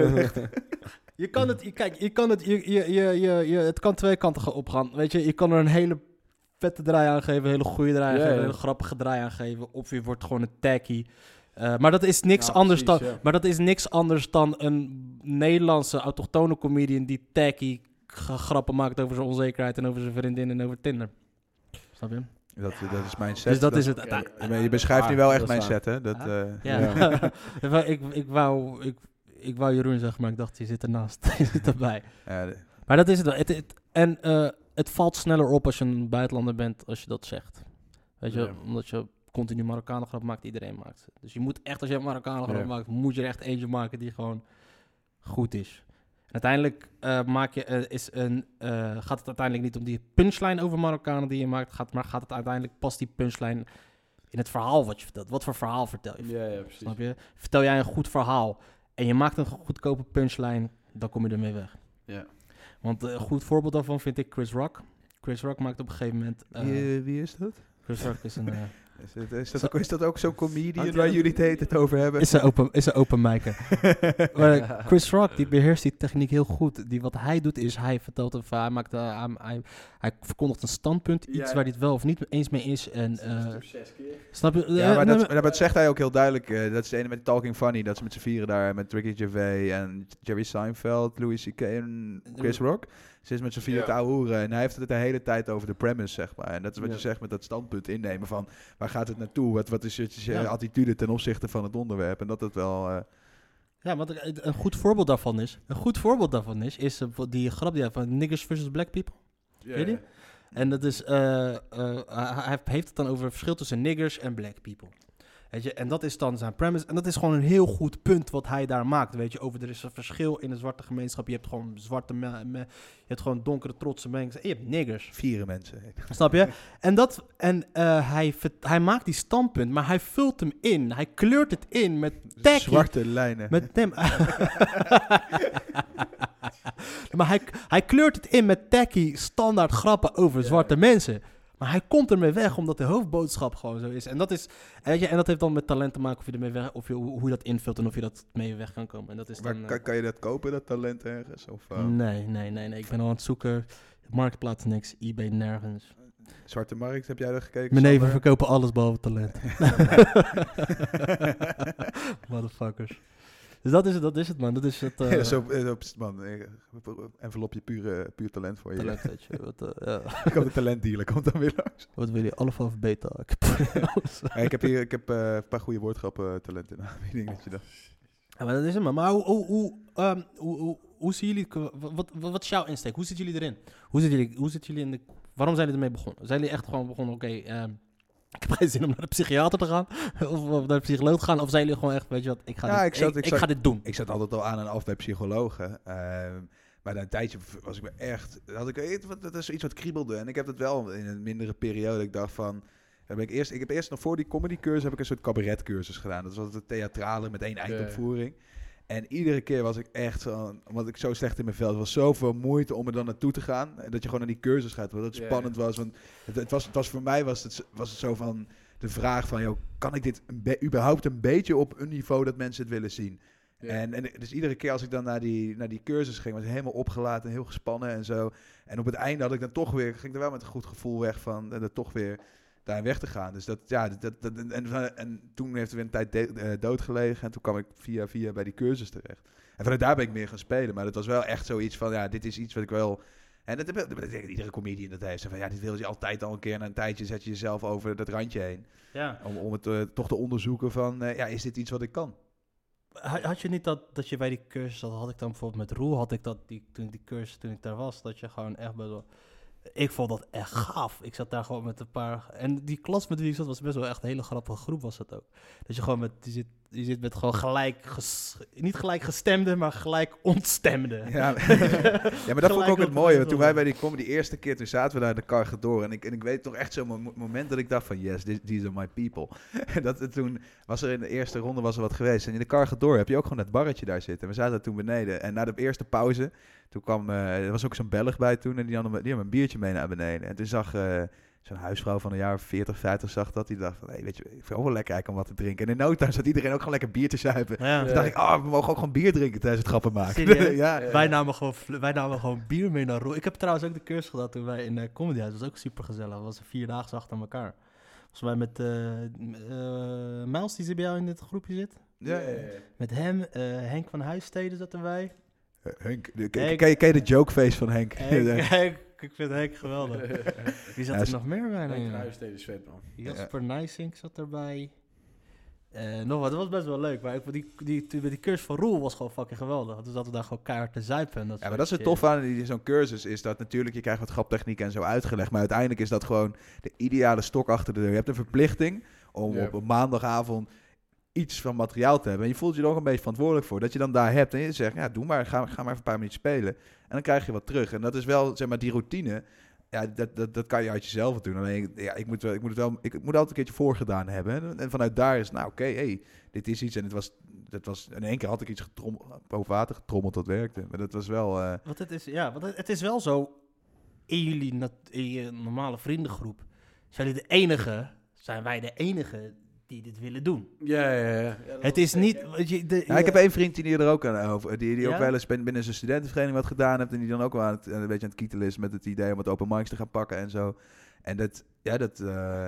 Speaker 3: Je kan het, je- kijk, je kan het, je, je, je, je, je- het kan twee kanten gaan opgaan. Weet je, je kan er een hele vette draai aan geven, een hele goede draai
Speaker 2: Ja,
Speaker 3: aan geven,
Speaker 2: ja.
Speaker 3: een hele grappige draai aan geven. Of je wordt gewoon een tacky. Eh, maar dat is niks
Speaker 2: Ja,
Speaker 3: anders
Speaker 2: Nou, precies, ja.
Speaker 3: dan, maar dat is niks anders dan een Nederlandse autochtone comedian die tacky g- grappen maakt over zijn onzekerheid en over zijn vriendin en over Tinder. Snap je?
Speaker 1: dat, dat is mijn set.
Speaker 3: dus dat
Speaker 1: dan.
Speaker 3: is Ah, het.
Speaker 2: Oké.
Speaker 1: Ja, maar je beschrijft nu
Speaker 2: waar,
Speaker 1: wel
Speaker 2: dat
Speaker 1: echt
Speaker 2: is
Speaker 1: mijn
Speaker 2: waar.
Speaker 1: set, hè? Dat,
Speaker 3: Ah,
Speaker 1: eh,
Speaker 3: Ja. ik, ik wou, ik, ik wou Jeroen zeggen, maar ik dacht, je zit ernaast, je zit erbij.
Speaker 1: ja, de-
Speaker 3: Maar dat is het. wel. Het, het- en eh, het valt sneller op als je een buitenlander bent als je dat zegt. Weet je,
Speaker 2: Ja.
Speaker 3: omdat je continu Marokkanen grap maakt, iedereen maakt. ze. Dus je moet echt, als je een Marokkanen grap
Speaker 2: Ja.
Speaker 3: maakt, moet je er echt eentje maken die gewoon goed is. En uiteindelijk eh, maak je, eh, is een, eh, gaat het uiteindelijk niet om die punchline over Marokkanen die je maakt, gaat, maar gaat het uiteindelijk, past die punchline in het verhaal wat je vertelt? Wat voor verhaal vertel je?
Speaker 2: Ja, ja, precies.
Speaker 3: Snap je? Vertel jij een goed verhaal en je maakt een goedkope punchline, dan kom je ermee weg.
Speaker 2: Ja.
Speaker 3: Want eh, een goed voorbeeld daarvan vind ik Chris Rock. Chris Rock maakt op een gegeven moment... eh,
Speaker 1: wie, eh, wie is dat?
Speaker 3: Chris Rock is een, eh,
Speaker 1: Is, het- is dat ook, is dat ook zo'n comedian
Speaker 2: Hangt-
Speaker 1: waar jullie het heet het over hebben?
Speaker 3: is een open, is een open micer. Maar, eh, Chris Rock die beheerst die techniek heel goed. Die, wat hij doet is, hij vertelt een verhaal, hij, maakt, eh, hij, hij, hij verkondigt een standpunt, iets
Speaker 2: Ja, ja.
Speaker 3: waar hij het wel of niet eens mee is. En,
Speaker 2: Dat is
Speaker 3: eh,
Speaker 2: toch zes keer.
Speaker 3: snap je?
Speaker 1: Ja,
Speaker 3: Eh,
Speaker 1: maar
Speaker 3: nee,
Speaker 1: dat, maar dat zegt hij ook heel duidelijk. eh, dat is de ene met Talking Funny. Dat ze met z'n vieren daar met Ricky Gervais en Jerry Seinfeld, Louis C.K. en Chris Rock. Ze is met z'n vieren
Speaker 2: Ja.
Speaker 1: te ouwehoeren. En hij heeft het de hele tijd over de premise, zeg maar. En dat is wat
Speaker 2: Ja.
Speaker 1: je zegt met dat standpunt innemen van... waar gaat het naartoe? Wat, wat is je, je
Speaker 3: Ja.
Speaker 1: attitude ten opzichte van het onderwerp? En dat het wel... eh,
Speaker 3: Ja, want eh, een goed voorbeeld daarvan is, een goed voorbeeld daarvan is, is eh, die grap die hij van niggers versus black people.
Speaker 2: Ja,
Speaker 3: Weet je?
Speaker 2: ja.
Speaker 3: En dat is, eh, eh, hij hij heeft het dan over het verschil tussen niggers en black people. Weet je, en dat is dan zijn premise. En dat is gewoon een heel goed punt wat hij daar maakt. Weet je, over er is een verschil in de zwarte gemeenschap. Je hebt gewoon zwarte, me- me- je hebt gewoon donkere, trotse mensen. En je hebt niggers.
Speaker 1: vieren mensen.
Speaker 3: Snap je? En, dat, en eh, hij, ver- hij maakt die standpunt, maar hij vult hem in. Hij kleurt het in met tacky
Speaker 1: Zwarte lijnen.
Speaker 3: met Tim. maar hij, hij kleurt het in met tacky standaard grappen over
Speaker 2: Ja.
Speaker 3: zwarte mensen. Maar hij komt ermee weg omdat de hoofdboodschap gewoon zo is. En dat, is, en, weet je, en dat heeft dan met talent te maken of je ermee weg, of je, hoe hoe je dat invult en of je dat mee weg kan komen. En dat is
Speaker 1: Waar,
Speaker 3: dan, eh,
Speaker 1: kan, kan je dat kopen, dat talent ergens? Of eh,
Speaker 3: nee, nee, nee, nee. Ik ben al aan het zoeken. Marktplaats niks, eBay nergens.
Speaker 1: Zwarte Markt, heb jij daar gekeken?
Speaker 3: Mijn neven
Speaker 1: Sander?
Speaker 3: verkopen alles behalve talent. Motherfuckers. Dus dat is het, dat is het man. Dat is het. eh,
Speaker 1: Ja, zo, eh, zo, pst, man, eh, envelopje puur, eh, puur talent voor je.
Speaker 3: talent, weet je. Wat, eh, ja.
Speaker 1: Ik had een talentdealer, komt dan weer langs.
Speaker 3: Wat wil je? Alpha of beta? Ik heb-
Speaker 1: Hey, ik heb hier ik heb, eh, een paar goede woordgrappen talent in aanbieding. Dat je dat...
Speaker 3: ja, maar dat is het maar. Maar hoe, hoe, hoe, ehm, hoe, hoe, hoe zien jullie... Wat, wat, wat is jouw insteek? Hoe zitten jullie erin? Hoe zitten jullie, hoe zitten jullie in de... Waarom zijn jullie ermee begonnen? Zijn jullie echt gewoon begonnen, oké... ehm, ik heb geen zin om naar de psychiater te gaan. Of, of naar de psycholoog te gaan. Of zijn jullie gewoon echt, weet je wat, ik ga,
Speaker 1: Ja,
Speaker 3: dit,
Speaker 1: ik zat- ik zat-
Speaker 3: ga dit doen.
Speaker 1: Ik zat altijd al aan en af bij psychologen. ehm, maar na een tijdje was ik me echt... Had ik, eh, wat- dat is iets wat kriebelde. En ik heb dat wel in een mindere periode. Ik dacht van... dan ben ik, eerst, ik heb eerst nog voor die comedycursus heb ik een soort cabaretcursus gedaan. Dat was altijd theatrale met één eindopvoering. En iedere keer was ik echt zo, omdat ik zo slecht in mijn vel was, was zoveel moeite om er dan naartoe te gaan. En dat je gewoon naar die cursus gaat, wat het
Speaker 2: Ja,
Speaker 1: spannend was. Want het, het was, het was voor mij was het, was het zo van de vraag van, joh, kan ik dit een be- überhaupt een beetje op een niveau dat mensen het willen zien?
Speaker 2: Ja.
Speaker 1: En, en dus iedere keer als ik dan naar die, naar die cursus ging, was ik helemaal opgelaten, en heel gespannen en zo. En op het einde had ik dan toch weer, ging ik er wel met een goed gevoel weg van, en dat toch weer daarin weg te gaan. Dus dat, ja, dat, dat, dat- en, en, en toen heeft er weer een tijd de- eh, doodgelegen en toen kwam ik via via bij die cursus terecht. En vanuit daar ben ik meer gaan spelen, maar dat was wel echt zoiets van, ja, dit is iets wat ik wel... En dat, heb ik- dat betekent iedere comedian dat heeft. Zo Van, ja, dit wil je altijd al een keer. Na een tijdje zet je jezelf over dat randje heen.
Speaker 3: Ja.
Speaker 1: Om, om het eh, toch te onderzoeken van, eh, ja, is dit iets wat ik kan?
Speaker 3: Ha- Had je niet dat, dat je bij die cursus, dat had ik dan bijvoorbeeld met Roel, had ik dat die, toen die cursus, toen ik daar was, dat je gewoon echt best wel Ik vond dat echt gaaf. Ik zat daar gewoon met een paar... En die klas met wie ik zat was best wel echt een hele grappige groep was dat ook. Dat je gewoon met... Je zit, je zit met gewoon gelijk... ges- niet gelijk gestemde, maar gelijk ontstemde.
Speaker 1: Ja, ja, maar dat vond ik ook het mooie. Want toen wij bij die kwam, die eerste keer, toen zaten we daar in de kar door. En ik, en ik weet toch echt zo'n mo- moment dat ik dacht van, yes, this- these are my people. En dat, het toen was er in de eerste ronde was er wat geweest. En in de kar door heb je ook gewoon dat barretje daar zitten. En we zaten toen beneden. En na de eerste pauze, toen kwam, eh, er was ook zo'n Belg bij toen. En die had, een, die had een biertje mee naar beneden. En toen zag... eh, Zo'n huisvrouw van een jaar of 40, 50 zag dat. Die dacht van, hey, weet je, ik vind het ook wel lekker eigenlijk om wat te drinken. En in no time zat iedereen ook gewoon lekker bier te zuipen.
Speaker 3: Ja.
Speaker 1: Toen dacht ik, ah, we mogen ook gewoon bier drinken tijdens het grappen maken.
Speaker 3: Serieus?
Speaker 1: ja,
Speaker 2: Ja.
Speaker 3: Wij, namen gewoon, fl- wij namen gewoon bier mee naar Roel. Ik heb trouwens ook de cursus gedaan toen wij in eh Comedy House. Dat was ook super gezellig. Dat was vier dagen achter elkaar. Volgens mij met eh eh, Miles die bij jou in dit groepje zit.
Speaker 1: Ja, ja, ja.
Speaker 3: Met hem, eh, Henk van Huissteden zat erbij.
Speaker 1: Eh, Henk, de-
Speaker 3: Nee,
Speaker 1: ken,
Speaker 3: ik-
Speaker 1: ken je- ken je de jokeface van Henk?
Speaker 3: Henk,
Speaker 1: Ja.
Speaker 3: Henk, ik vind Henk geweldig. Wie zat
Speaker 1: Ja,
Speaker 3: er
Speaker 1: is-
Speaker 3: nog meer bij? nou,
Speaker 2: Henk
Speaker 3: ja?
Speaker 2: Huissteden Svetman.
Speaker 3: Jasper Nijsink zat erbij. Eh, nog wat, dat was best wel leuk. Maar ik, vond die, die, die, die cursus van Roel was gewoon fucking geweldig. Toen zaten we daar gewoon keihard te zuipen. En dat
Speaker 1: Ja, maar
Speaker 3: soort
Speaker 1: dat is het
Speaker 3: shit.
Speaker 1: tof aan die- zo'n cursus, is dat natuurlijk je krijgt wat graptechniek en zo uitgelegd, maar uiteindelijk is dat gewoon de ideale stok achter de deur. Je hebt een verplichting om
Speaker 2: Ja.
Speaker 1: op een maandagavond iets van materiaal te hebben. En je voelt je er ook een beetje verantwoordelijk voor, dat je dan daar hebt en je zegt, ja, doe maar, ga, ga maar even een paar minuten spelen. En dan krijg je wat terug. En dat is wel, zeg maar, die routine, ja, dat, dat, dat kan je uit jezelf wel doen. Alleen, ja, ik moet, wel, ik moet het wel, ik moet altijd een keertje voorgedaan hebben. En, en vanuit daar is, nou, oké, hey, dit is iets en het was... Dat was, in één keer had ik iets getrommeld, boven water getrommeld, dat werkte. Maar dat was wel... eh,
Speaker 3: Want het is, ja, want het, het is wel zo, in jullie nat- in je normale vriendengroep, zijn jullie de enige, zijn wij de enige die dit willen doen.
Speaker 2: Ja, ja, ja.
Speaker 3: het is niet... want Je, de,
Speaker 1: Ja, ik heb één vriend die er ook aan over, die, die ook
Speaker 3: Ja?
Speaker 1: wel eens bin- binnen zijn studentenvereniging wat gedaan heeft en die dan ook wel aan het, eh, een beetje aan het kietelen is met het idee om het open mics te gaan pakken en zo. En dat, ja, dat, eh,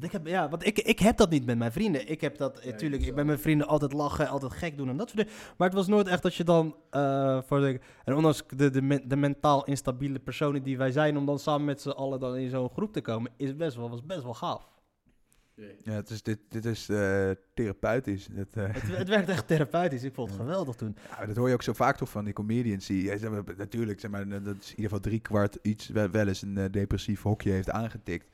Speaker 3: want ik heb, ja, want ik, ik heb dat niet met mijn vrienden. Ik heb dat, natuurlijk, ik
Speaker 2: jezelf.
Speaker 3: ben mijn vrienden altijd lachen, altijd gek doen en dat soort dingen. Maar het was nooit echt dat je dan, eh, voor de, en ondanks de, de, men- de mentaal instabiele personen die wij zijn, om dan samen met z'n allen dan in zo'n groep te komen, is best wel, was best wel gaaf.
Speaker 1: ja, het is, dit, dit is eh, therapeutisch. Dat, eh,
Speaker 3: Het, het werkt echt therapeutisch, ik vond het geweldig toen.
Speaker 1: ja, maar dat hoor je ook zo vaak toch van die comedians die, ja, ze hebben- natuurlijk, zeg maar, dat is in ieder geval drie kwart iets wel, wel eens een eh, depressief hokje heeft aangetikt.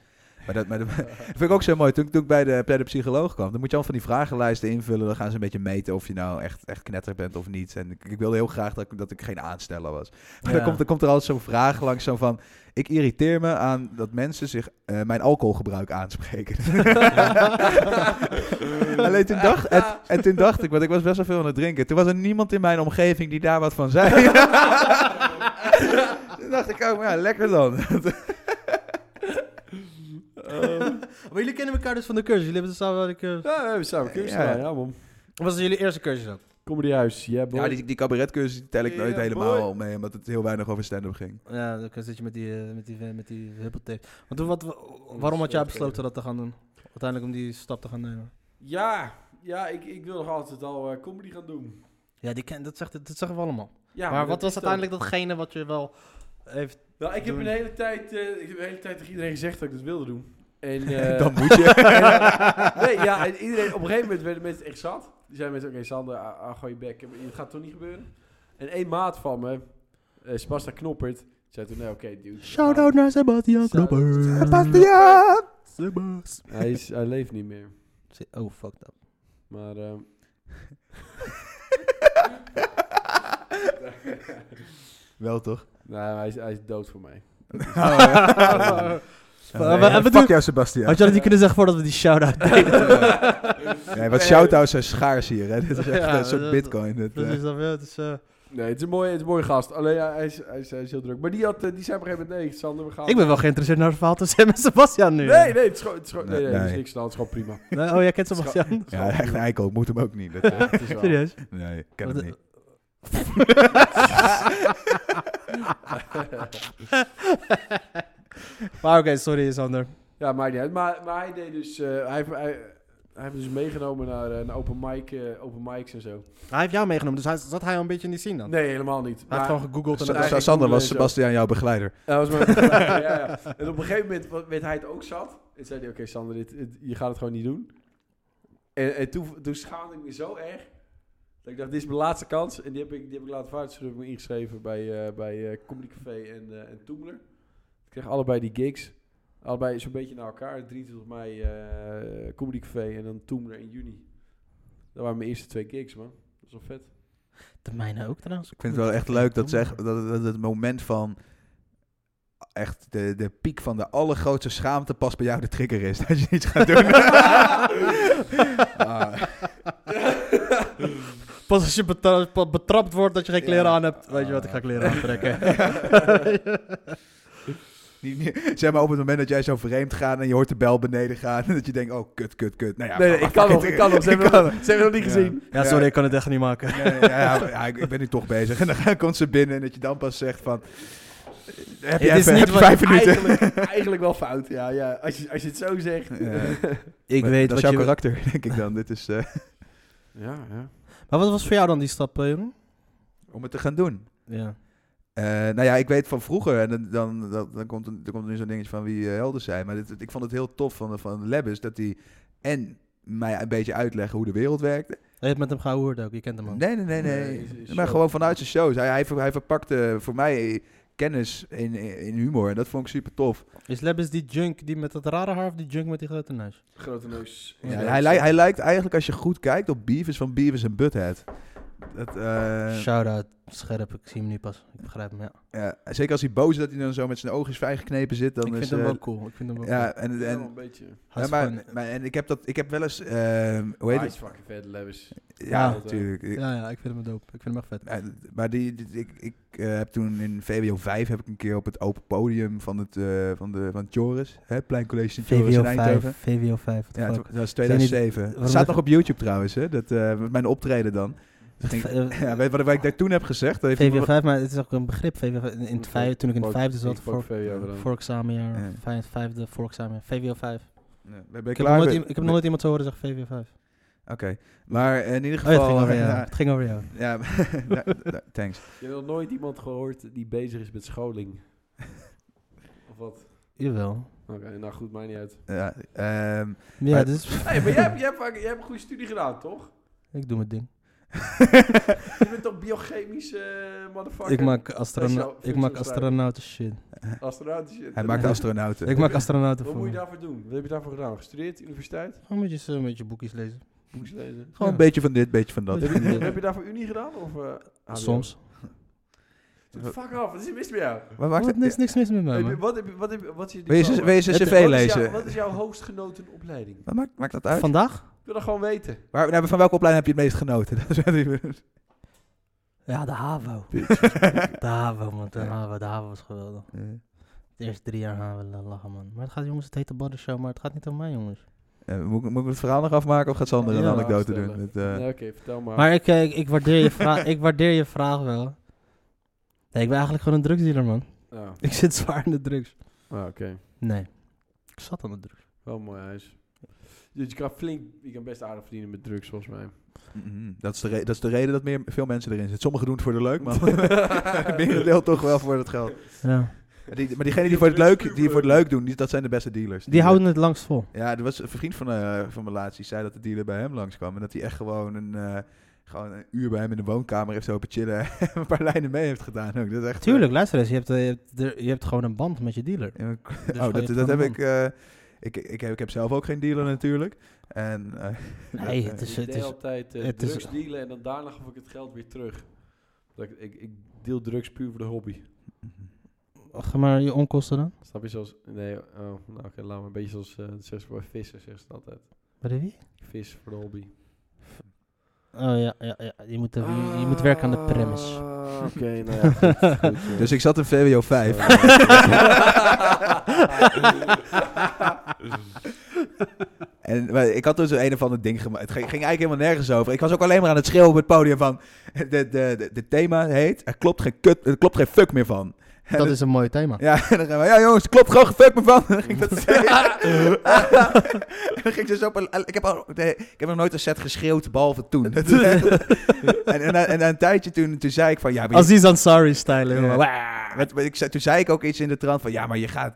Speaker 1: Maar dat, maar dat, dat vind ik ook zo mooi. Toen, ik- toen ik bij de, bij de psycholoog kwam, dan moet je al van die vragenlijsten invullen. Dan gaan ze een beetje meten of je nou echt, echt knetter bent of niet. En ik, ik wilde heel graag dat ik, dat ik geen aansteller was. Maar dan,
Speaker 3: Ja.
Speaker 1: komt, dan komt er altijd zo'n vraag langs zo van... Ik irriteer me aan dat mensen zich eh, mijn alcoholgebruik aanspreken. Alleen toen dacht, en, en toen dacht ik, want ik was best wel veel aan het drinken. Toen was er niemand in mijn omgeving die daar wat van zei. toen dacht ik ook, maar ja, lekker dan.
Speaker 3: Maar jullie kennen elkaar dus van de cursus. Jullie hebben het samen wel de cursus.
Speaker 2: Ja, we hebben samen kunst
Speaker 1: Ja.
Speaker 2: gedaan, ja, man.
Speaker 3: Wat was jullie eerste cursus dan?
Speaker 2: Comedy Huis, ja, boy.
Speaker 1: Ja, die, die cabaretcursus die tel ik nooit
Speaker 2: Ja,
Speaker 1: helemaal
Speaker 2: mooi.
Speaker 1: mee, omdat het heel weinig over stand-up ging.
Speaker 3: Ja, dan zit je met die, eh, met die, met die huppeltape. Want toen, wat, waarom had jij besloten dat te gaan doen? Uiteindelijk om die stap te gaan nemen.
Speaker 2: Ja, ja ik, ik wil nog altijd al eh, comedy gaan doen.
Speaker 3: Ja, die ken, dat, zegt, dat zeggen we allemaal.
Speaker 2: Ja,
Speaker 3: maar
Speaker 2: dat
Speaker 3: wat was
Speaker 2: is dan-
Speaker 3: uiteindelijk datgene wat je wel heeft...
Speaker 2: Nou, ik heb
Speaker 3: doen?
Speaker 2: een hele tijd, eh, ik heb een hele tijd tegen iedereen gezegd dat ik dat wilde doen. En, eh,
Speaker 1: dan moet je.
Speaker 2: en, nee, ja, en iedereen, op een gegeven moment werden mensen echt zat. Die zeiden mensen, oké Sander, ah, ah, gooi je bek. Het gaat toch niet gebeuren? En één maat van me, eh Sebasta Knoppert, zei toen, nee, oké dude.
Speaker 3: Shout-out naar Sebastian
Speaker 2: Shout-out.
Speaker 3: Knopper.
Speaker 1: Sebastian!
Speaker 3: Sebas.
Speaker 2: Hij, is, hij leeft niet meer.
Speaker 3: Oh, fuck dat.
Speaker 2: Maar, ehm,
Speaker 1: Wel toch?
Speaker 2: nou, hij is, hij is dood voor mij.
Speaker 1: Oh,
Speaker 3: Oh, maar- maar
Speaker 1: fuck
Speaker 3: bedoel-
Speaker 1: jou, Sebastian.
Speaker 3: Had je dat niet kunnen zeggen voordat we die shout-out deden?
Speaker 1: Nee, wat shout-outs zijn schaars hier. Hè? Dit is echt
Speaker 3: Ja,
Speaker 1: een soort
Speaker 3: dat-
Speaker 1: bitcoin. Dat,
Speaker 3: dat
Speaker 1: eh,
Speaker 3: is dan wel, het is... eh,
Speaker 2: Nee, het is een mooie, het is een mooie gast. Alleen ja, hij, is, hij, is, hij is heel druk. Maar die, had, eh, die zei op een gegeven moment, nee Sander, we gaan...
Speaker 3: Ik ben wel geïnteresseerd naar het verhaal tussen hem en Sebastian nu.
Speaker 2: Nee, nee, het is gewoon, het is gewoon- nee,
Speaker 1: Nee,
Speaker 2: nee, er is
Speaker 1: nee.
Speaker 2: niks aan, het is gewoon prima.
Speaker 3: Nee, Oh, jij kent Sebastian?
Speaker 1: ja, echt een eikel. Ik moet hem ook niet. Dat, eh,
Speaker 2: Ja, het is wel-
Speaker 3: Serieus?
Speaker 1: nee, ik ken hem niet.
Speaker 3: Maar oké, sorry Sander.
Speaker 2: Ja, maakt niet uit. Maar, maar hij deed dus... eh, hij, heeft- hij, hij heeft me dus meegenomen naar eh, een open, mic, eh, open mics en zo.
Speaker 3: Hij heeft jou meegenomen, dus hij, zat hij al een beetje in die scene dan?
Speaker 2: Nee, helemaal niet.
Speaker 3: Hij
Speaker 2: Maar-
Speaker 3: heeft gewoon gegoogeld en...
Speaker 1: Sa-
Speaker 2: eigen
Speaker 1: Sa- Sander,
Speaker 2: koelen
Speaker 1: was
Speaker 2: en zo.
Speaker 1: Sebastian jouw begeleider?
Speaker 2: Ja, was maar, ja, ja. En op een gegeven moment wa- werd hij het ook zat. En zei hij, oké Sander, dit, dit- je gaat het gewoon niet doen. En, en toen, toen schaamde ik me zo erg. Dat ik dacht, dit is mijn laatste kans. En die heb ik, die heb ik laten varen. Dus toen heb ik me ingeschreven bij, eh bij eh Comedy Café en, eh en Toemler. kreeg allebei die gigs. Allebei zo'n beetje naar elkaar. 23 mei eh Comedy Café en dan Toemler in juni. Dat waren mijn eerste twee gigs, man. Dat is wel vet.
Speaker 3: De mijne ook trouwens.
Speaker 1: Ik vind het wel echt leuk dat, ze echt, dat, het- dat het moment van echt de, de piek van de allergrootste schaamte pas bij jou de trigger is. Dat je iets gaat doen. Ah,
Speaker 3: Pas als je betra- pa- betrapt wordt dat je geen kleren
Speaker 1: Ja.
Speaker 3: aan hebt, weet je wat, ik ga kleren aantrekken.
Speaker 1: niet- niet- zeg maar op het moment dat jij zo vreemd gaat en je hoort de bel beneden gaan. En dat je denkt, oh kut, kut, kut. Nou ja,
Speaker 2: nee, nee,
Speaker 1: fuck
Speaker 2: ik kan
Speaker 1: it.
Speaker 2: nog, ik kan nog. Ze hebben
Speaker 1: kan
Speaker 2: nog- ze hebben nog niet gezien.
Speaker 3: ja, sorry, ik kan het echt niet maken.
Speaker 1: Nee, nee, ja, ja, ja, ik, ik ben nu toch bezig. En dan gaat- komt ze binnen en dat je dan pas zegt van... eh, Heb je,
Speaker 3: Het is
Speaker 1: even,
Speaker 3: niet
Speaker 1: heb je
Speaker 3: wat-
Speaker 1: vijf minuten?
Speaker 2: Eigenlijk, eigenlijk wel fout, ja. ja. Als, je, als je het zo zegt.
Speaker 1: Ja.
Speaker 3: Ik
Speaker 1: Maar
Speaker 3: weet
Speaker 1: dat is jouw
Speaker 3: wat je...
Speaker 1: karakter, denk ik dan. Dit is eh,
Speaker 2: Ja, ja.
Speaker 3: Maar wat was voor jou dan die stap, eh, Jeroen?
Speaker 1: om het te gaan doen.
Speaker 3: Ja.
Speaker 1: Eh, nou ja, ik weet van vroeger, en dan, dan, dan, dan komt, er- dan komt er nu zo'n dingetje van wie eh, helden zijn. Maar dit, dit- ik vond het heel tof van, van Lebbes dat hij en mij een beetje uitleggen hoe de wereld werkte.
Speaker 3: Je hebt met hem gehoord ook, je kent hem ook.
Speaker 1: Nee, nee, nee, nee.
Speaker 2: Nee, is- is
Speaker 1: maar
Speaker 2: show.
Speaker 1: gewoon vanuit zijn shows. Hij, hij, ver- hij verpakte voor mij kennis in, in humor en dat vond ik super tof.
Speaker 3: Is Lebbes die junk die met dat rare haar of die junk met die grote neus?
Speaker 2: Grote neus.
Speaker 1: Ja, hij, lij- hij lijkt eigenlijk, als je goed kijkt, op Beavis van Beavis en Butthead. Dat, eh,
Speaker 3: Shout-out, scherp, ik zie hem nu pas. Ik begrijp hem, ja.
Speaker 1: ja, zeker als hij boos is, dat hij dan zo met zijn oogjes vrijgeknepen zit. Dan
Speaker 3: ik vind
Speaker 1: is,
Speaker 3: hem
Speaker 1: eh,
Speaker 3: wel cool, ik vind hem wel
Speaker 1: ja,
Speaker 3: cool.
Speaker 1: en,
Speaker 2: Ja,
Speaker 1: en,
Speaker 2: wel een beetje.
Speaker 3: Hij
Speaker 1: Ja,
Speaker 3: is
Speaker 1: maar,
Speaker 3: gewoon- Ah,
Speaker 1: maar en ik heb dat, ik heb wel eens, ehm, hoe heet
Speaker 2: Weet hij
Speaker 1: het?
Speaker 2: Ah, is fucking vet, Lewis.
Speaker 1: Ja,
Speaker 2: Ja,
Speaker 1: natuurlijk. Ik-
Speaker 3: eh. ja, ja, ik vind hem dope. Ik vind hem echt vet.
Speaker 1: eh, Maar die, die- ik, ik eh, heb toen in VWO 5 heb ik een keer op het open podium van het eh, van de van het Joris, hè, Pleincollege Sint Joris in Eindhoven.
Speaker 3: VWO 5,
Speaker 1: Ja, het- dat was
Speaker 3: niet-
Speaker 1: 2007. Het
Speaker 3: waarom
Speaker 1: staat
Speaker 3: dat-
Speaker 1: nog op YouTube trouwens, hè? Dat, eh, met mijn optreden dan. Dat ging- ja, weet je wat, wat ik daar toen heb gezegd? Dat heeft
Speaker 3: VWO
Speaker 1: iemand-
Speaker 3: 5, maar het is ook een begrip. VWO, in in het vijf, toen ik in het vijfde zat, voor,
Speaker 2: voor...
Speaker 3: voor examenjaar,
Speaker 1: Ja.
Speaker 3: vijf- vijfde voor examenjaar, VWO 5.
Speaker 1: Ja, ben je
Speaker 3: Ik heb, nog
Speaker 1: klaar?
Speaker 3: nooit,
Speaker 1: Ben-
Speaker 3: iem- ik heb nog nooit iemand zo horen zeggen VWO 5.
Speaker 1: Oké. Maar in ieder
Speaker 3: Oh, ja, het
Speaker 1: geval...
Speaker 3: ging over jou.
Speaker 1: ja,
Speaker 3: Het ging over jou.
Speaker 1: ja, ja, ja, thanks.
Speaker 2: Je hebt nog nooit iemand gehoord die bezig is met scholing. of wat?
Speaker 3: Jawel.
Speaker 2: Oké, nou goed, maakt niet uit.
Speaker 1: Ja, ehm,
Speaker 3: Ja,
Speaker 1: Maar-
Speaker 3: dus,
Speaker 2: Hey, maar jij, hebt- jij, hebt, fucking- jij hebt een goede studie gedaan, toch?
Speaker 3: ik doe mijn ding.
Speaker 2: Je bent toch biochemisch eh, motherfucker?
Speaker 3: Ik maak,
Speaker 2: Dat is
Speaker 3: astrona
Speaker 2: jouw
Speaker 3: ik maak
Speaker 2: functie-
Speaker 3: astronauten shit.
Speaker 2: Astronaut shit.
Speaker 1: hij maakt astronauten.
Speaker 3: Ik maak astronauten
Speaker 2: Wat
Speaker 3: voor
Speaker 2: moet je
Speaker 3: me.
Speaker 2: daarvoor doen? Wat heb je daarvoor gedaan? Gestudeerd? Universiteit?
Speaker 3: Gewoon een beetje, een beetje eh, boekjes lezen.
Speaker 2: Boeks lezen?
Speaker 1: Gewoon een
Speaker 3: Ja.
Speaker 1: beetje van dit, beetje van dat.
Speaker 3: Beetje
Speaker 2: heb, je, heb je daarvoor Unie gedaan? Of, eh, HBO?
Speaker 3: Soms.
Speaker 2: Fuck af, wat is er mis met jou?
Speaker 1: Maar
Speaker 3: Er
Speaker 1: maakt het
Speaker 3: is niks mis met mij,
Speaker 2: Heb je-
Speaker 3: man.
Speaker 2: Wat heb je- wat heb je- wat is je
Speaker 1: Wil je zijn-
Speaker 2: diploma?
Speaker 1: wil je zijn
Speaker 3: Het-
Speaker 1: cv
Speaker 2: Wat is jouw-
Speaker 1: lezen?
Speaker 2: Wat is jouw hoogst genoten opleiding?
Speaker 1: Maar maakt, maakt dat uit? Van,
Speaker 3: Vandaag?
Speaker 2: Ik wil dat gewoon weten.
Speaker 1: Waar, nou, van welke opleiding heb je het meest genoten? Dat is wat ik-
Speaker 3: Ja, de HAVO. De HAVO, man. De HAVO, de HAVO was geweldig. De eerste drie jaar HAVO, la- lachen, man. Maar het gaat, jongens, het heet de Badden Show, maar het gaat niet om mij, jongens.
Speaker 1: Eh, moet, ik- moet ik het verhaal nog afmaken of gaat Sander een
Speaker 3: Ja,
Speaker 1: anekdote
Speaker 2: stellen.
Speaker 1: doen? Het, eh,
Speaker 2: Nee, Oké, vertel maar.
Speaker 3: Maar ik, eh, ik, ik waardeer, je vraag, ik waardeer je vraag wel. Nee, ik ben eigenlijk gewoon een drugsdealer, man.
Speaker 2: Ja.
Speaker 3: Ik zit zwaar in de drugs.
Speaker 2: Ah, Oké,
Speaker 3: Nee. Ik zat aan de drugs.
Speaker 2: wel een mooi huis. Dus je kan flink, je kan best aardig verdienen met drugs volgens mij.
Speaker 1: mhm. dat, is de re- dat is de reden dat meer, veel mensen erin zitten. Sommigen doen het voor de leuk, maar merendeel toch wel voor het geld.
Speaker 3: Ja.
Speaker 1: Maar, die, maar diegenen die voor het leuk, die voor het leuk doen, die, dat zijn de beste dealers.
Speaker 3: Die houden het langst vol.
Speaker 1: Ja, er was een vriend van, eh van mijn laatst, die zei dat de dealer bij hem langskwam. En dat hij echt gewoon een, eh, gewoon een uur bij hem in de woonkamer heeft open chillen. en een paar lijnen mee heeft gedaan ook. Dat is echt, eh,
Speaker 3: Tuurlijk, luister eens. Je hebt, eh, je hebt, er- je hebt gewoon een band met je dealer.
Speaker 1: Ja, maar ik-
Speaker 3: Dus
Speaker 1: oh,
Speaker 3: ga
Speaker 1: dat,
Speaker 3: je
Speaker 1: dat heb
Speaker 3: gewoon
Speaker 1: ik, eh, ik, ik, heb, ik heb zelf ook geen dealer natuurlijk. En, eh,
Speaker 3: Nee,
Speaker 1: dat,
Speaker 3: het
Speaker 1: eh,
Speaker 3: is...
Speaker 2: ik
Speaker 3: Het
Speaker 2: deed
Speaker 3: is
Speaker 2: altijd eh,
Speaker 3: het is-
Speaker 2: drugs dealen en dan daarna gaf ik het geld weer terug. Dat ik, ik, ik deel drugs puur voor de hobby.
Speaker 1: eh,
Speaker 3: Ach, maar je onkosten dan?
Speaker 2: Snap je zoals, nee, oh, nou oké, laat maar. Een beetje zoals, eh dat zeggen ze voor vissen, zeggen ze dat altijd.
Speaker 3: Bij de wie?
Speaker 2: Vis voor de hobby.
Speaker 3: Oh ja, ja, ja. Je, moet, er- je, je moet werken aan
Speaker 4: Ah,
Speaker 3: de premise.
Speaker 2: Ah, Oké, nou ja, goed, goed, eh.
Speaker 1: Dus ik zat in VWO 5. En maar ik had toen zo'n een of ander ding gemaakt. Het ging, ging eigenlijk helemaal nergens over. Ik was ook alleen maar aan het schreeuwen op het podium van... De, de, de, de thema heet... Er klopt geen, kut, er klopt geen fuck meer van. En
Speaker 3: Dat is een mooi thema.
Speaker 1: Ja, en dan gaan we... Ja jongens, er klopt gewoon geen fuck meer van. En dan ging ik dat zeggen. En dan ging ze zo op een- ik, heb al, nee, ik heb nog nooit een set geschreeuwd, behalve toen. Dat- en, en, na- en na een tijdje toen, toen zei ik van... Ja, maar je-
Speaker 3: Aziz Ansari-style,
Speaker 1: Ja.
Speaker 3: jongen.
Speaker 1: Wat- wat ik zei, toen zei ik ook iets in de trant van ja, maar je gaat,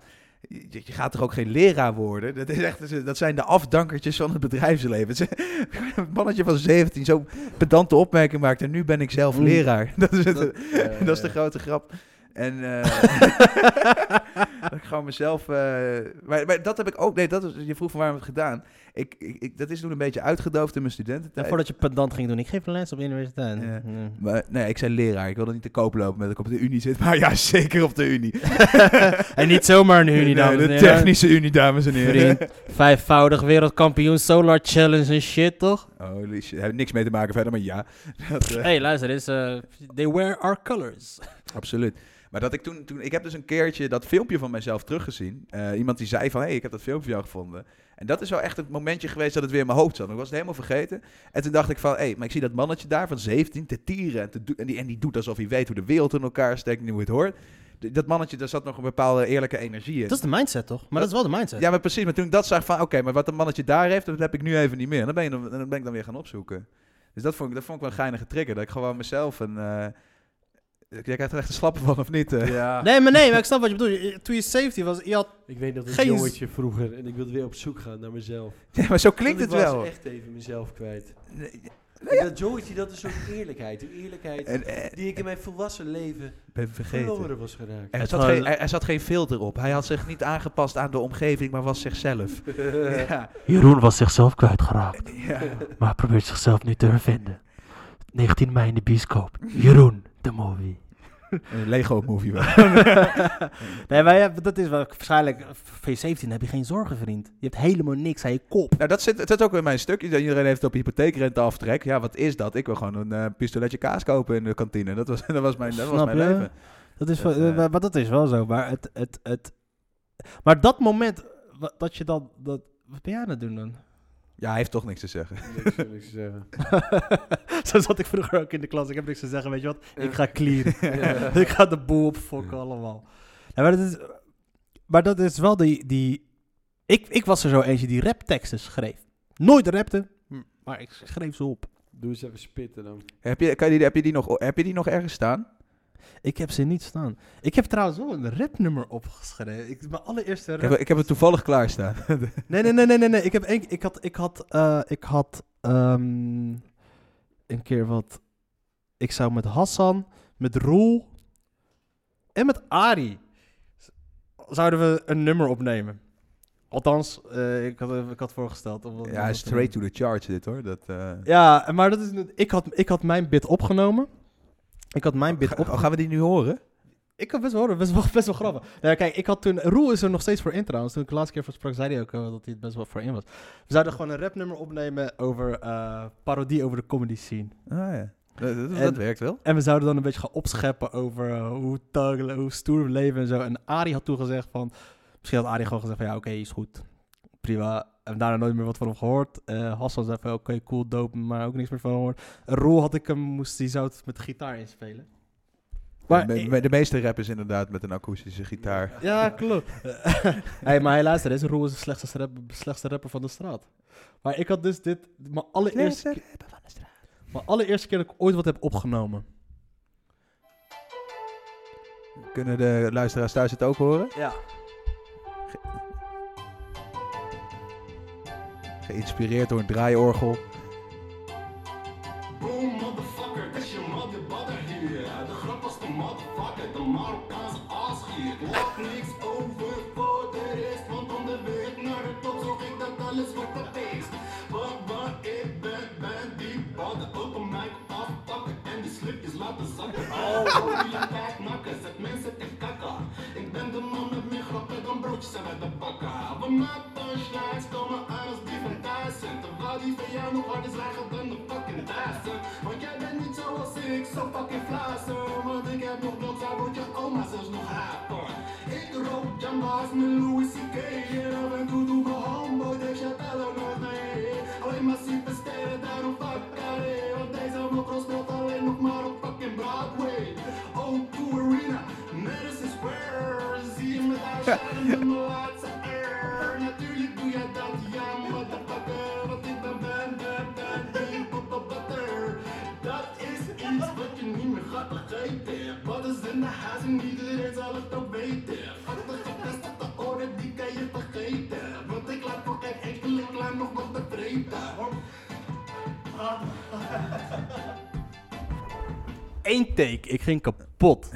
Speaker 1: je, je gaat toch ook geen leraar worden? Dat, is echt, dat zijn de afdankertjes van het bedrijfsleven. Het is- Een mannetje van 17 zo pedante opmerking maakt en nu ben ik zelf
Speaker 3: Mm.
Speaker 1: leraar. Dat eh, is, het,
Speaker 3: Dat-
Speaker 4: eh,
Speaker 1: dat is de grote grap. En eh, dat ik gewoon mezelf. eh, maar, maar dat heb ik ook. Nee, dat is, je vroeg van waarom heb ik het gedaan. Ik, ik, ik- dat is toen een beetje uitgedoofd in mijn studententijd.
Speaker 3: voordat je pedant ging doen, ik geef een les op de universiteit.
Speaker 1: Ja.
Speaker 3: Ja.
Speaker 1: Maar, nee, ik zei leraar. Ik wilde niet te koop lopen met dat ik op de Unie zit. Maar ja, zeker op de Unie.
Speaker 3: en niet zomaar een unie,
Speaker 1: Nee,
Speaker 3: dames en
Speaker 1: de
Speaker 3: heren.
Speaker 1: technische Unie, dames en heren.
Speaker 3: Vriend, vijfvoudig wereldkampioen Solar Challenge en shit, toch?
Speaker 1: Holy shit. Heb niks mee te maken verder, maar ja. Dat, eh,
Speaker 3: hey, luister eens. eh, they wear our colors.
Speaker 1: Absoluut. Maar dat ik toen, toen, ik heb dus een keertje dat filmpje van mezelf teruggezien. Eh, iemand die zei van, hé, hey, ik heb dat filmpje van jou gevonden. En dat is wel echt het momentje geweest dat het weer in mijn hoofd zat. Ik was het helemaal vergeten. En toen dacht ik van, hé, hey, maar ik zie dat mannetje daar van 17 te tieren. En, te do- en, die, en die doet alsof hij weet hoe de wereld in elkaar steekt en hoe het hoort. D- dat mannetje, daar zat nog een bepaalde eerlijke energie in.
Speaker 3: Dat is de mindset, toch? Maar dat is wel de mindset.
Speaker 1: Ja, maar precies. Maar toen ik dat zag van, oké, maar wat dat mannetje daar heeft, dat heb ik nu even niet meer. En dan ben, je, dan, dan ben ik dan weer gaan opzoeken. Dus dat vond ik, dat vond ik wel een geinige trigger. Dat ik gewoon mezelf een... eh ik krijg er echt een slappe van, of niet? eh?
Speaker 2: Ja,
Speaker 3: Nee, maar nee, maar ik snap wat je bedoelt. Je- Toen je safety was, je had...
Speaker 4: Ik weet dat het
Speaker 3: Geen-
Speaker 4: jongetje vroeger en ik wilde weer op zoek gaan naar mezelf.
Speaker 1: Ja, maar zo
Speaker 4: Want
Speaker 1: klinkt het
Speaker 4: ik
Speaker 1: wel.
Speaker 4: was echt even mezelf kwijt.
Speaker 1: Nee,
Speaker 4: En dat jongetje, dat is zo'n eerlijkheid. Een eerlijkheid
Speaker 1: En, eh,
Speaker 4: die ik in mijn volwassen leven
Speaker 1: ben vergeten.
Speaker 4: verloren was geraakt.
Speaker 1: Er
Speaker 3: Het
Speaker 1: zat,
Speaker 3: was-
Speaker 1: geen, er, er zat geen filter op. Hij had zich niet aangepast aan de omgeving, maar was zichzelf.
Speaker 4: Eh,
Speaker 1: ja.
Speaker 5: Jeroen was zichzelf kwijtgeraakt,
Speaker 1: ja.
Speaker 5: maar probeert zichzelf nu te hervinden. 19 mei in de bioscoop. Jeroen, de movie.
Speaker 1: Een Lego-movie wel.
Speaker 3: Nee, maar ja, dat is wel waarschijnlijk... Voor je safety heb je geen zorgen, vriend. Je hebt helemaal niks aan je kop.
Speaker 1: Nou, dat zit, dat zit ook in mijn stuk. Iedereen heeft het op hypotheekrenteaftrek. Ja, wat is dat? Ik wil gewoon een eh, pistoletje kaas kopen in de kantine. Dat was, dat was mijn, dat was
Speaker 3: Snap
Speaker 1: mijn
Speaker 3: je?
Speaker 1: leven.
Speaker 3: Dat is,
Speaker 1: Dat,
Speaker 3: wel-
Speaker 1: eh,
Speaker 3: maar, maar dat is wel zo. Maar, het, het, het, maar dat moment wa- dat je dan... Dat, wat ben jij aan het doen dan?
Speaker 1: Ja, hij heeft toch niks te zeggen.
Speaker 2: niks, niks te zeggen.
Speaker 3: zo zat ik vroeger ook in de klas. Ik heb niks te zeggen, weet je wat? Ik ga clearen.
Speaker 2: Ja.
Speaker 3: ik ga de boel opfokken allemaal. Ja, maar, dat is, maar dat is wel die... die ik, ik was er zo eentje die rapteksten schreef. Nooit rapte, maar ik schreef ze op.
Speaker 2: Doe eens even spitten dan.
Speaker 1: Heb je, kan je, die- heb, je die nog, heb je die nog ergens staan?
Speaker 3: Ik heb ze niet staan. Ik heb trouwens wel een rapnummer opgeschreven. Ik, mijn allereerste
Speaker 1: Ik
Speaker 3: rap...
Speaker 1: heb, ik heb het toevallig klaarstaan.
Speaker 3: Nee, nee, nee, nee, nee, nee. Ik, heb één, ik had, ik had, eh, ik had ehm, een keer wat. Ik zou met Hassan, met Roel en met Ari z- zouden we een nummer opnemen. Althans, eh, ik, had, ik had voorgesteld. om dat
Speaker 1: Ja,
Speaker 3: nummer te
Speaker 1: straight to the charts dit hoor. Dat, eh.
Speaker 3: doen. Ja, maar dat is, nu- ik, had, ik had mijn bit opgenomen. Ik had mijn bit
Speaker 1: Ga-
Speaker 3: opgenomen.
Speaker 1: Oh, gaan we die nu horen?
Speaker 3: Ik kan best wel horen, best wel, best wel grappig. Nou, kijk, ik had toen... Roel is er nog steeds voor in trouwens. Toen ik de laatste keer voor sprak, zei hij ook eh, dat hij het best wel voor in was. We zouden gewoon een rapnummer opnemen over eh, parodie over de comedy scene.
Speaker 1: Ah, ja. Dat, dat- dat
Speaker 3: En-
Speaker 1: werkt wel.
Speaker 3: En we zouden dan een beetje gaan opscheppen over eh, hoe, tug, hoe stoer we leven en zo. En Arie had toen gezegd van... Misschien had Arie gewoon gezegd van ja, oké, is goed. Prima. En daarna nooit meer wat van hem gehoord. Eh Hassan zei van oké, cool, dope, maar ook niks meer van hem gehoord. En Roel had ik hem, moest, die zou het met gitaar inspelen.
Speaker 1: de,
Speaker 3: ik-
Speaker 1: me- de meeste rap is inderdaad met een akoestische gitaar.
Speaker 3: Ja, klopt. hey, maar helaas, er is Roel is de slechtste rapper, slechtste rapper van de straat. Maar ik had dus dit, mijn allereerste, keer- mijn allereerste keer dat ik ooit wat heb opgenomen.
Speaker 1: Kunnen de luisteraars thuis het ook horen?
Speaker 3: Ja.
Speaker 1: Geïnspireerd door een draaiorgel.
Speaker 6: Boom, motherfucker, het is je mother badder hier. De grap was de motherfucker, de Marokkaanse aas hier. Laat niks over voor de rest, want onderweg naar de top zorg ik dat alles wordt gefixt. Want waar ik ben, ben die badder open mic afpakken en die slipjes laten zakken. Oh, die tijd nakken, zet mensen te kakken. Ik ben de man met meer grappen dan broodjes en uit de bakken. We maken punchlines, komen aan als die van Tyson. Terwijl die van jou nog harder zijn dan de fucking Dyson. Want jij bent niet zoals ik, zo fucking flazen. Want ik heb nog blok, daar wordt je oma zelfs nog haten. Ik rook jamba's met Louis C.K. En af en toe doe mijn homeboy de Chatello nog er mee. Alleen maar supersterren, daarom fuck Carré. Want deze mokro speelt alleen nog maar op fucking Broadway. O2 Arena, Madison Square. Zie je me daar staan in mijn laatste air. Natuurlijk doe jij dat, ja motherfucker. Want ik ben ben, ben, ben, die pop op butter. Dat is iets wat je niet meer gaat vergeten. Wat is in de huis en iedereen zal het ook weten. Fuck de gevestigde orde, die kan je vergeten. Want ik laat voor geen enkele klein nog wat te vreten.
Speaker 3: één take. Ik ging kapot.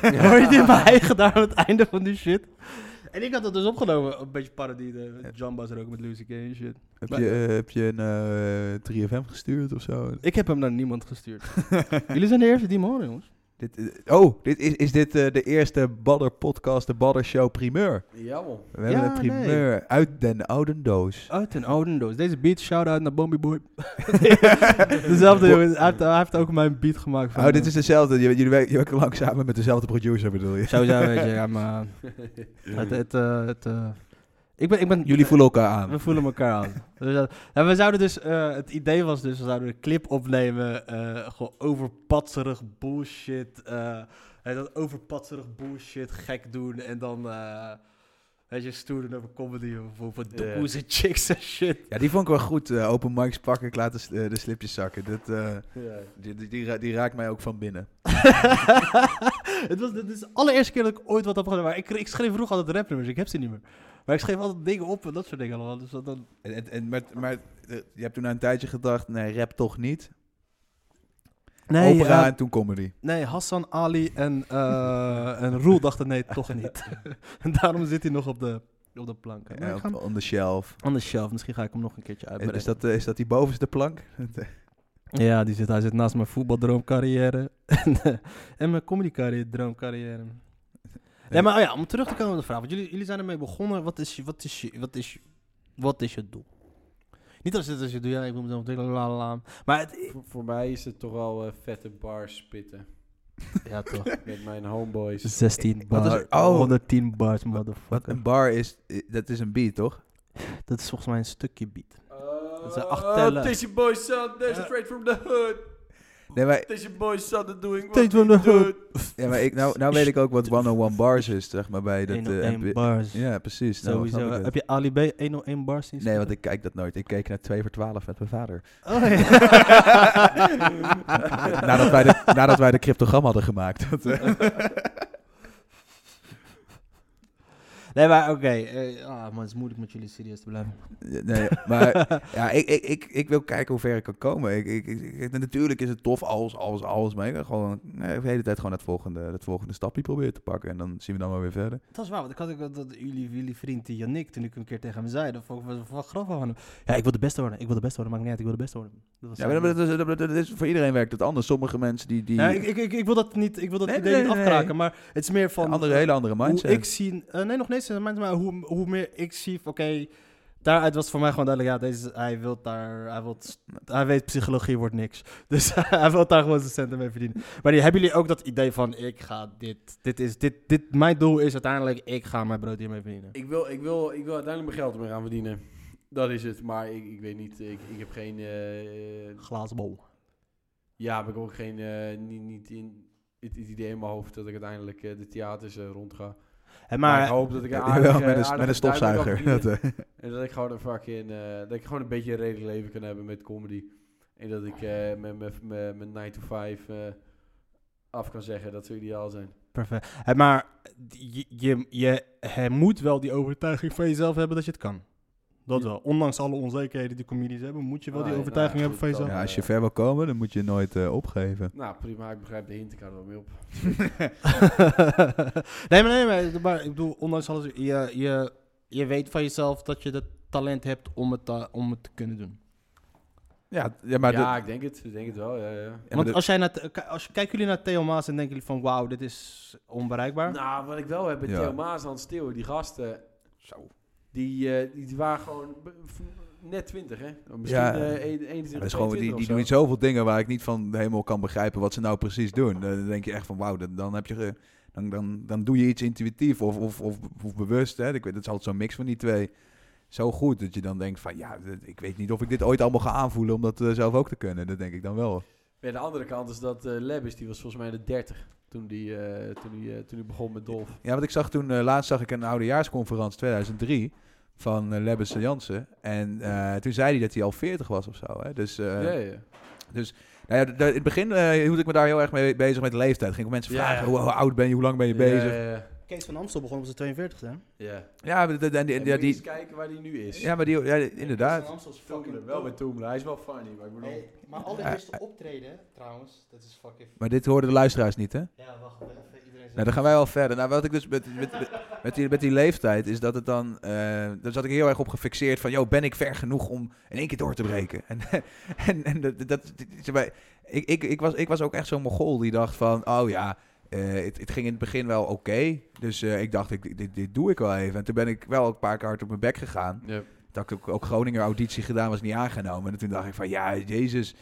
Speaker 3: Hoor je dit mijn eigen daar aan het einde van die shit? En ik had dat dus opgenomen. Een beetje parodie. De Jambas er ook met Lucy K en shit.
Speaker 1: Heb
Speaker 3: Maar-
Speaker 1: je, eh, heb je een eh, 3FM gestuurd of zo?
Speaker 3: Ik heb hem naar niemand gestuurd. Jullie zijn de eerste die me horen, jongens.
Speaker 1: Dit, eh, oh, dit is, is dit eh, de eerste Badder podcast, de Badder Show primeur?
Speaker 2: Jawel.
Speaker 1: We hebben
Speaker 3: Ja,
Speaker 1: een primeur uit den oude doos.
Speaker 3: Uit en Odendoos. Deze beat, shout-out naar Bombi Boy. Dezelfde jongens. Hij heeft, hij heeft ook mijn beat gemaakt. Van,
Speaker 1: Oh, dit is dezelfde. Jullie, jullie werken, jullie werken lang samen met dezelfde producer, bedoel je?
Speaker 3: Sowieso, weet je. Ja, maar... Het, het, eh, het, eh, ik ben, ik ben,
Speaker 1: Jullie voelen elkaar aan.
Speaker 3: We voelen elkaar aan. Dus dat- en we zouden dus, eh, het idee was dus, we zouden een clip opnemen, eh, gewoon overpatserig bullshit, eh, en dat overpatserig bullshit gek doen en dan, eh weet je, stoer doen over comedy of over
Speaker 2: Ja.
Speaker 3: doekoes en chicks en shit.
Speaker 1: Ja, die vond ik wel goed. eh, open mics pakken, ik laat de, s- eh, de slipjes zakken. Dat, eh, die, die, die, ra- die raakt mij ook van binnen.
Speaker 3: het was, dit is de allereerste keer dat ik ooit wat heb gedaan, maar ik, ik schreef vroeger altijd rapnummers, ik heb ze niet meer. Maar ik schreef altijd dingen op en dat soort dingen allemaal, dus dat dan...
Speaker 1: En, en, en maar, maar eh, je hebt toen na een tijdje gedacht, nee, rap toch niet. Opera en toen comedy.
Speaker 3: Nee, Hassan Ali en, eh en Roel dachten nee, toch niet. en daarom zit hij nog op de, op de plank. Maar
Speaker 1: Ja,
Speaker 3: ik ga hem
Speaker 1: Eh, op- on the shelf.
Speaker 3: on the shelf, misschien ga ik hem nog een keertje
Speaker 1: En Is
Speaker 3: uitbrengen.
Speaker 1: dat, eh, is dat die bovenste plank?
Speaker 3: Ja, die zit, hij zit naast mijn voetbaldroomcarrière en, eh, en mijn comedycarrière, droomcarrière. Nee, maar oh ja, om terug te komen op de vraag, want jullie, jullie zijn ermee begonnen. Wat is je, wat is je, wat is je, wat is je doel? Niet als dit is je doel, ja, ik wil mezelf ontwikkelen, la la la. Maar het,
Speaker 2: Voor, voor mij is het toch wel eh, vette bars spitten.
Speaker 3: ja toch,
Speaker 2: Met mijn homeboys.
Speaker 3: 16
Speaker 1: Wat is-
Speaker 3: bar,
Speaker 1: oh.
Speaker 3: 110 bars,
Speaker 1: Wat
Speaker 3: motherfucker.
Speaker 1: een bar is, eh, dat is een beat, toch?
Speaker 3: Dat is volgens mij een stukje beat.
Speaker 2: Dat
Speaker 4: Eh,
Speaker 3: zijn acht tellen.
Speaker 2: Tissie boys son, they're straight from the hood.
Speaker 1: Nee, maar,
Speaker 2: Tissie boys son, they're doing what
Speaker 3: Steeds van
Speaker 2: we
Speaker 3: de hood.
Speaker 2: do.
Speaker 1: ja, maar ik, nou, nou weet ik ook wat 101 bars is, zeg maar. Bij dat, eh, MP-
Speaker 3: bars.
Speaker 1: ja, precies. Nou,
Speaker 3: Sowieso.
Speaker 1: snap ik het.
Speaker 3: Heb je Ali B 101 bars sinds?
Speaker 1: Nee, want ik kijk dat nooit. Ik keek naar 2 voor 12 met mijn vader.
Speaker 3: Oh, ja.
Speaker 1: nadat, wij de, nadat wij de cryptogram hadden gemaakt. Dat, eh.
Speaker 3: Nee, maar oké. eh, ah, maar het is moeilijk met jullie serieus te blijven.
Speaker 1: nee, maar ja, ik, ik, ik, ik wil kijken hoe ver ik kan komen. Ik, ik, ik- ik- natuurlijk is het tof, alles, alles, alles. Maar ik wil gewoon nee, de hele tijd gewoon het volgende, het volgende stapje proberen te pakken. En dan zien we dan wel weer verder.
Speaker 3: Dat is waar, want ik had ook dat, dat jullie, jullie vriend die Yannick, toen ik een keer tegen hem zei, dat vond ik wel wel grappig van hem. Ja, ik wil de beste worden, ik wil de beste worden, maakt niet uit, ik wil de beste worden. Dat was
Speaker 1: Ja,
Speaker 3: zijn
Speaker 1: maar dat,
Speaker 3: ding.
Speaker 1: dat- dat- dat is, voor iedereen werkt het anders. Sommige mensen die... die
Speaker 3: Nee, ik, ik, ik, ik wil dat niet, ik wil dat
Speaker 1: Nee,
Speaker 3: idee
Speaker 1: nee,
Speaker 3: niet
Speaker 1: nee,
Speaker 3: afkraken,
Speaker 1: nee.
Speaker 3: maar het is meer van...
Speaker 1: andere, hele andere mindset.
Speaker 3: Hoe ik zie, eh, nee, nog niet eens, maar hoe, hoe meer ik zie, oké, daaruit was het voor mij gewoon duidelijk, ja, deze, hij wil daar, hij, wil, hij weet psychologie wordt niks. Dus hij wil daar gewoon zijn centen mee verdienen. Maar die, hebben jullie ook dat idee van, ik ga dit, dit is, dit, dit, mijn doel is uiteindelijk, ik ga mijn brood hiermee verdienen.
Speaker 2: Ik wil, ik, wil, ik wil uiteindelijk mijn geld ermee gaan verdienen. Dat is het. Maar ik, ik weet niet, ik, ik heb geen... eh,
Speaker 3: Glaasbol.
Speaker 2: ja, heb ik ook geen... eh, niet, niet in het, het idee in mijn hoofd dat ik uiteindelijk eh, de theaters eh, rond ga.
Speaker 3: En
Speaker 2: Maar,
Speaker 3: maar,
Speaker 2: ik hoop dat ik een
Speaker 1: Ja,
Speaker 2: aardige,
Speaker 1: wel, met een,
Speaker 2: aardige
Speaker 1: met een
Speaker 2: duim kan
Speaker 1: stofzuiger.
Speaker 2: verdienen.
Speaker 1: Dat, eh.
Speaker 2: En dat ik gewoon een fucking, eh dat ik gewoon een beetje een redelijk leven kan hebben met comedy. En dat ik eh, met met- met mijn 9 to 5 eh, af kan zeggen dat ze ideaal zijn.
Speaker 3: perfect. En maar je, je, je, hij moet wel die overtuiging van jezelf hebben dat je het kan. Dat wel. Ondanks alle onzekerheden die comedies hebben, moet je wel
Speaker 2: Ah,
Speaker 3: die
Speaker 2: ja,
Speaker 3: overtuiging
Speaker 2: nou ja,
Speaker 3: hebben van
Speaker 2: goed,
Speaker 3: jezelf.
Speaker 2: dan-
Speaker 1: Ja, als je ver wil komen, dan moet je nooit eh, opgeven.
Speaker 2: Nou, prima, ik begrijp de hint, ik hou er wel mee op.
Speaker 3: nee, maar, nee, maar, maar ik bedoel, ondanks alles, je, je, je weet van jezelf dat je het talent hebt om het, eh, om het te kunnen doen.
Speaker 1: Ja, ja maar
Speaker 2: ja, ik denk het, ik denk het wel, ja, ja.
Speaker 1: Ja, maar
Speaker 3: Want
Speaker 1: dat-
Speaker 3: als, jij naar, te- als kijken jullie naar Theo Maas en denken jullie van, wauw, dit is onbereikbaar.
Speaker 2: Nou, wat ik wel heb met
Speaker 1: Ja.
Speaker 2: Theo Maas, Hans Steeuwen, die gasten, zo. Die, eh, die, die waren gewoon b- v- net 20, hè? Misschien
Speaker 1: Ja.
Speaker 2: eh, een- 21,
Speaker 1: Ja, dat is gewoon, die,
Speaker 2: 22
Speaker 1: die
Speaker 2: of zo.
Speaker 1: doen zoveel dingen waar ik niet van helemaal kan begrijpen wat ze nou precies doen. Eh, Dan denk je echt van wauw, dan, dan heb je. ge- dan, dan, dan doe je iets intuïtief of, of, of, of bewust. Hè. Ik weet, dat is altijd zo'n mix van die twee. Zo goed dat je dan denkt van ja, d- ik weet niet of ik dit ooit allemaal ga aanvoelen om dat eh, zelf ook te kunnen. Dat denk ik dan wel.
Speaker 2: Ja, de andere kant is dat eh Lebbes, die was volgens mij de 30 toen die, eh, toen die, eh, toen die begon met Dolf.
Speaker 1: Ja, want ik zag toen, eh, laatst zag ik een oudejaarsconferentie 2003 van eh Lebbes en Jansen. En eh, toen zei hij dat hij al 40 was of zo. Hè. Dus eh,
Speaker 2: ja, ja.
Speaker 1: Nou ja, d- d- in het begin eh hield ik me daar heel erg mee bezig met leeftijd. Ging ik mensen
Speaker 2: Ja,
Speaker 1: vragen,
Speaker 2: ja.
Speaker 1: Hoe, hoe oud ben je, hoe lang ben je bezig?
Speaker 2: Ja, ja, ja.
Speaker 3: Kees van Amstel begon op zijn 42e. hè?
Speaker 2: Ja.
Speaker 1: Ja, maar dat- en die- en
Speaker 2: En
Speaker 1: die-
Speaker 2: moet je eens
Speaker 1: die-
Speaker 2: kijken waar hij nu is.
Speaker 1: ja, maar die, ja,
Speaker 3: Kees van
Speaker 1: inderdaad.
Speaker 3: Amstel is
Speaker 2: Toemler,
Speaker 3: fucking
Speaker 2: wel
Speaker 3: dope.
Speaker 2: met Toemler. Hij is wel funny, maar ik bedoel...
Speaker 7: Hey, maar allereerste optreden, trouwens, dat is fucking...
Speaker 1: Maar dit hoorden de luisteraars niet, hè?
Speaker 7: Ja, wacht even, iedereen
Speaker 1: Nou, dan gaan wij al verder. Nou, wat ik dus met, met, met, met die, met die leeftijd is dat het dan. eh daar zat ik heel erg op gefixeerd van. Yo, ben ik ver genoeg om in één keer door te breken? En, en, en dat. dat zeg maar, ik, ik, ik, was, ik was ook echt zo'n Mogol die dacht van. Oh ja, eh, het, het ging in het begin wel oké. dus eh, ik dacht, ik, dit, dit doe ik wel even. En toen ben ik wel een paar keer hard op mijn bek gegaan.
Speaker 2: Ja.
Speaker 1: Dat had ik ook, ook Groninger auditie gedaan, was niet aangenomen. En toen dacht ik van, ja, jezus,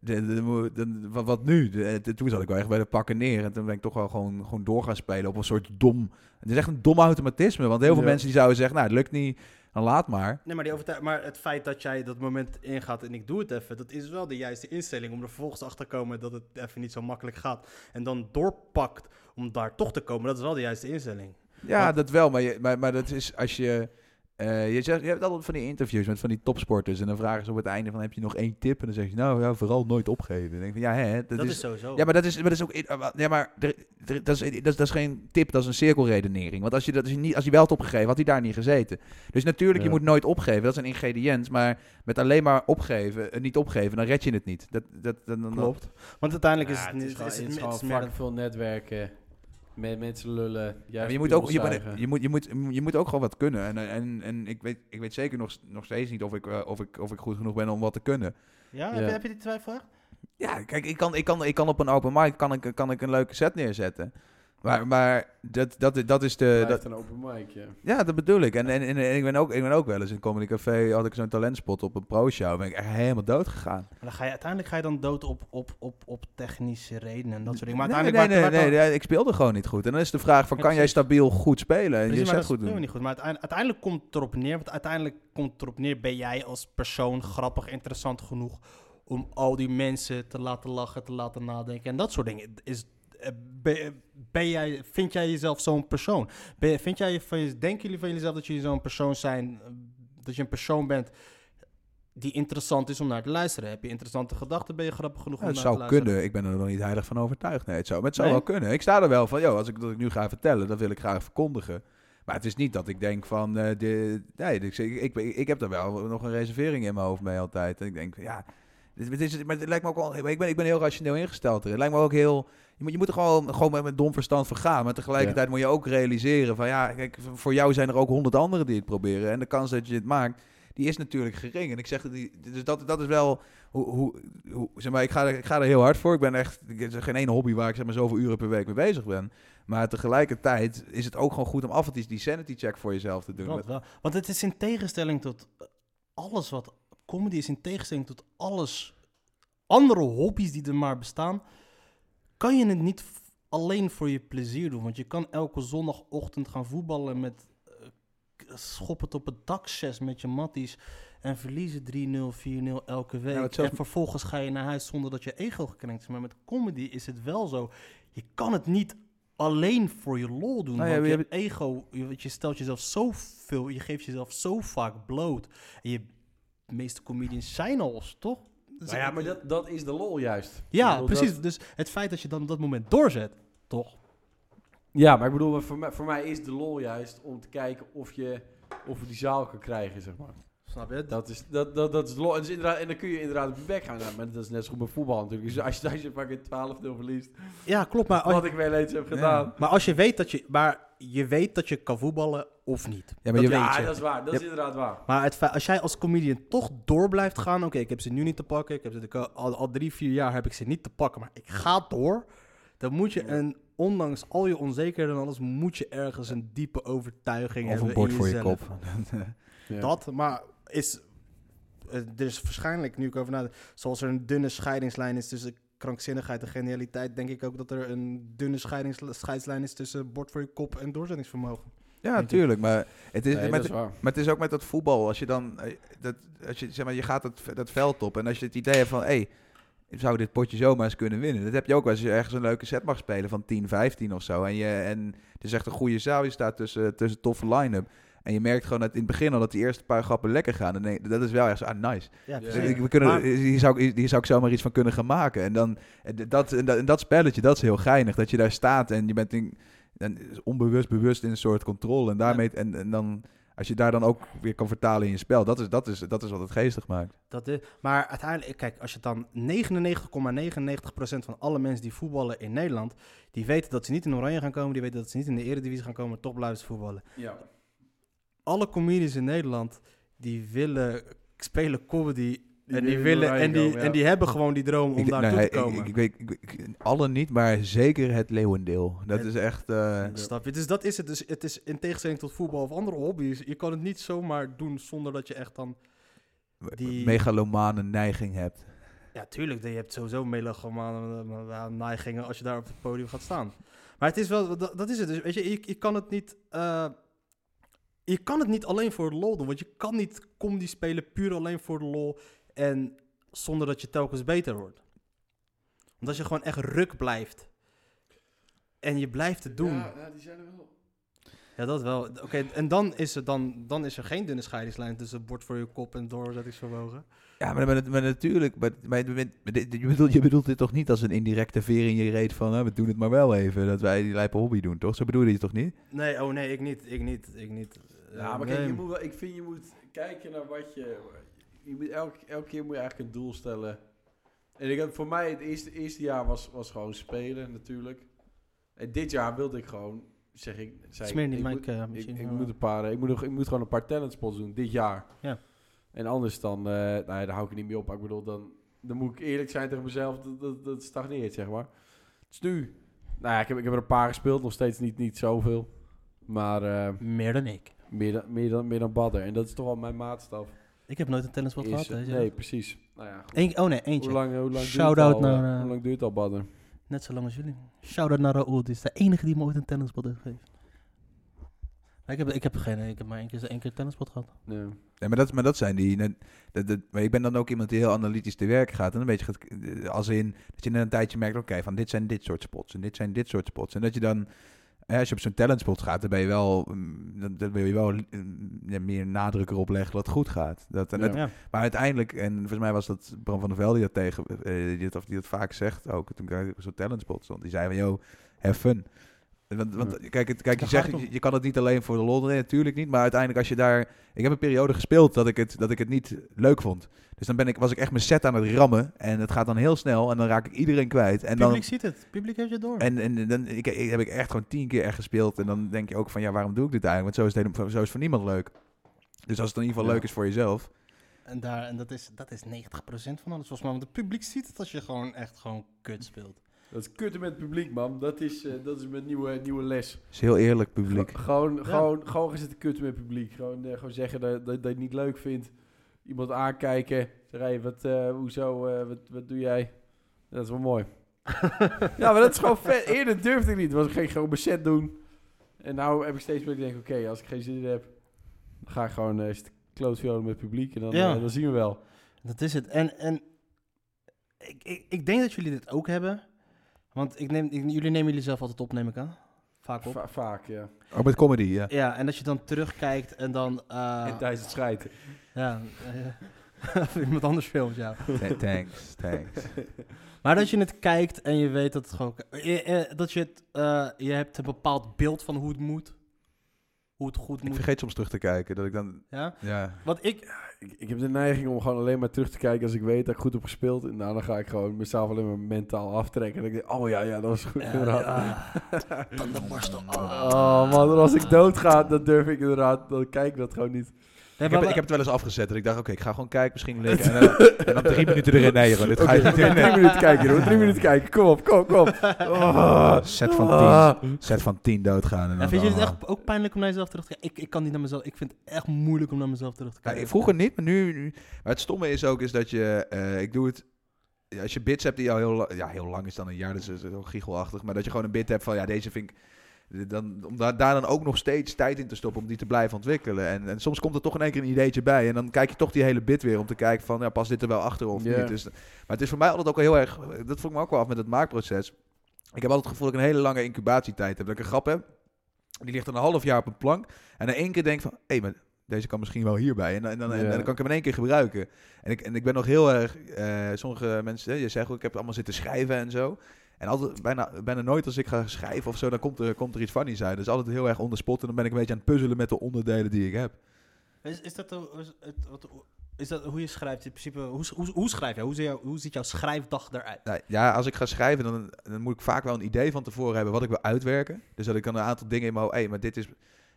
Speaker 1: de- de- de- de- wat, wat nu? De- de- toen zat ik wel echt bij de pakken neer. En toen ben ik toch wel gewoon, gewoon door gaan spelen op een soort dom... Het is echt een dom automatisme, want heel veel
Speaker 2: Ja.
Speaker 1: mensen die zouden zeggen, nou, het lukt niet, dan laat maar.
Speaker 3: Nee, maar, die overtuig- maar het feit dat jij dat moment ingaat en ik doe het even, dat is wel de juiste instelling om er vervolgens achter te komen dat het even niet zo makkelijk gaat. En dan doorpakt om daar toch te komen, dat is wel de juiste instelling.
Speaker 1: Ja,
Speaker 3: Want-
Speaker 1: dat wel, maar, je, maar, maar dat is als je... eh, je, zegt, je hebt altijd van die interviews met van die topsporters. En dan vragen ze op het einde van, heb je nog één tip? En dan zeg je, nou ja, vooral nooit opgeven. En dan denk ik van, ja, hè,
Speaker 3: Dat,
Speaker 1: dat is
Speaker 3: is sowieso.
Speaker 1: Ja, maar dat is, maar dat is ook. eh, Ja, maar er- er- dat, is, dat, is, dat is geen tip, dat is een cirkelredenering. Want als je, dat, als je, niet, als je wel had opgegeven, had hij daar niet gezeten. Dus natuurlijk, je
Speaker 2: Ja.
Speaker 1: moet nooit opgeven. Dat is een ingrediënt. Maar met alleen maar opgeven, eh, niet opgeven, dan red je het niet. Dat, dat, dan- dan-
Speaker 3: Klopt. Want uiteindelijk is
Speaker 2: Ja,
Speaker 3: het, niet-
Speaker 2: gewoon-
Speaker 3: is het,
Speaker 2: het is gewoon
Speaker 3: het is meer
Speaker 2: fucking veel netwerken. Met mensen lullen.
Speaker 1: Ja,
Speaker 2: Ja,
Speaker 1: maar je moet ook, je, maar je, moet, je, moet, je moet ook gewoon wat kunnen. En, eh, en, en ik, weet, ik weet zeker nog, nog steeds niet of ik, eh, of, ik, of ik goed genoeg ben om wat te kunnen.
Speaker 3: dan- ja,
Speaker 2: Ja.
Speaker 3: Heb, je, heb je die twijfel echt?
Speaker 1: Ja, kijk, ik kan, ik kan, ik kan op een open mic kan ik, kan ik een leuke set neerzetten. Maar, maar dat, dat, dat is de. eh, Dat,
Speaker 2: dat een open mic, ja.
Speaker 1: Ja, dat bedoel ik. En, en, en, en ik, ben ook, ik ben ook wel eens in Comedy Café, had ik zo'n talentspot op een pro-show. Ben ik echt helemaal dood gegaan.
Speaker 3: Maar dan ga je, uiteindelijk ga je dan dood op, op, op, op technische redenen en dat soort dingen. Maar
Speaker 1: nee,
Speaker 3: uiteindelijk
Speaker 1: nee, nee,
Speaker 3: maakt- maakt
Speaker 1: nee, nee, ik speelde gewoon niet goed. En dan is de vraag van,
Speaker 3: Ja,
Speaker 1: kan jij
Speaker 3: precies.
Speaker 1: stabiel goed spelen en
Speaker 3: Precies,
Speaker 1: eh, je
Speaker 3: maar
Speaker 1: set
Speaker 3: dat
Speaker 1: goed
Speaker 3: doen we
Speaker 1: doen?
Speaker 3: niet goed. Maar uiteindelijk, uiteindelijk komt het erop neer. Want uiteindelijk komt het erop neer. Ben jij als persoon grappig, interessant genoeg om al die mensen te laten lachen, te laten nadenken en dat soort dingen? Is, eh, ben, ben jij, vind jij jezelf zo'n persoon? Ben, je- vind jij je van je, denken jullie van jezelf dat jullie zo'n persoon zijn? eh, Dat je een persoon bent die interessant is om naar te luisteren? Heb je interessante gedachten? Ben je grappig genoeg
Speaker 1: Ja,
Speaker 3: om
Speaker 1: het
Speaker 3: naar
Speaker 1: zou
Speaker 3: te luisteren?
Speaker 1: kunnen. Ik ben er nog niet heilig van overtuigd. Nee, het zou, maar het zou
Speaker 3: Nee?
Speaker 1: wel kunnen. Ik sta er wel van, joh, als ik dat ik nu ga vertellen, dat wil ik graag verkondigen. Maar het is niet dat ik denk van, eh, de, nee, ik, ik, ik, ik heb daar wel nog een reservering in mijn hoofd mee altijd. En ik denk, ja, dit, dit is, maar het lijkt me ook wel, ik ben, ik ben heel rationeel ingesteld. erin. Het lijkt me ook heel, je moet, je moet er gewoon, gewoon met, met dom verstand van gaan. Maar tegelijkertijd moet je ook realiseren van, ja, kijk, voor jou zijn er ook honderd anderen die het proberen. En de kans dat je het maakt, die is natuurlijk gering. En ik zeg, dat die, dus dat, dat is wel hoe, hoe, hoe- zeg maar, ik, ga er, ik ga er heel hard voor. Ik ben echt, ik er is geen ene hobby waar ik zeg maar zoveel uren per week mee bezig ben. Maar tegelijkertijd is het ook gewoon goed om af en toe die sanity check voor jezelf te doen.
Speaker 3: Dat wel. Want het is in tegenstelling tot eh, alles wat. Comedy is in tegenstelling tot alles. Andere hobby's die er maar bestaan. Kan je het niet f- alleen voor je plezier doen. Want je kan elke zondagochtend gaan voetballen met. eh, k- schoppend op het dak 6 met je matties. En verliezen 3-0, 4-0 elke week.
Speaker 1: want zelfs-
Speaker 3: En vervolgens ga je naar huis zonder dat je ego gekrenkt is. Maar met comedy is het wel zo. Je kan het niet alleen voor je lol doen.
Speaker 1: Nou ja,
Speaker 3: want
Speaker 1: je
Speaker 3: je ego, je, want je stelt jezelf zoveel, je geeft jezelf zo vaak bloot. En je de meeste comedians zijn al, eens, toch? Dus-
Speaker 2: Nou ja, maar dat, dat is de lol juist. Ik
Speaker 3: Ja,
Speaker 2: bedoel,
Speaker 3: precies.
Speaker 2: dat-
Speaker 3: Dus het feit dat je dan op dat moment doorzet, toch?
Speaker 2: ja, maar ik bedoel, voor mij, voor mij is de lol juist om te kijken of je, of we die zaal kan krijgen, zeg maar.
Speaker 3: Snap je?
Speaker 2: Dat is, dat, dat, dat is lol. En, dus inderdaad, en dan kun je inderdaad op je bek gaan. Nou, maar dat is net zo goed bij voetbal natuurlijk. Dus als je, als je pakken 12-0 verliest,
Speaker 3: ja, klopt. Maar als,
Speaker 2: wat ik wel eens heb gedaan.
Speaker 3: maar als je weet dat je, maar je weet dat je kan voetballen of niet.
Speaker 1: Ja, maar
Speaker 3: dat
Speaker 1: je-
Speaker 2: Ja,
Speaker 3: weet
Speaker 2: dat,
Speaker 3: je.
Speaker 2: is waar. Dat is inderdaad waar.
Speaker 3: Maar het feit- als jij als comedian toch door blijft gaan... Oké, ik heb ze nu niet te pakken. Ik heb ze de ko- al, al drie, vier jaar heb ik ze niet te pakken. Maar ik ga door. Dan moet je een... Ondanks al je onzekerheden en alles... moet je ergens een diepe overtuiging
Speaker 1: Of
Speaker 3: hebben
Speaker 1: een bord
Speaker 3: in
Speaker 1: voor je
Speaker 3: jezelf.
Speaker 1: kop.
Speaker 3: Dat, maar is... eh, Er is waarschijnlijk, nu ik over nadenk... Zoals er een dunne scheidingslijn is tussen krankzinnigheid en genialiteit... denk ik ook dat er een dunne scheidings- scheidslijn is... tussen bord voor je kop en doorzettingsvermogen.
Speaker 1: Ja, natuurlijk. Maar het is,
Speaker 2: Nee,
Speaker 1: maar,
Speaker 2: dat is waar.
Speaker 1: maar het is ook met dat voetbal. Als je dan, eh, dat, als je, zeg maar, je gaat dat, dat veld op en als je het idee hebt van, hé, hey, ik zou dit potje zomaar eens kunnen winnen. Dat heb je ook wel eens als je ergens een leuke set mag spelen van 10, 15 of zo. En, je, en het is echt een goede zaal. Je staat tussen, tussen toffe line-up. En je merkt gewoon dat in het begin al dat die eerste paar grappen lekker gaan. En nee, dat is wel echt zo, ah, nice.
Speaker 3: Ja,
Speaker 2: precies.
Speaker 1: Dus
Speaker 2: Zeker.
Speaker 1: ik- We kunnen,
Speaker 3: Maar-
Speaker 1: hier, zou, ik- hier zou ik zomaar iets van kunnen gaan maken. En, dan, en dat, en dat, en dat spelletje, dat is heel geinig. Dat je daar staat en je bent in... dan is onbewust bewust in een soort controle. En daarmee, en, en dan, als je daar dan ook weer kan vertalen in je spel, dat is, dat is, dat is wat het geestig maakt.
Speaker 3: Dat is, maar uiteindelijk, kijk, als je dan 99,99% van alle mensen die voetballen in Nederland, die weten dat ze niet in Oranje gaan komen, die weten dat ze niet in de Eredivisie gaan komen, topluister voetballen.
Speaker 2: Ja.
Speaker 3: Alle comedies in Nederland, die willen spelen comedy en die,
Speaker 2: in
Speaker 3: willen,
Speaker 2: Oranje
Speaker 3: en, die,
Speaker 2: komen, ja.
Speaker 3: en die hebben gewoon die droom om
Speaker 1: Ik-
Speaker 3: daar
Speaker 1: nou,
Speaker 3: naartoe
Speaker 1: ik-
Speaker 3: te komen.
Speaker 1: Ik, ik weet, ik, ik- alle niet, maar zeker het leeuwendeel. Dat
Speaker 3: En-
Speaker 1: is echt... eh,
Speaker 3: Snap je? Dus dat is het. Dus het is in tegenstelling tot voetbal of andere hobby's. Je kan het niet zomaar doen zonder dat je echt dan... Die-
Speaker 1: megalomane neiging hebt.
Speaker 3: Ja, tuurlijk. Je hebt sowieso melagomane neigingen als je daar op het podium gaat staan. Maar het is wel... Dat, dat is het. Dus weet je, je, je kan het niet... eh, je kan het niet alleen voor de lol doen. Want je kan niet comedy spelen puur alleen voor de lol. En zonder dat je telkens beter wordt. Omdat je gewoon echt ruk blijft. En je blijft het doen.
Speaker 2: Ja, die zijn er wel.
Speaker 3: Ja, dat wel. Oké, en dan is, er dan, dan is er geen dunne scheidingslijn tussen bord voor je kop en doorzettingsvermogen.
Speaker 1: Ja, maar, maar, maar natuurlijk, maar, maar, maar- maar dit- je, bedoelt, je bedoelt dit toch niet als een indirecte veer in je reet van hè, we doen het maar wel even, dat wij die lijpe hobby doen, toch? Zo bedoel je het toch niet?
Speaker 3: Nee, oh nee, ik niet. Ik niet. Ik niet. Eh,
Speaker 2: Ja, maar kijk, je moet wel, ik vind je moet kijken naar wat je... je moet elke, elke keer moet je eigenlijk een doel stellen. En ik heb, voor mij het eerste, eerste jaar was, was gewoon spelen natuurlijk. En dit jaar wilde ik gewoon, zeg ik... Zei ik,
Speaker 3: Smeer niet
Speaker 2: ik
Speaker 3: mijn
Speaker 2: moet-
Speaker 3: eh,
Speaker 2: ik,
Speaker 3: machine.
Speaker 2: ik, moet een paar, eh, ik, moet nog, ik moet gewoon een paar talentspots doen dit jaar.
Speaker 3: Ja.
Speaker 2: En anders dan, eh nou ja, daar hou ik er niet mee op. Maar ik bedoel, dan, dan moet ik eerlijk zijn tegen mezelf, dat, dat, dat stagneert, zeg maar. Dus nu, nou ja, ik heb, ik heb er een paar gespeeld, nog steeds niet, niet zoveel. Maar eh,
Speaker 3: Meer dan ik.
Speaker 2: meer, dan, meer, dan, meer dan badder. En dat is toch al mijn maatstaf.
Speaker 3: Ik heb nooit een tennisbal
Speaker 2: Is,
Speaker 3: gehad.
Speaker 2: eh,
Speaker 3: hè,
Speaker 2: nee, precies. Nou ja, goed.
Speaker 3: Eén, oh nee, eentje.
Speaker 2: Hoe lang, hoe lang duurt het
Speaker 3: Shout-out
Speaker 2: al,
Speaker 3: naar,
Speaker 2: eh,
Speaker 3: eh,
Speaker 2: hoe lang duurt het al badder?
Speaker 3: Net zo lang als jullie. Shout-out naar Raoul. Die is de enige die me ooit een tennisbal heeft gegeven. Maar Ik heb, ik heb, geen, ik heb maar één keer, één keer tennisbal gehad.
Speaker 2: Ja.
Speaker 1: Nee, maar, dat, maar dat zijn die... net- Dat, dat, maar ik ben dan ook iemand die heel analytisch te werk gaat. En een beetje gaat, eh, als in, dat je na een tijdje merkt, oké, van dit zijn dit soort spots en dit zijn dit soort spots. En dat je dan, hè, als je op zo'n talentspot gaat, dan ben je wel, mm, dan, dan wil je wel mm, ja, meer nadruk erop leggen dat het goed gaat. Dat, en
Speaker 2: Ja.
Speaker 1: dat- Maar uiteindelijk, en volgens mij was dat Bram van der Velde die dat tegen, eh, die, dat, of die dat vaak zegt ook, toen ik op zo'n talentspot stond. Die zei van, yo, have fun. Want, want kijk, het, kijk je,
Speaker 3: Daar
Speaker 1: zegt,
Speaker 3: gaat het
Speaker 1: je, je kan het niet alleen voor de lol, nee, natuurlijk niet. Maar uiteindelijk als je daar... Ik heb een periode gespeeld dat ik het, dat ik het niet leuk vond. Dus dan ben ik, was ik echt mijn set aan het rammen. En het gaat dan heel snel en dan raak ik iedereen kwijt. En dan,
Speaker 3: Publiek ziet het. Publiek heeft je door.
Speaker 1: en, en dan ik, ik- heb ik echt gewoon tien keer echt gespeeld. En dan denk je ook van, ja, waarom doe ik dit eigenlijk? Want zo is het, helemaal- zo is het voor niemand leuk. Dus als het in ieder geval
Speaker 2: Ja.
Speaker 1: leuk is voor jezelf...
Speaker 3: En, daar, en dat, is, dat is 90% van alles volgens mij. Want het publiek ziet het als je gewoon echt gewoon kut speelt.
Speaker 2: Dat is kutten met het publiek, man. Dat is, eh, dat is mijn nieuwe, nieuwe les.
Speaker 1: is heel eerlijk publiek.
Speaker 2: Ge- Gewoon,
Speaker 3: Ja.
Speaker 2: gewoon, gewoon gaan zitten kutten met het publiek. Gewoon, eh, gewoon zeggen dat, dat, dat je het niet leuk vindt. Iemand aankijken. Zeg, hey, wat, eh, hoezo, eh, wat, wat doe jij? Dat is wel mooi. ja, maar dat is gewoon vet. Eerder durfde ik niet. Want ik ging gewoon mijn set doen. En nou heb ik steeds meer, ik denk, oké, als ik geen zin in heb, dan ga ik gewoon eh zitten klootviolen met het publiek. En dan,
Speaker 3: Ja.
Speaker 2: eh, dan zien we wel.
Speaker 3: Dat is het. En, en ik, ik, ik denk dat jullie dit ook hebben. Want ik neem, ik- jullie nemen jullie zelf altijd op, neem ik aan. Vaak op.
Speaker 2: Va- vaak, ja.
Speaker 1: Ook Oh, met comedy, ja.
Speaker 3: Ja, en dat je dan terugkijkt en dan...
Speaker 1: Ah.
Speaker 3: eh,
Speaker 2: En tijdens het schijten.
Speaker 3: ja, eh, of iemand anders filmt, ja.
Speaker 1: Th- Thanks, thanks.
Speaker 3: Maar dat je het kijkt en je weet dat het gewoon... eh, eh, Dat je het... eh, je hebt een bepaald beeld van hoe het moet. Hoe het goed
Speaker 1: ik
Speaker 3: moet.
Speaker 1: vergeet soms terug te kijken dat ik dan.
Speaker 3: Ja?
Speaker 1: Ja.
Speaker 3: Want ik,
Speaker 2: Ik, ik heb de neiging om gewoon alleen maar terug te kijken als ik weet dat ik goed heb gespeeld. En nou, dan ga ik gewoon mezelf alleen maar mentaal aftrekken. En ik denk, oh ja, ja, dat was
Speaker 3: eh,
Speaker 2: goed. inderdaad. Oh man, en als ik doodga, dan durf ik inderdaad, dan kijk ik dat gewoon niet.
Speaker 1: Ik
Speaker 3: Nee, maar
Speaker 1: heb,
Speaker 3: wa-
Speaker 1: ik heb het wel eens afgezet. Dat ik dacht, oké, ik ga gewoon kijken, misschien liggen. En, dan- en dan drie minuten erin. Nee, joh, dit ga je
Speaker 2: Oké,
Speaker 1: niet in.
Speaker 2: drie minuten kijken, hoor. Drie minuten kijken. Kom op, kom op, kom op. Ah.
Speaker 1: Set van tien. Set van tien doodgaan. En dan
Speaker 3: En vind je het
Speaker 1: oh.
Speaker 3: echt ook pijnlijk om naar jezelf terug te kijken? Ik, ik kan niet naar mezelf. Ik vind het echt moeilijk om naar mezelf terug te
Speaker 1: Ja, Nou,
Speaker 3: kijken.
Speaker 1: ik- vroeger niet, maar nu, nu- Maar het stomme is ook is dat je. eh, ik doe het. ja, Als je bits hebt die al heel, la- ja, heel lang is dan een jaar, dus dat is heel giechelachtig. Maar dat je gewoon een bit hebt van ja, deze vind ik. Dan, om daar, daar dan ook nog steeds tijd in te stoppen om die te blijven ontwikkelen. En, en soms komt er toch in één keer een ideetje bij. En dan kijk je toch die hele bit weer om te kijken van ja, past dit er wel achter of
Speaker 2: Ja.
Speaker 1: niet. Dus, maar het is voor mij altijd ook heel erg. Dat vroeg ik me ook wel af met het maakproces. Ik heb altijd het gevoel dat ik een hele lange incubatietijd heb. Dat ik een grap heb. Die ligt dan een half jaar op een plank. En in één keer denk ik van, hé, maar deze kan misschien wel hierbij. En, dan- en, dan, en,
Speaker 2: Ja.
Speaker 1: dan kan ik hem in één keer gebruiken. En ik, en ik ben nog heel erg... eh, sommige mensen, hè, je zegt ook, ik heb allemaal zitten schrijven en zo. En altijd, bijna, bijna nooit als ik ga schrijven of zo, dan komt er, komt er iets funnies uit. Dus altijd heel erg on the spot en dan ben ik een beetje aan het puzzelen met de onderdelen die ik heb.
Speaker 3: Is, is, dat, de- is, het- wat- is dat hoe je schrijft? In principe, hoe, hoe, hoe schrijf jij? Hoe, zie jou- hoe ziet jouw schrijfdag eruit?
Speaker 1: Nou, ja, als ik ga schrijven, dan, dan moet ik vaak wel een idee van tevoren hebben wat ik wil uitwerken. Dus dat ik dan een aantal dingen in mijn hoofd, hé, maar dit is...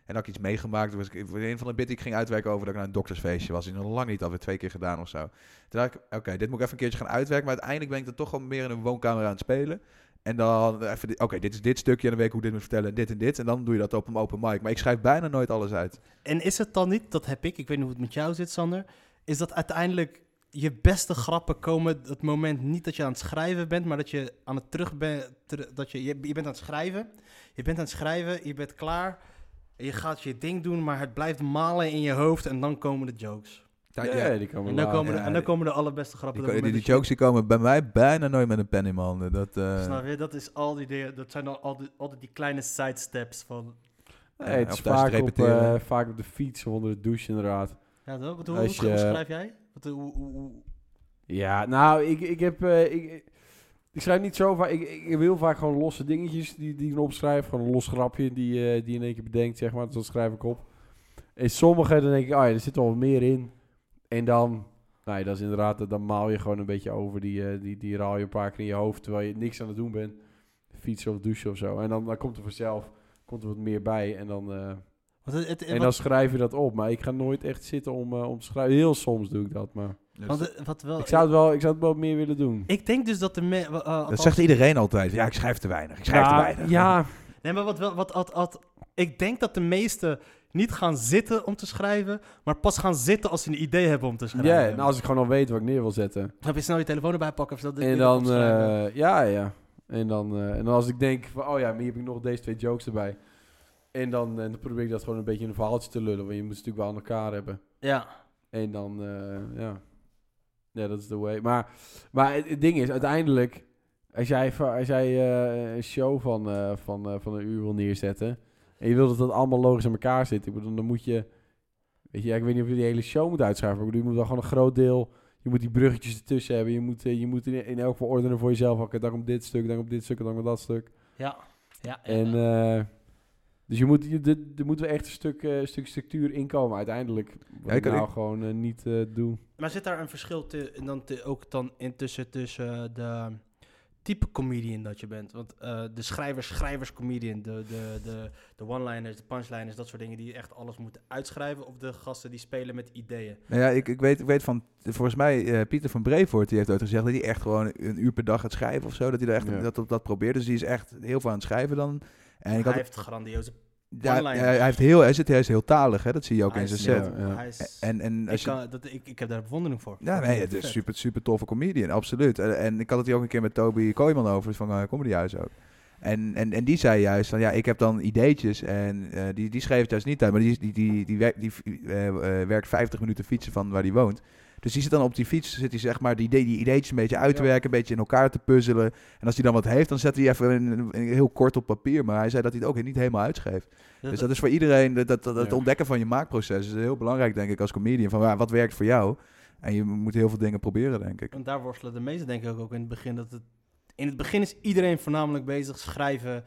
Speaker 1: En dat ik iets meegemaakt. Dus ik, een van de bit die ik ging uitwerken over dat ik naar een doktersfeestje was. is nog lang niet alweer twee keer gedaan of zo. Toen dacht ik, oké, dit moet ik even een keertje gaan uitwerken. Maar uiteindelijk ben ik dan toch gewoon meer in een woonkamer aan het spelen. En dan even, dit- oké, dit is dit stukje en dan weet ik hoe ik dit moet vertellen en dit en dit. En dan doe je dat op een open mic. Maar ik schrijf bijna nooit alles uit.
Speaker 3: En is het dan niet, dat heb ik, ik weet niet hoe het met jou zit, Sander. Is dat uiteindelijk je beste grappen komen het moment niet dat je aan het schrijven bent, maar dat je aan het terug bent. ter- dat je, je, je bent aan het schrijven. Je bent aan het schrijven, je bent klaar. Je gaat je ding doen, maar het blijft malen in je hoofd en dan komen de jokes.
Speaker 1: Ja,
Speaker 2: Nee, die komen
Speaker 3: En dan
Speaker 2: later.
Speaker 3: komen de,
Speaker 1: ja,
Speaker 3: en dan
Speaker 1: die-
Speaker 3: komen de allerbeste grappen.
Speaker 1: Die,
Speaker 3: op het
Speaker 1: ko- die, die
Speaker 3: moment dat
Speaker 1: jokes die komen bij mij bijna nooit met een pen in mijn handen. Dat, eh,
Speaker 3: je- Snap je? Dat, is al die dingen, dat zijn dan altijd, altijd die kleine sidesteps van...
Speaker 2: Nee, het
Speaker 1: Of
Speaker 2: is
Speaker 1: thuis
Speaker 2: vaak op,
Speaker 1: repeteren.
Speaker 2: eh, vaak op de fiets of onder de douche inderdaad.
Speaker 3: Ja, toch? Wat- hoe,
Speaker 2: Als
Speaker 3: hoe
Speaker 2: je-
Speaker 3: schrijf jij? Wat, hoe, hoe, hoe-
Speaker 2: Ja, nou, ik, ik heb... eh, ik, ik- ik schrijf niet zo vaak... Ik, ik heb heel vaak gewoon losse dingetjes die, die ik dan opschrijf. Gewoon een los grapje die, eh, die in één keer bedenkt, zeg maar. Dus dat schrijf ik op. En sommige, dan denk ik, ah ja, er zit wel wat meer in. En dan... Nou ja, dat is inderdaad... Dan maal je gewoon een beetje over. Die, eh, die, die raal je een paar keer in je hoofd, terwijl je niks aan het doen bent. Fietsen of douchen of zo. En dan, dan komt er vanzelf komt er wat meer bij. En dan... eh,
Speaker 3: wat, het, het-
Speaker 2: En
Speaker 3: wat-
Speaker 2: dan schrijf je dat op. Maar ik ga nooit echt zitten om, eh, om te schrijven. Heel soms doe ik dat, maar...
Speaker 3: want, eh, wat wel...
Speaker 2: Ik zou het wel, ik zou het wel meer willen doen.
Speaker 3: Ik denk dus dat de me- wa- eh,
Speaker 1: dat
Speaker 3: althans-
Speaker 1: zegt iedereen altijd. Ja, ik schrijf te weinig. Ik schrijf
Speaker 3: Nou,
Speaker 1: te
Speaker 2: ja,
Speaker 1: weinig.
Speaker 2: ja,
Speaker 3: Nee, maar wat wel, wat at, at, ik denk dat de meesten niet gaan zitten om te schrijven, maar pas gaan zitten als ze een idee hebben om te schrijven.
Speaker 2: ja, en als ik gewoon al weet wat ik neer wil zetten.
Speaker 3: Dan heb je snel je telefoon erbij pakken of dat
Speaker 2: En dan, eh, ja, ja. En dan, eh, en dan als ik denk van, oh ja, maar hier heb ik nog deze twee jokes erbij. En dan, en dan probeer ik dat gewoon een beetje in een verhaaltje te lullen. Want je moet het natuurlijk wel aan elkaar hebben.
Speaker 3: ja.
Speaker 2: En dan, eh, ja. Ja, dat is de way. Maar, maar het, het ding is, uiteindelijk, als jij, va- als jij eh, een show van, eh, van, eh, van een uur wil neerzetten. en je wil dat dat allemaal logisch aan elkaar zit. Ik bedoel, dan moet je. Weet je, ja, ik weet niet of je die hele show moet uitschrijven. maar Ik bedoel, je moet wel gewoon een groot deel. Je moet die bruggetjes ertussen hebben. Je moet, eh, je moet in, in elk geval ordenen voor jezelf. Oké, dan komt dit stuk, dan komt dit stuk, dan komt dat stuk.
Speaker 3: Ja. Ja.
Speaker 2: En, eh, dus je moet, je, dit- er moet wel echt een stuk, eh, stuk structuur inkomen uiteindelijk. Wat
Speaker 1: Ja,
Speaker 2: ik
Speaker 1: ik-
Speaker 2: nou
Speaker 1: ik-
Speaker 2: gewoon eh, niet eh, doe.
Speaker 3: maar zit daar een verschil te, en dan te- ook dan intussen tussen de type comedian dat je bent? Want eh, de schrijvers, schrijvers comedian, de, de, de, de one-liners, de punchliners, dat soort dingen die echt alles moeten uitschrijven, of de gasten die spelen met ideeën.
Speaker 1: Nou ja, ik, ik, weet, ik weet van, volgens mij, eh, Pieter van Brevoort, die heeft ooit gezegd dat hij echt gewoon een uur per dag gaat schrijven of zo. Dat hij daar echt
Speaker 2: Ja.
Speaker 1: dat op dat probeert. Dus die is echt heel veel aan het schrijven dan. En ik
Speaker 3: hij
Speaker 1: had,
Speaker 3: heeft grandioze
Speaker 1: ja, ja,
Speaker 3: one-liners.
Speaker 1: hij, heeft heel, hij, zit, hij is heel talig, hè? dat zie je ook
Speaker 3: Hij
Speaker 1: in zijn
Speaker 3: is-
Speaker 1: set.
Speaker 2: ja, ja.
Speaker 3: hij is-
Speaker 1: En, en als
Speaker 3: ik,
Speaker 1: je-
Speaker 3: kan- dat, ik, ik heb daar bewondering voor.
Speaker 1: ja, nee, het is super, super toffe comedian, absoluut. En, en ik had het hier ook een keer met Toby Kooijman over, van eh, Comedy Huis ook. En, en, en die zei juist van, ja, ik heb dan ideetjes en eh, die, die schreef het juist niet uit, maar die, die, die, die, werkt- die eh, eh, werkt 50 minuten fietsen van waar die woont. Dus die zit dan op die fiets, zit hij zeg maar die, idee- die ideetjes een beetje uit te werken, een beetje in elkaar te puzzelen. En als hij dan wat heeft, dan zet hij even een- een- heel kort op papier, maar hij zei dat hij het ook niet helemaal uitschreef. Dus dat is voor iedereen, dat, dat, dat, het
Speaker 2: Ja.
Speaker 1: ontdekken van je maakproces is heel belangrijk, denk ik, als comedian. Van waar- wat werkt voor jou? En je moet heel veel dingen proberen, denk ik.
Speaker 3: En daar worstelen de meesten denk ik ook in het begin. Dat het, in het begin is iedereen voornamelijk bezig schrijven,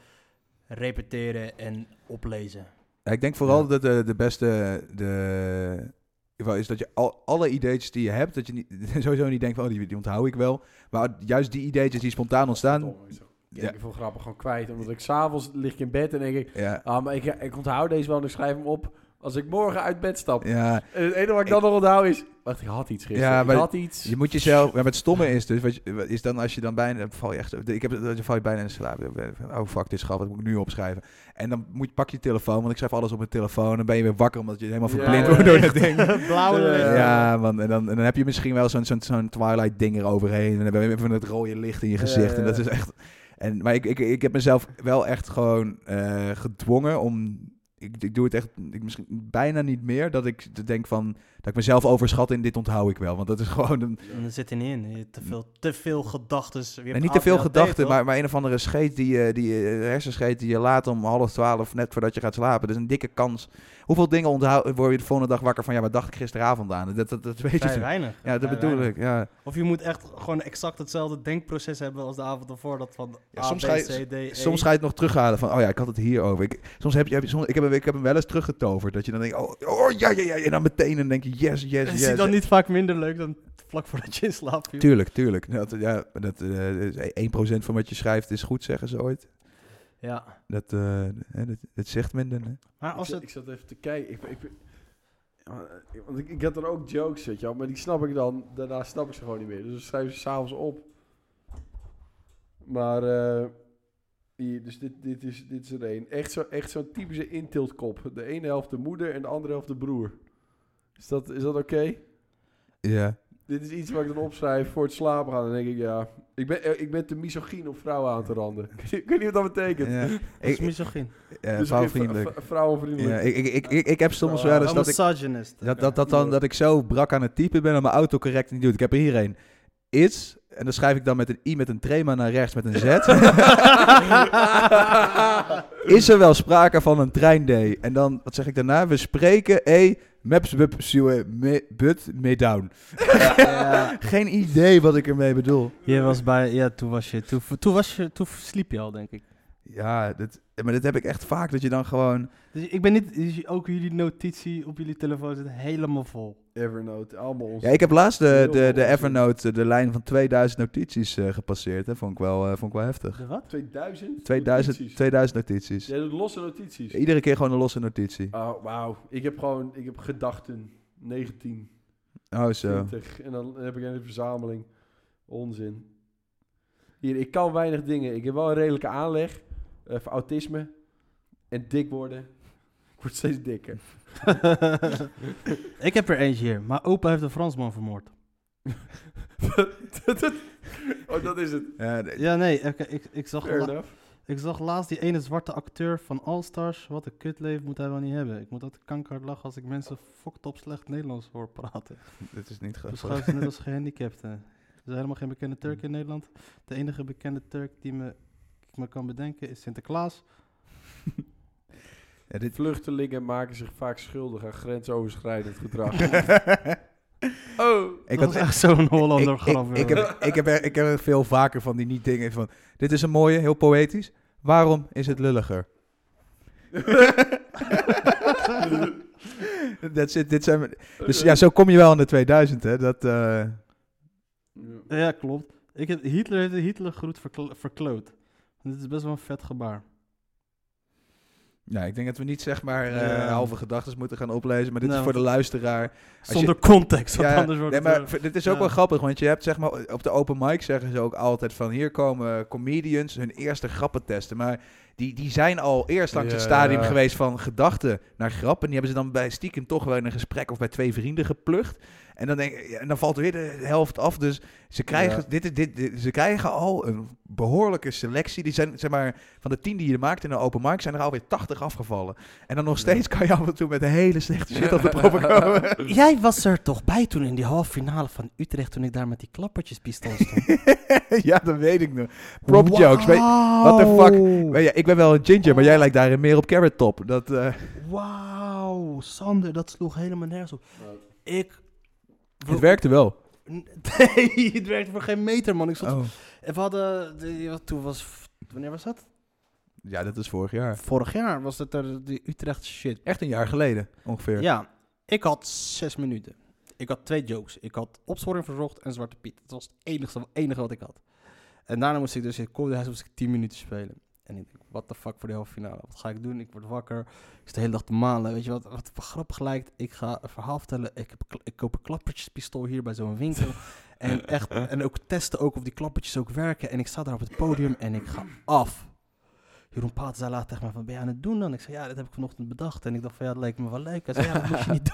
Speaker 3: repeteren en oplezen.
Speaker 1: Ja, ik denk vooral dat de, de beste, de, is dat je al, alle ideetjes die je hebt, dat je niet, sowieso niet denkt van, oh, die, die onthoud ik wel. Maar juist die ideetjes die spontaan ontstaan,
Speaker 2: Verdomme, ik zeg,
Speaker 1: Ja.
Speaker 2: Ik heb veel grappen gewoon kwijt. Omdat ik s'avonds lig ik in bed en denk ik...
Speaker 1: ja,
Speaker 2: Ah, maar ik, ik onthoud deze wel en ik schrijf hem op als ik morgen uit bed stap.
Speaker 1: ja,
Speaker 2: En het enige wat ik dan nog onthoud is... Wacht, ik had iets gisteren.
Speaker 1: Ja,
Speaker 2: ik
Speaker 1: maar-
Speaker 2: had iets.
Speaker 1: Je moet jezelf. Maar het stomme is dus, wat je- is dan als je dan bijna dan val je echt. Ik heb dat je val je bijna in slaap. Oh fuck, dit is grappig. Dat moet ik nu opschrijven. En dan moet je pak je telefoon, want ik schrijf alles op mijn telefoon. Dan ben je weer wakker omdat je helemaal
Speaker 2: Ja,
Speaker 1: verblind
Speaker 2: ja,
Speaker 1: wordt door
Speaker 2: ja.
Speaker 1: dat ding.
Speaker 3: Blauwe
Speaker 2: Eh,
Speaker 3: lezen.
Speaker 1: Ja, man. En dan, en dan heb je misschien wel zo'n zo'n zo'n twilight ding eroverheen. En dan ben je even het rode licht in je gezicht. En dat is echt. En, maar ik, ik, ik heb mezelf wel echt gewoon eh, gedwongen om. Ik, ik doe het echt ik, misschien bijna niet meer. Dat ik denk van. Dat ik mezelf overschat in dit onthoud ik wel. Want dat is gewoon... Een,
Speaker 3: En dat zit er niet in. Je hebt Te veel, te veel gedachten. Je hebt
Speaker 1: en niet te veel
Speaker 3: ADHD,
Speaker 1: gedachten,
Speaker 3: toch?
Speaker 1: maar, maar een of andere scheet die, je- die je- hersenscheet die je laat om half twaalf, net voordat je gaat slapen. Dat is een dikke kans. Hoeveel dingen onthoud, word je de volgende dag wakker van, ja, wat dacht ik gisteravond aan? Dat, dat, dat weet je
Speaker 3: Vrij
Speaker 1: toch?
Speaker 3: weinig.
Speaker 1: Ja, dat
Speaker 3: Vrij
Speaker 1: bedoel
Speaker 3: weinig. Eh,
Speaker 1: ik, ja.
Speaker 3: Of je moet echt gewoon exact hetzelfde denkproces hebben als de avond ervoor. Dat van
Speaker 1: Ja,
Speaker 3: A,
Speaker 1: soms
Speaker 3: B,
Speaker 1: ga je-
Speaker 3: C, D, E.
Speaker 1: Soms ga je het nog terughalen van, oh ja, ik had het hierover. Ik, soms heb je, heb je- soms, ik, heb, hem- ik heb hem wel eens teruggetoverd. Dat je dan denkt, oh, oh ja, ja, ja. En dan meteen dan denk je, yes, yes,
Speaker 3: Is
Speaker 1: yes.
Speaker 3: die dan niet vaak minder leuk dan vlak voordat je in slaap viel?
Speaker 1: Tuurlijk, tuurlijk. Dat, ja, dat, eh, is 1% van wat je schrijft is goed, zeggen ze ooit.
Speaker 3: Ja.
Speaker 1: Dat, eh, hè, dat, dat zegt men dan. hè.
Speaker 3: Maar
Speaker 2: Ik
Speaker 3: als
Speaker 2: zat,
Speaker 3: het...
Speaker 2: ik zat even te kijken. Ik, ik, ja, want ik, ik had er ook jokes, weet je wel. Maar die snap ik dan. Daarna snap ik ze gewoon niet meer. Dus dan schrijf ik ze s'avonds op. Maar... eh, hier, dus dit, dit, is, dit is er één. Echt zo'n echt zo'n typische intiltkop. De ene helft de moeder en de andere helft de broer. Is dat, is dat oké?
Speaker 1: Ja.
Speaker 2: Dit is iets wat ik dan opschrijf voor het slapen gaan. Dan denk ik, ja... Ik ben, eh, ik ben te misogyn om vrouwen aan te randen. ik weet niet wat dat betekent.
Speaker 1: Ja.
Speaker 3: Dat is
Speaker 1: Ik-
Speaker 3: misogyn.
Speaker 1: eh,
Speaker 2: Dus
Speaker 1: vrouwvriendelijk.
Speaker 2: v- v- Vrouwenvriendelijk.
Speaker 1: Ja, ik, ik, ik, ik, ik heb
Speaker 2: Nou,
Speaker 1: soms wel eens
Speaker 3: Een
Speaker 1: dus dat ik,
Speaker 3: misogynist.
Speaker 1: dat, dat, dat, dan, dat ik zo brak aan het typen ben en mijn autocorrect niet doet. Ik heb er hier een. Is, en dan schrijf ik dan met een i met een trema naar rechts met een z. is er wel sprake van een treinday? En dan, wat zeg ik daarna? We spreken e maps wup, suwe, me, but me down. Geen idee wat ik ermee bedoel.
Speaker 3: Je was bij... Ja, toen was je... Toen, toen, was je, toen sliep je al, denk ik.
Speaker 1: Ja, dit, maar dit heb ik echt vaak, dat je dan gewoon...
Speaker 3: Dus ik ben niet... dus ook jullie notitie op jullie telefoon zit helemaal vol.
Speaker 2: Evernote, allemaal ons.
Speaker 1: Ja, ik heb laatst de,
Speaker 2: Heel
Speaker 1: de, de
Speaker 2: onzin.
Speaker 1: Evernote, eh, de lijn van 2000 notities eh, gepasseerd. Hè. Vond, ik wel, eh, vond ik wel heftig.
Speaker 3: De wat?
Speaker 2: 2000?
Speaker 1: 2000,
Speaker 2: Notities.
Speaker 1: 2000 notities.
Speaker 2: Jij doet losse notities.
Speaker 1: Iedere keer gewoon een losse notitie.
Speaker 2: Oh, wauw. Ik heb gewoon, ik heb gedachten. 19,
Speaker 1: Oh, zo.
Speaker 2: 20. En dan heb ik een verzameling. Onzin. Hier, ik kan weinig dingen. Ik heb wel een redelijke aanleg. eh, voor autisme. En dik worden. Ik word steeds dikker.
Speaker 3: ik heb er eentje hier. Maar opa heeft een Fransman vermoord.
Speaker 2: oh, dat is het.
Speaker 1: Ja, d-
Speaker 3: Ja, nee. oké, ik, ik, zag
Speaker 2: Fair
Speaker 3: la-
Speaker 2: enough.
Speaker 3: ik zag laatst die ene zwarte acteur van All Stars. Wat een kutleven moet hij wel niet hebben. Ik moet altijd kanker lachen als ik mensen fokt op slecht Nederlands hoor praten.
Speaker 1: dit is niet grappig.
Speaker 3: Beschouwd ze net als gehandicapten. Er zijn helemaal geen bekende Turk in Nederland. De enige bekende Turk die me, ik me kan bedenken is Sinterklaas.
Speaker 1: Ja, dit...
Speaker 2: Vluchtelingen maken zich vaak schuldig aan grensoverschrijdend gedrag.
Speaker 1: oh, ik had
Speaker 3: dat was echt zo'n
Speaker 1: ik,
Speaker 3: Hollander
Speaker 1: ik,
Speaker 3: grap.
Speaker 1: ik, heb, ik, heb er, ik heb er veel vaker van die niet dingen van... Dit is een mooie, heel poëtisch. Waarom is het lulliger? That's it, dit zijn, we- dus ja, zo kom je wel aan de 2000, hè. Dat, eh,
Speaker 2: Ja.
Speaker 3: eh. Ja, klopt. Ik heb, Hitler heeft de Hitlergroet verkl verkloot. Dit is best wel een vet gebaar.
Speaker 1: ja, ik denk dat we niet zeg maar eh,
Speaker 3: Ja.
Speaker 1: halve gedachten moeten gaan oplezen. Maar dit
Speaker 3: Nou,
Speaker 1: is voor de luisteraar. je-
Speaker 3: Zonder context, want
Speaker 1: Ja,
Speaker 3: anders wordt
Speaker 1: nee,
Speaker 3: het,
Speaker 1: maar
Speaker 3: eh,
Speaker 1: v- dit is ook
Speaker 3: ja.
Speaker 1: wel grappig, want je hebt zeg maar op de open mic zeggen ze ook altijd van hier komen comedians hun eerste grappen testen, maar die, die zijn al eerst langs het
Speaker 2: Ja.
Speaker 1: stadium geweest van gedachten naar grap en die hebben ze dan bij stiekem toch wel in een gesprek of bij twee vrienden geplukt. En dan, denk, ja, en dan valt weer de helft af. Dus ze krijgen,
Speaker 2: Ja.
Speaker 1: dit, is- dit, dit- ze krijgen al een behoorlijke selectie. Die zijn, zeg maar, van de tien die je maakt in een open mic zijn er alweer 80 afgevallen. En dan nog steeds kan je af en toe met een hele slechte shit op de proppen komen.
Speaker 3: Jij was er toch bij toen in die halve finale van Utrecht, toen ik daar met die klappertjespistool stond.
Speaker 1: ja, dat weet ik nog. Prop jokes. Weet, what the fuck? Weet je, ik ben wel een ginger, maar jij lijkt daarin meer op Carrot Top. Dat, eh,
Speaker 3: Wauw, Sander, dat sloeg helemaal nergens op. Ik...
Speaker 1: het werkte wel.
Speaker 3: Nee, het werkte voor geen meter, man. Ik stond...
Speaker 1: Oh.
Speaker 3: En we hadden... de- Toen was... Wanneer was dat?
Speaker 1: Ja, dat is vorig jaar.
Speaker 3: Vorig jaar was dat er die Utrecht shit.
Speaker 1: Echt een jaar geleden, ongeveer.
Speaker 3: Ja, ik had zes minuten. Ik had twee jokes. Ik had opsporing verzocht en Zwarte Piet. Dat was het enige, enige wat ik had. En daarna moest ik dus in Comedy House moest ik tien minuten spelen. En ik denk, what the fuck voor de halve finale. Wat ga ik doen? Ik word wakker. Ik zit de hele dag te malen. Weet je wat, wat voor grappig lijkt? Ik ga een verhaal vertellen. Ik, heb, kla- ik koop een klappertjespistool hier bij zo'n winkel. en, echt, en ook testen ook of die klappertjes ook werken. En ik sta daar op het podium en ik ga af. Jeroen Paat zei later tegen mij van, ben je aan het doen dan? Ik zei, ja, dat heb ik vanochtend bedacht. En ik dacht van, ja, dat lijkt me wel leuk. Hij zei, ja, dat moet je niet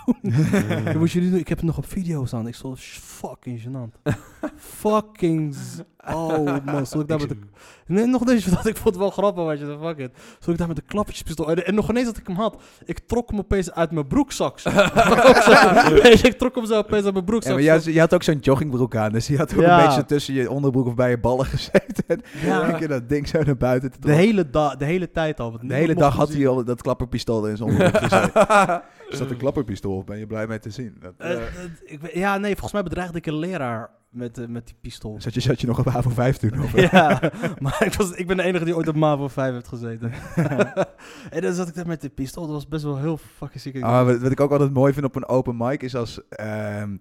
Speaker 3: doen. dat moet je niet doen. Ik heb het nog op video staan. Ik stond fucking gênant. fucking z- Oh man, stond ik daar met de... Nee, nog deze, want ik vond het wel grappig, weet je, fuck it. Stond ik daar met de klappertjespistool. En, en nog ineens dat ik hem had, ik trok hem opeens uit mijn broekzak. zo. Weet je, ik trok hem zo opeens uit mijn broekzak.
Speaker 1: Ja, maar jij- je had ook zo'n joggingbroek aan, dus je had ook
Speaker 3: Ja.
Speaker 1: een beetje tussen je onderbroek of bij je ballen gezeten. En
Speaker 3: Ja.
Speaker 1: dan je dat ding zo naar buiten te
Speaker 3: de,
Speaker 1: trekken.
Speaker 3: hele da- de hele tijd al. want
Speaker 1: De
Speaker 3: niemand
Speaker 1: hele
Speaker 3: mocht
Speaker 1: dag
Speaker 3: hem
Speaker 1: had
Speaker 3: zien.
Speaker 1: hij al dat klapperpistool in zijn onderbroek gezeten. Is dat een klapperpistool of ben je blij mee te zien? Dat,
Speaker 3: Eh, eh, ik weet- ja, nee, volgens mij bedreigde ik een leraar met, eh, met die pistool.
Speaker 1: zat, je, zat je nog op HAVO 5 toen? Of,
Speaker 3: Ja, maar ik, was, ik ben de enige die ooit op MAVO 5 heeft gezeten. en dan zat ik daar met de pistool. Dat was best wel heel fucking ziek.
Speaker 1: Ah, wat, wat ik ook altijd mooi vind op een open mic is als... ehm,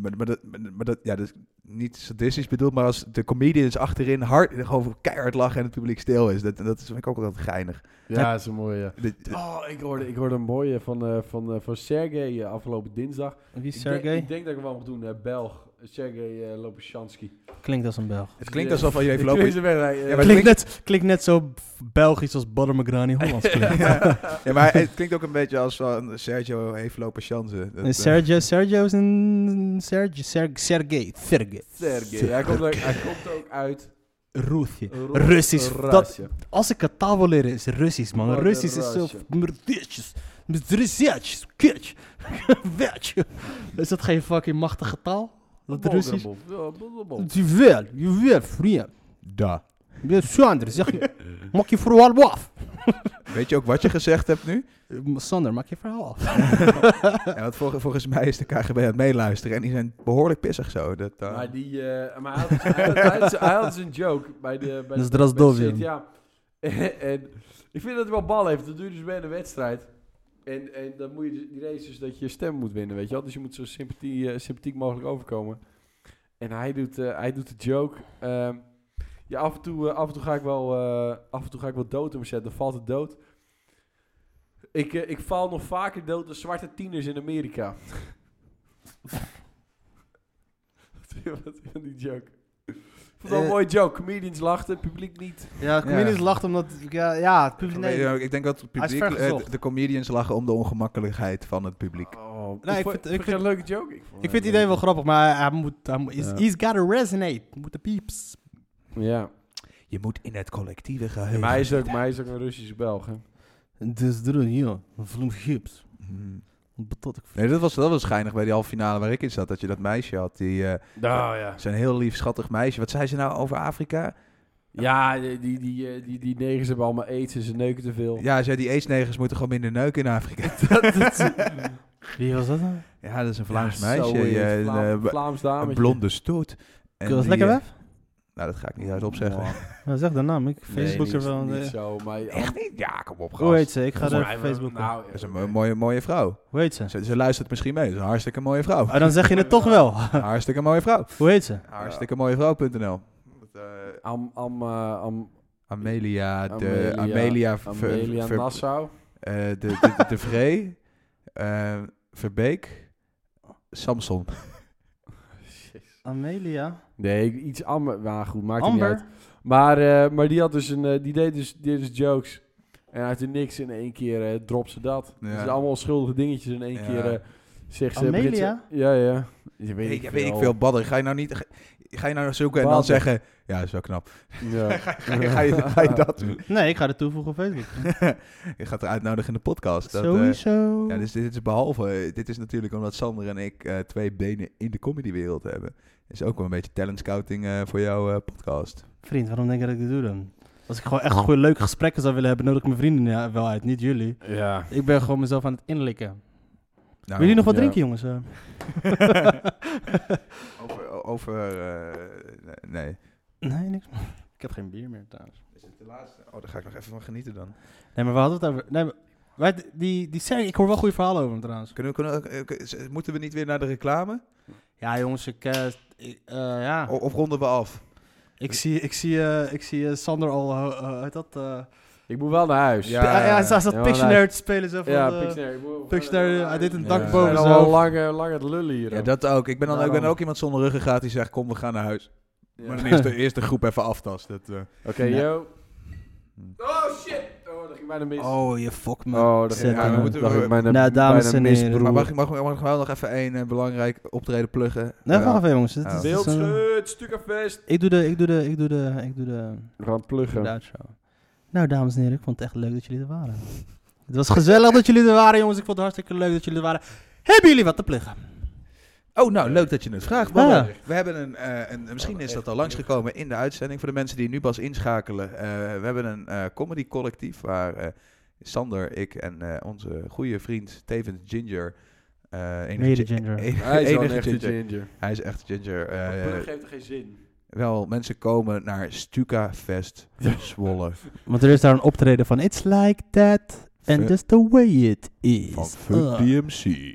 Speaker 1: maar, maar, dat, maar dat, ja, dat is niet sadistisch bedoeld, maar als de comedians achterin hard, gewoon keihard lachen en het publiek stil is. Dat, dat is, vind ik ook altijd geinig.
Speaker 2: Ja, dat is een mooie. ja.
Speaker 1: Dit- dit-
Speaker 2: Oh, ik hoorde, ik hoorde een mooie van, eh, van, eh, van Sergej eh, afgelopen dinsdag.
Speaker 3: Wie is
Speaker 2: Ik denk, ik
Speaker 3: Sergej?
Speaker 2: denk dat ik hem wel moet doen. eh, Belg. Sergej eh Lopeshansky.
Speaker 3: Klinkt als een Belg.
Speaker 1: het klinkt alsof je even lopen... Ja, maar-
Speaker 2: Ja,
Speaker 1: het
Speaker 3: Klinkt net, klinkt net zo Belgisch als Badr Magrani Hollands klinkt.
Speaker 1: Ja, maar het klinkt ook een beetje als van Sergio heeft lopen chance. Dat,
Speaker 3: Nee,
Speaker 1: eh,
Speaker 3: Sergio, Sergio is een... Sergio, Sergej, Sergej, Sergej.
Speaker 2: Sergej. Hij komt, ook, hij komt ook uit
Speaker 3: Roetje.
Speaker 2: Ro-
Speaker 3: Russisch. Dat,
Speaker 2: Rasje.
Speaker 3: als ik een taal wil leren is Russisch, man.
Speaker 2: Wat een
Speaker 3: Russisch is zo...
Speaker 2: rasje.
Speaker 3: Mrdietjes. Mrdietjes. Kitsch. Wetje. Is dat geen fucking machtige taal? Dat Russisch?
Speaker 2: Bolgrabov. Ja, Bolgrabov.
Speaker 3: Jawel, jawel, vriend.
Speaker 1: da.
Speaker 3: Sander, zeg je. Maak je verhaal af.
Speaker 1: Weet je ook wat je gezegd hebt nu?
Speaker 3: Sander, maak je verhaal af.
Speaker 1: Ja, want vol- volgens mij is de KGB aan het meeluisteren en die zijn behoorlijk pissig zo. Dat, eh,
Speaker 2: Maar, die, eh, maar hij, had, hij, had, hij had- hij had zijn joke bij de, bij
Speaker 3: Dat is
Speaker 2: de, bij de
Speaker 3: Drazdovin.
Speaker 2: CTA. en ik vind dat hij wel bal heeft. Dat doe je dus bij de wedstrijd. En, en dan moet je dus- die race dus dat je stem moet winnen, weet je wel. Dus je moet zo sympathie, eh, sympathiek mogelijk overkomen. En hij doet, eh, hij doet de joke. ehm, ja, af en, toe, eh, af en toe ga ik wel, eh, af en toe ga ik wel dood om zetten. Dan valt het dood. Ik, eh, ik val nog vaker dood dan zwarte tieners in Amerika. Wat vind je- Wat vind je van die joke? Ik vond het wel een
Speaker 1: Eh.
Speaker 2: mooie joke. Comedians lachten, publiek niet.
Speaker 3: Ja, comedians lacht omdat... Ja, ja het publiek...
Speaker 1: weet
Speaker 3: Nee,
Speaker 1: je ook, ik denk dat het
Speaker 3: Hij is
Speaker 1: publiek, eh,
Speaker 3: vergezocht.
Speaker 1: de comedians lachen om de ongemakkelijkheid van het publiek.
Speaker 2: Oh,
Speaker 3: Nee, ik
Speaker 2: ik vond,
Speaker 3: vind- ik
Speaker 2: vond je
Speaker 3: vind-
Speaker 2: een leuke joke. Ik, vond
Speaker 3: Ik
Speaker 2: het
Speaker 3: vind het
Speaker 2: leuk.
Speaker 3: idee wel grappig, maar hij moet... Hij moet is,
Speaker 2: Ja.
Speaker 3: He's gotta resonate. Moet de pieps.
Speaker 2: Ja,
Speaker 1: Je moet in het collectieve
Speaker 2: Ja,
Speaker 1: geheugen.
Speaker 2: maar hij is ook, maar hij is ook een Russische Belg. Hè?
Speaker 3: Dus doe hier. Vloem gips.
Speaker 1: Hmm.
Speaker 3: Betot ik.
Speaker 1: Nee, dat was, dat was schijnig bij die halve finale waar ik in zat. Dat je dat meisje had. Die, eh,
Speaker 2: Nou ja.
Speaker 1: Zo'n heel lief, schattig meisje. Wat zei ze nou over Afrika?
Speaker 2: Ja, die, die, die, eh, die, die negers hebben allemaal aids en ze neuken te veel.
Speaker 1: Ja, ze zei die aidsnegers moeten gewoon minder neuken in Afrika.
Speaker 3: Wie was dat dan?
Speaker 1: ja, dat is een Vlaams
Speaker 2: Ja,
Speaker 1: meisje.
Speaker 2: zo is
Speaker 1: eh,
Speaker 2: het.
Speaker 1: een,
Speaker 2: Vla-
Speaker 1: eh, b-
Speaker 2: Vlaams
Speaker 1: een
Speaker 2: dametje.
Speaker 1: blonde stoet. En
Speaker 3: Was het
Speaker 1: die,
Speaker 3: lekker
Speaker 1: eh,
Speaker 3: weg?
Speaker 1: Nou, dat ga ik niet uit opzeggen.
Speaker 3: Nou, zeg de naam. Ik
Speaker 2: Nee,
Speaker 3: Facebook
Speaker 2: niet-
Speaker 3: er wel.
Speaker 2: niet
Speaker 3: eh,
Speaker 2: zo, maar...
Speaker 1: Echt niet? Ja, kom op,
Speaker 3: Hoe heet
Speaker 1: gast.
Speaker 3: ze? Ik ga
Speaker 2: Volgens mij-
Speaker 3: er Facebook op.
Speaker 2: Nou,
Speaker 1: Dat is een mo- mooie, mooie vrouw.
Speaker 3: Hoe heet ze?
Speaker 1: Ze, ze luistert misschien mee. Ze is een hartstikke mooie vrouw.
Speaker 3: Ah, dan zeg je het toch wel.
Speaker 1: Hartstikke mooie vrouw.
Speaker 3: Hoe heet ze?
Speaker 1: Hartstikke mooie vrouw.nl.
Speaker 2: Am, am, eh, am,
Speaker 1: Amelia, de
Speaker 2: Amelia-
Speaker 1: Amelia, Ver-
Speaker 2: Amelia
Speaker 1: Ver-
Speaker 2: Nassau.
Speaker 1: eh, de, de, de Vree, eh, Verbeek, Samson.
Speaker 3: Amelia.
Speaker 2: Nee, ik- iets Amber. Maar goed, maakt het niet uit.
Speaker 3: Amber.
Speaker 2: Maar, eh, maar die had dus een... eh, die deed dus, die deed dus jokes. En uit de niks in één keer eh, drop ze dat.
Speaker 1: Ja.
Speaker 2: Dus allemaal onschuldige dingetjes in één
Speaker 1: Ja.
Speaker 2: keer... eh, zegt ze,
Speaker 3: Amelia?
Speaker 2: begint ze- Ja, ja. Je weet,
Speaker 1: Weet,
Speaker 2: ik,
Speaker 1: weet ik veel, badder. Ga je nou niet... Ga, ga je nou zoeken en dan
Speaker 2: Badder.
Speaker 1: zeggen... Ja, dat is wel knap.
Speaker 2: Ja.
Speaker 1: Ga je, ga je, ga je dat doen?
Speaker 3: Nee, ik ga er toevoegen op Facebook.
Speaker 1: je gaat er uitnodigen in de podcast. Dat, eh,
Speaker 3: Sowieso.
Speaker 1: ja, dus dit is behalve... eh, Dit is natuurlijk omdat Sander en ik eh, twee benen in de comedywereld hebben. Is ook wel een beetje talent scouting eh, voor jouw eh, podcast.
Speaker 3: Vriend, waarom denk je dat ik dit doe dan? Als ik gewoon echt goede leuke gesprekken zou willen hebben, nodig ik mijn vrienden ja, wel uit, niet jullie.
Speaker 2: ja.
Speaker 3: Ik ben gewoon mezelf aan het inlikken.
Speaker 1: Nou,
Speaker 3: Wil jullie nog wat
Speaker 2: ja.
Speaker 3: drinken, jongens? Eh,
Speaker 1: Over... over eh, nee.
Speaker 3: Nee, niks. man. Ik heb geen bier meer trouwens.
Speaker 1: Is het de laatste? Oh, daar ga ik nog even van genieten dan.
Speaker 3: Nee, maar we hadden het over. Nee, maar- wij, die, die Sergej, ik hoor wel goede verhalen over hem trouwens.
Speaker 1: Kunnen, we- kunnen, we- eh, k- z- moeten we niet weer naar de reclame?
Speaker 3: Ja, jongens, ik. eh, ik, eh, ja.
Speaker 1: O- of ronden we af?
Speaker 3: Ik zie, ik zie, eh, ik zie eh, Sander al. eh, eh, hoe heet dat? eh,
Speaker 2: Ik moet wel naar huis.
Speaker 1: Ja.
Speaker 3: hij- hij zat
Speaker 2: ja,
Speaker 3: Pictionary
Speaker 2: luister.
Speaker 3: te spelen. Zo van,
Speaker 2: Ja,
Speaker 3: eh,
Speaker 2: Pictionary. Ik moet-
Speaker 3: Pictionary, hij deed een
Speaker 1: Ja.
Speaker 3: dak
Speaker 1: Ja.
Speaker 3: boven
Speaker 2: We
Speaker 3: zijn
Speaker 2: zijn al
Speaker 3: hoofd.
Speaker 2: lang, eh, lang aan het lullen hier.
Speaker 1: Ja,
Speaker 2: hoor.
Speaker 1: dat ook. Ik ben, dan, ik ben
Speaker 2: Daarom.
Speaker 1: ook iemand zonder ruggengraat die zegt, kom, we gaan naar huis.
Speaker 2: Ja.
Speaker 1: Maar dan eerst de, eerst de groep even aftast. Dat, eh.
Speaker 2: Oké, yo.
Speaker 1: Hm.
Speaker 2: Oh shit! Oh, daar ging ging bijna mis.
Speaker 3: Oh, je fuck me.
Speaker 2: Oh, dat
Speaker 3: Zet
Speaker 2: ging bijna-
Speaker 1: we moeten-
Speaker 2: dat ging
Speaker 1: we-
Speaker 2: bijna-
Speaker 3: Nou, dames
Speaker 2: bijna
Speaker 3: en
Speaker 2: mis,
Speaker 3: heren.
Speaker 2: broer.
Speaker 1: Maar mag ik mag, ik- mag ik wel nog even één eh, belangrijk optreden pluggen?
Speaker 3: Nee,
Speaker 1: Ja.
Speaker 3: wacht even jongens. dit
Speaker 1: Ja.
Speaker 3: is- dit is, eh,
Speaker 2: Beeldschut, Stukkenfest.
Speaker 3: ik doe de, ik doe de, ik doe de, ik doe de,
Speaker 2: We gaan pluggen.
Speaker 3: de outro. Nou, dames en heren, ik vond het echt leuk dat jullie er waren. Het was gezellig dat jullie er waren, jongens. Ik vond het hartstikke leuk dat jullie er waren. Hebben jullie wat te pluggen?
Speaker 1: Oh, nou, leuk dat je het vraagt.
Speaker 3: Ja.
Speaker 1: mannen. We hebben een, eh, een misschien is dat al langsgekomen in de uitzending voor de mensen die nu pas inschakelen. Eh, we hebben een eh, comedy collectief waar eh, Sander, ik en eh, onze goede vriend tevens Ginger. eh, enige
Speaker 5: Mede
Speaker 1: gi-
Speaker 5: Ginger.
Speaker 1: enige-
Speaker 2: Hij is wel een
Speaker 1: enige
Speaker 2: echte
Speaker 1: ginger.
Speaker 2: ginger.
Speaker 1: Hij is echt Ginger. eh,
Speaker 2: Maar pluggen heeft er geen zin.
Speaker 1: wel, mensen komen naar Stuka Fest Zwolle.
Speaker 3: Want er is daar een optreden van It's Like That and
Speaker 1: Fu-
Speaker 3: Just The Way It Is. Uh.
Speaker 1: Van Fun
Speaker 3: Ah.
Speaker 1: DMC.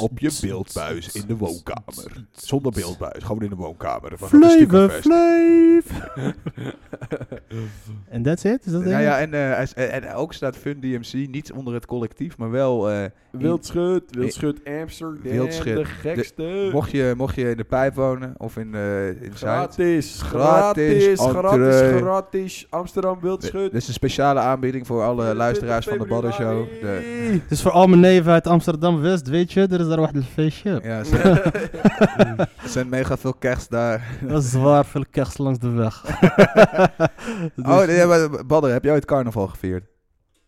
Speaker 1: Op je beeldbuis in de woonkamer. Zonder beeldbuis, gewoon in de woonkamer. We gaan naar
Speaker 3: Flavor
Speaker 1: Stucafest.
Speaker 3: Flav. En that's it? Is dat
Speaker 1: Nou
Speaker 3: het?
Speaker 1: ja, en, eh, hij is- en, en ook staat Fun DMC niet onder het collectief, maar wel... eh,
Speaker 2: Wildschut, Wildschut Amsterdam,
Speaker 1: Wildschut.
Speaker 2: de gekste.
Speaker 1: mocht, je, mocht je in de pijp wonen of in, eh in Zuid...
Speaker 2: gratis,
Speaker 1: Gratis
Speaker 2: gratis, gratis,
Speaker 1: entree.
Speaker 2: gratis. Amsterdam Wildschut.
Speaker 1: Eh, Dit is een speciale aanbieding voor alle luisteraars van de Baddershow. De,
Speaker 2: De...
Speaker 3: Dus voor al mijn neven uit Amsterdam-West, weet je, er is daar wat een feestje.
Speaker 1: ja, ze- er zijn mega veel kerst daar.
Speaker 3: Dat is waar, veel kerst langs de weg. Dus
Speaker 1: Oh, nee, maar Badder, heb jij het carnaval gevierd?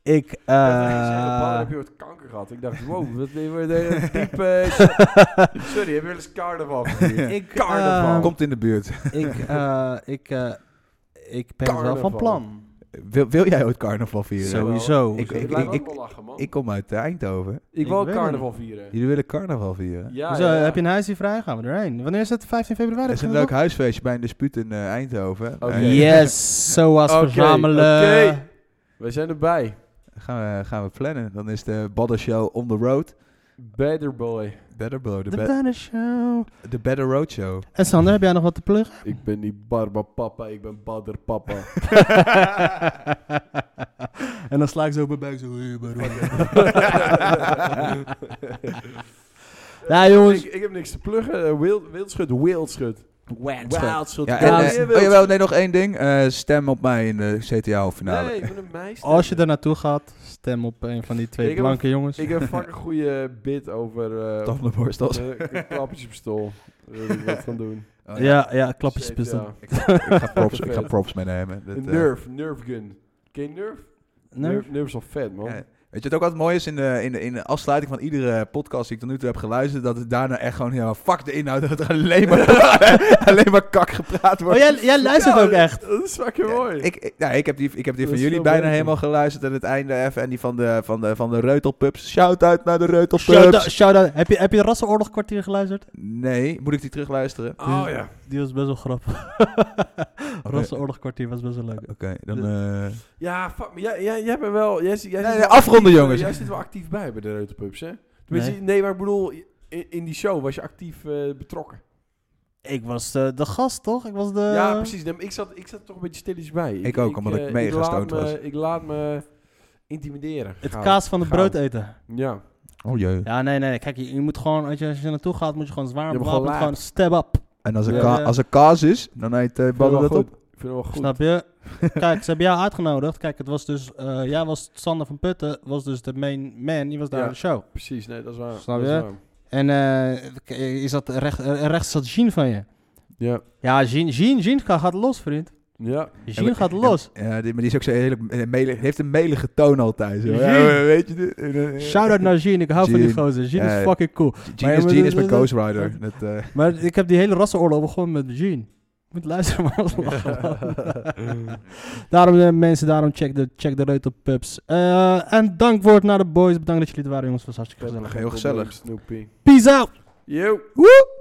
Speaker 3: ik, eh,
Speaker 2: heb je ooit kanker gehad? Ik dacht, wow, wat ben je voor een diepe... Sorry, heb je wel eens carnaval gevierd?
Speaker 3: ik,
Speaker 2: Carnaval.
Speaker 3: eh,
Speaker 1: Komt in de buurt.
Speaker 3: ik, eh, ik, eh, ik ben wel van
Speaker 2: Carnaval.
Speaker 3: plan.
Speaker 1: Wil, wil jij ooit carnaval vieren?
Speaker 2: Zo.
Speaker 3: Sowieso.
Speaker 1: Ik-
Speaker 2: ik
Speaker 1: ik-
Speaker 2: blijf ook
Speaker 1: ik-
Speaker 2: wel lachen, man.
Speaker 1: Ik
Speaker 2: Ik,
Speaker 1: kom uit eh, Eindhoven.
Speaker 2: wil
Speaker 3: ik weet
Speaker 2: carnaval vieren.
Speaker 1: Jullie willen carnaval vieren?
Speaker 2: Ja,
Speaker 3: Hoezo,
Speaker 2: ja, ja.
Speaker 3: Heb je een huisje vrij? Gaan we erheen. Wanneer is het? 15 februari?
Speaker 1: Er is een
Speaker 3: Kunnen
Speaker 1: leuk
Speaker 3: we
Speaker 1: huisfeestje bij een dispuut in eh, Eindhoven.
Speaker 2: Oké.
Speaker 1: Eh,
Speaker 3: dat? Yes, zoals
Speaker 2: Oké,
Speaker 3: verzamelen.
Speaker 2: oké. Wij zijn erbij.
Speaker 1: Gaan we, gaan we plannen. Dan is de Badder Show on the road.
Speaker 2: Better boy.
Speaker 1: Better Bro, de,
Speaker 3: De
Speaker 1: be-
Speaker 3: Banner Show.
Speaker 1: de Better Road Show.
Speaker 3: En Sander, heb jij nog wat te pluggen?
Speaker 2: Ik ben niet Barbapapa, ik ben Badderpapa.
Speaker 3: en dan sla ik zo op mijn buik zo. "Hey, Baron." nou jongens,
Speaker 2: ik, ik heb niks te pluggen. Eh, wild, wildschut, wildschut. Wildschut.
Speaker 1: Ja, en,
Speaker 3: Ja, dat
Speaker 1: eh, oh jawel, nee, nog één ding. Eh, stem op mij in de CTA-finale.
Speaker 2: Nee, ik ben een meisje.
Speaker 3: als je daar naartoe gaat, stem op een van die twee
Speaker 2: Ik heb
Speaker 3: blanke jongens.
Speaker 2: Ik heb een fucking goede bit over... eh
Speaker 1: Taf de borst als-
Speaker 2: eh, klappertjespistool. Daar wil ik wat van doen.
Speaker 1: Oh,
Speaker 3: ja, ja, klappertjes pistool.
Speaker 2: Ja.
Speaker 1: Ik, ga- ik ga props, ik ga
Speaker 2: Vet.
Speaker 1: props meenemen. Dat,
Speaker 2: Een
Speaker 1: eh,
Speaker 2: Nerf, Nerf gun. Ken je Nerf?
Speaker 3: Nee?
Speaker 2: Nerf? Nerf is al vet, man.
Speaker 1: ja. Weet je wat ook wat mooi is in de, in, de, in de afsluiting van iedere podcast die ik tot nu toe heb geluisterd? Dat het daarna echt gewoon helemaal fuck de inhoud. Dat er alleen maar, alleen maar kak gepraat
Speaker 3: Oh,
Speaker 1: wordt.
Speaker 3: jij, jij luistert
Speaker 2: Ja,
Speaker 3: ook echt.
Speaker 2: Dat is fucking mooi.
Speaker 1: Ik, ik, nou, ik heb die, ik heb die van
Speaker 2: Dat is
Speaker 1: jullie
Speaker 2: veel
Speaker 1: bijna
Speaker 2: beter.
Speaker 1: helemaal geluisterd aan het einde even. En die van de, van de, van de Reutelpups. Shout-out naar de
Speaker 3: Shout-out.
Speaker 1: Reutelpups.
Speaker 3: shout-out. Heb je, heb je Rassenoorlog kwartier geluisterd?
Speaker 1: Nee, moet ik die terugluisteren?
Speaker 2: oh ja.
Speaker 3: Die was best wel grappig. Rassenoorlog kwartier was best wel leuk.
Speaker 1: Oké, dan... eh,
Speaker 2: Ja, fuck. maar Jij, jij, jij bent wel... Jij, zit- jij
Speaker 1: Nee,
Speaker 2: zit
Speaker 1: nee,
Speaker 2: wel
Speaker 1: afronden,
Speaker 2: actief-
Speaker 1: jongens.
Speaker 2: Jij zit wel actief bij bij de Reuterpups, hè? Tenminste, nee. maar ik bedoel... In, in die show was je actief eh, betrokken.
Speaker 3: Ik was eh, de gast, toch? Ik was de...
Speaker 2: ja, precies. Nee, maar ik, zat, ik zat toch een beetje stilletjes bij.
Speaker 1: Eh. Ik ook, omdat ik
Speaker 2: eh,
Speaker 1: mega
Speaker 2: laat
Speaker 1: stoned
Speaker 2: me-
Speaker 1: was.
Speaker 2: Ik laat me intimideren.
Speaker 3: Het
Speaker 2: Gauw.
Speaker 3: kaas van het
Speaker 2: Gauw.
Speaker 3: brood eten.
Speaker 2: Ja.
Speaker 1: Oh jee.
Speaker 3: Ja, nee, nee. Kijk, je, je moet gewoon, als je, als je er naartoe gaat, moet je gewoon zwaar
Speaker 2: Je moet
Speaker 3: bewapend
Speaker 2: gewoon
Speaker 3: gewoon step up.
Speaker 1: En als er,
Speaker 2: Ja.
Speaker 1: ka- als er kaas is, dan eet eh
Speaker 2: Vind
Speaker 1: Badden
Speaker 2: ik
Speaker 1: dat
Speaker 2: wel
Speaker 1: op.
Speaker 2: goed. Ik vind het wel goed.
Speaker 3: Snap je? Kijk, ze hebben jou uitgenodigd. Kijk, het was dus, eh, jij was Sander van Putten, was dus de main man, die was daar
Speaker 2: Ja.
Speaker 3: aan de show.
Speaker 2: Precies, nee, dat is waar.
Speaker 3: Snap
Speaker 2: dat is
Speaker 3: je?
Speaker 2: waar.
Speaker 3: En eh, k- eh, is dat recht, eh, rechts zat Jean van je.
Speaker 2: Ja.
Speaker 3: Ja, Jean, Jean, Jean gaat gaat los, vriend.
Speaker 2: Ja.
Speaker 3: Jean gaat los.
Speaker 1: Ja, die, maar die is ook zo hele, eh, melig- heeft een melige toon altijd. Zo. Ja,
Speaker 3: Jean.
Speaker 1: weet je dit? Eh, eh,
Speaker 3: Shout-out naar Jean, ik hou van die
Speaker 1: Jean.
Speaker 3: gozer. Jean
Speaker 1: Ja,
Speaker 3: is fucking cool.
Speaker 1: Jean is,
Speaker 3: Maar-
Speaker 1: Jean is mijn Ghost Rider. Dat, eh,
Speaker 3: Maar ik heb die hele rassenoorlog begonnen met Jean. Moet luisteren, maar als Daarom eh, mensen, daarom check de, check de reut op pubs. Eh, en dankwoord naar de boys. Bedankt dat jullie er waren, jongens. Het was hartstikke gezellig.
Speaker 1: heel gezellig.
Speaker 2: Snoopy.
Speaker 3: Peace out!
Speaker 2: Yo.
Speaker 3: Woe!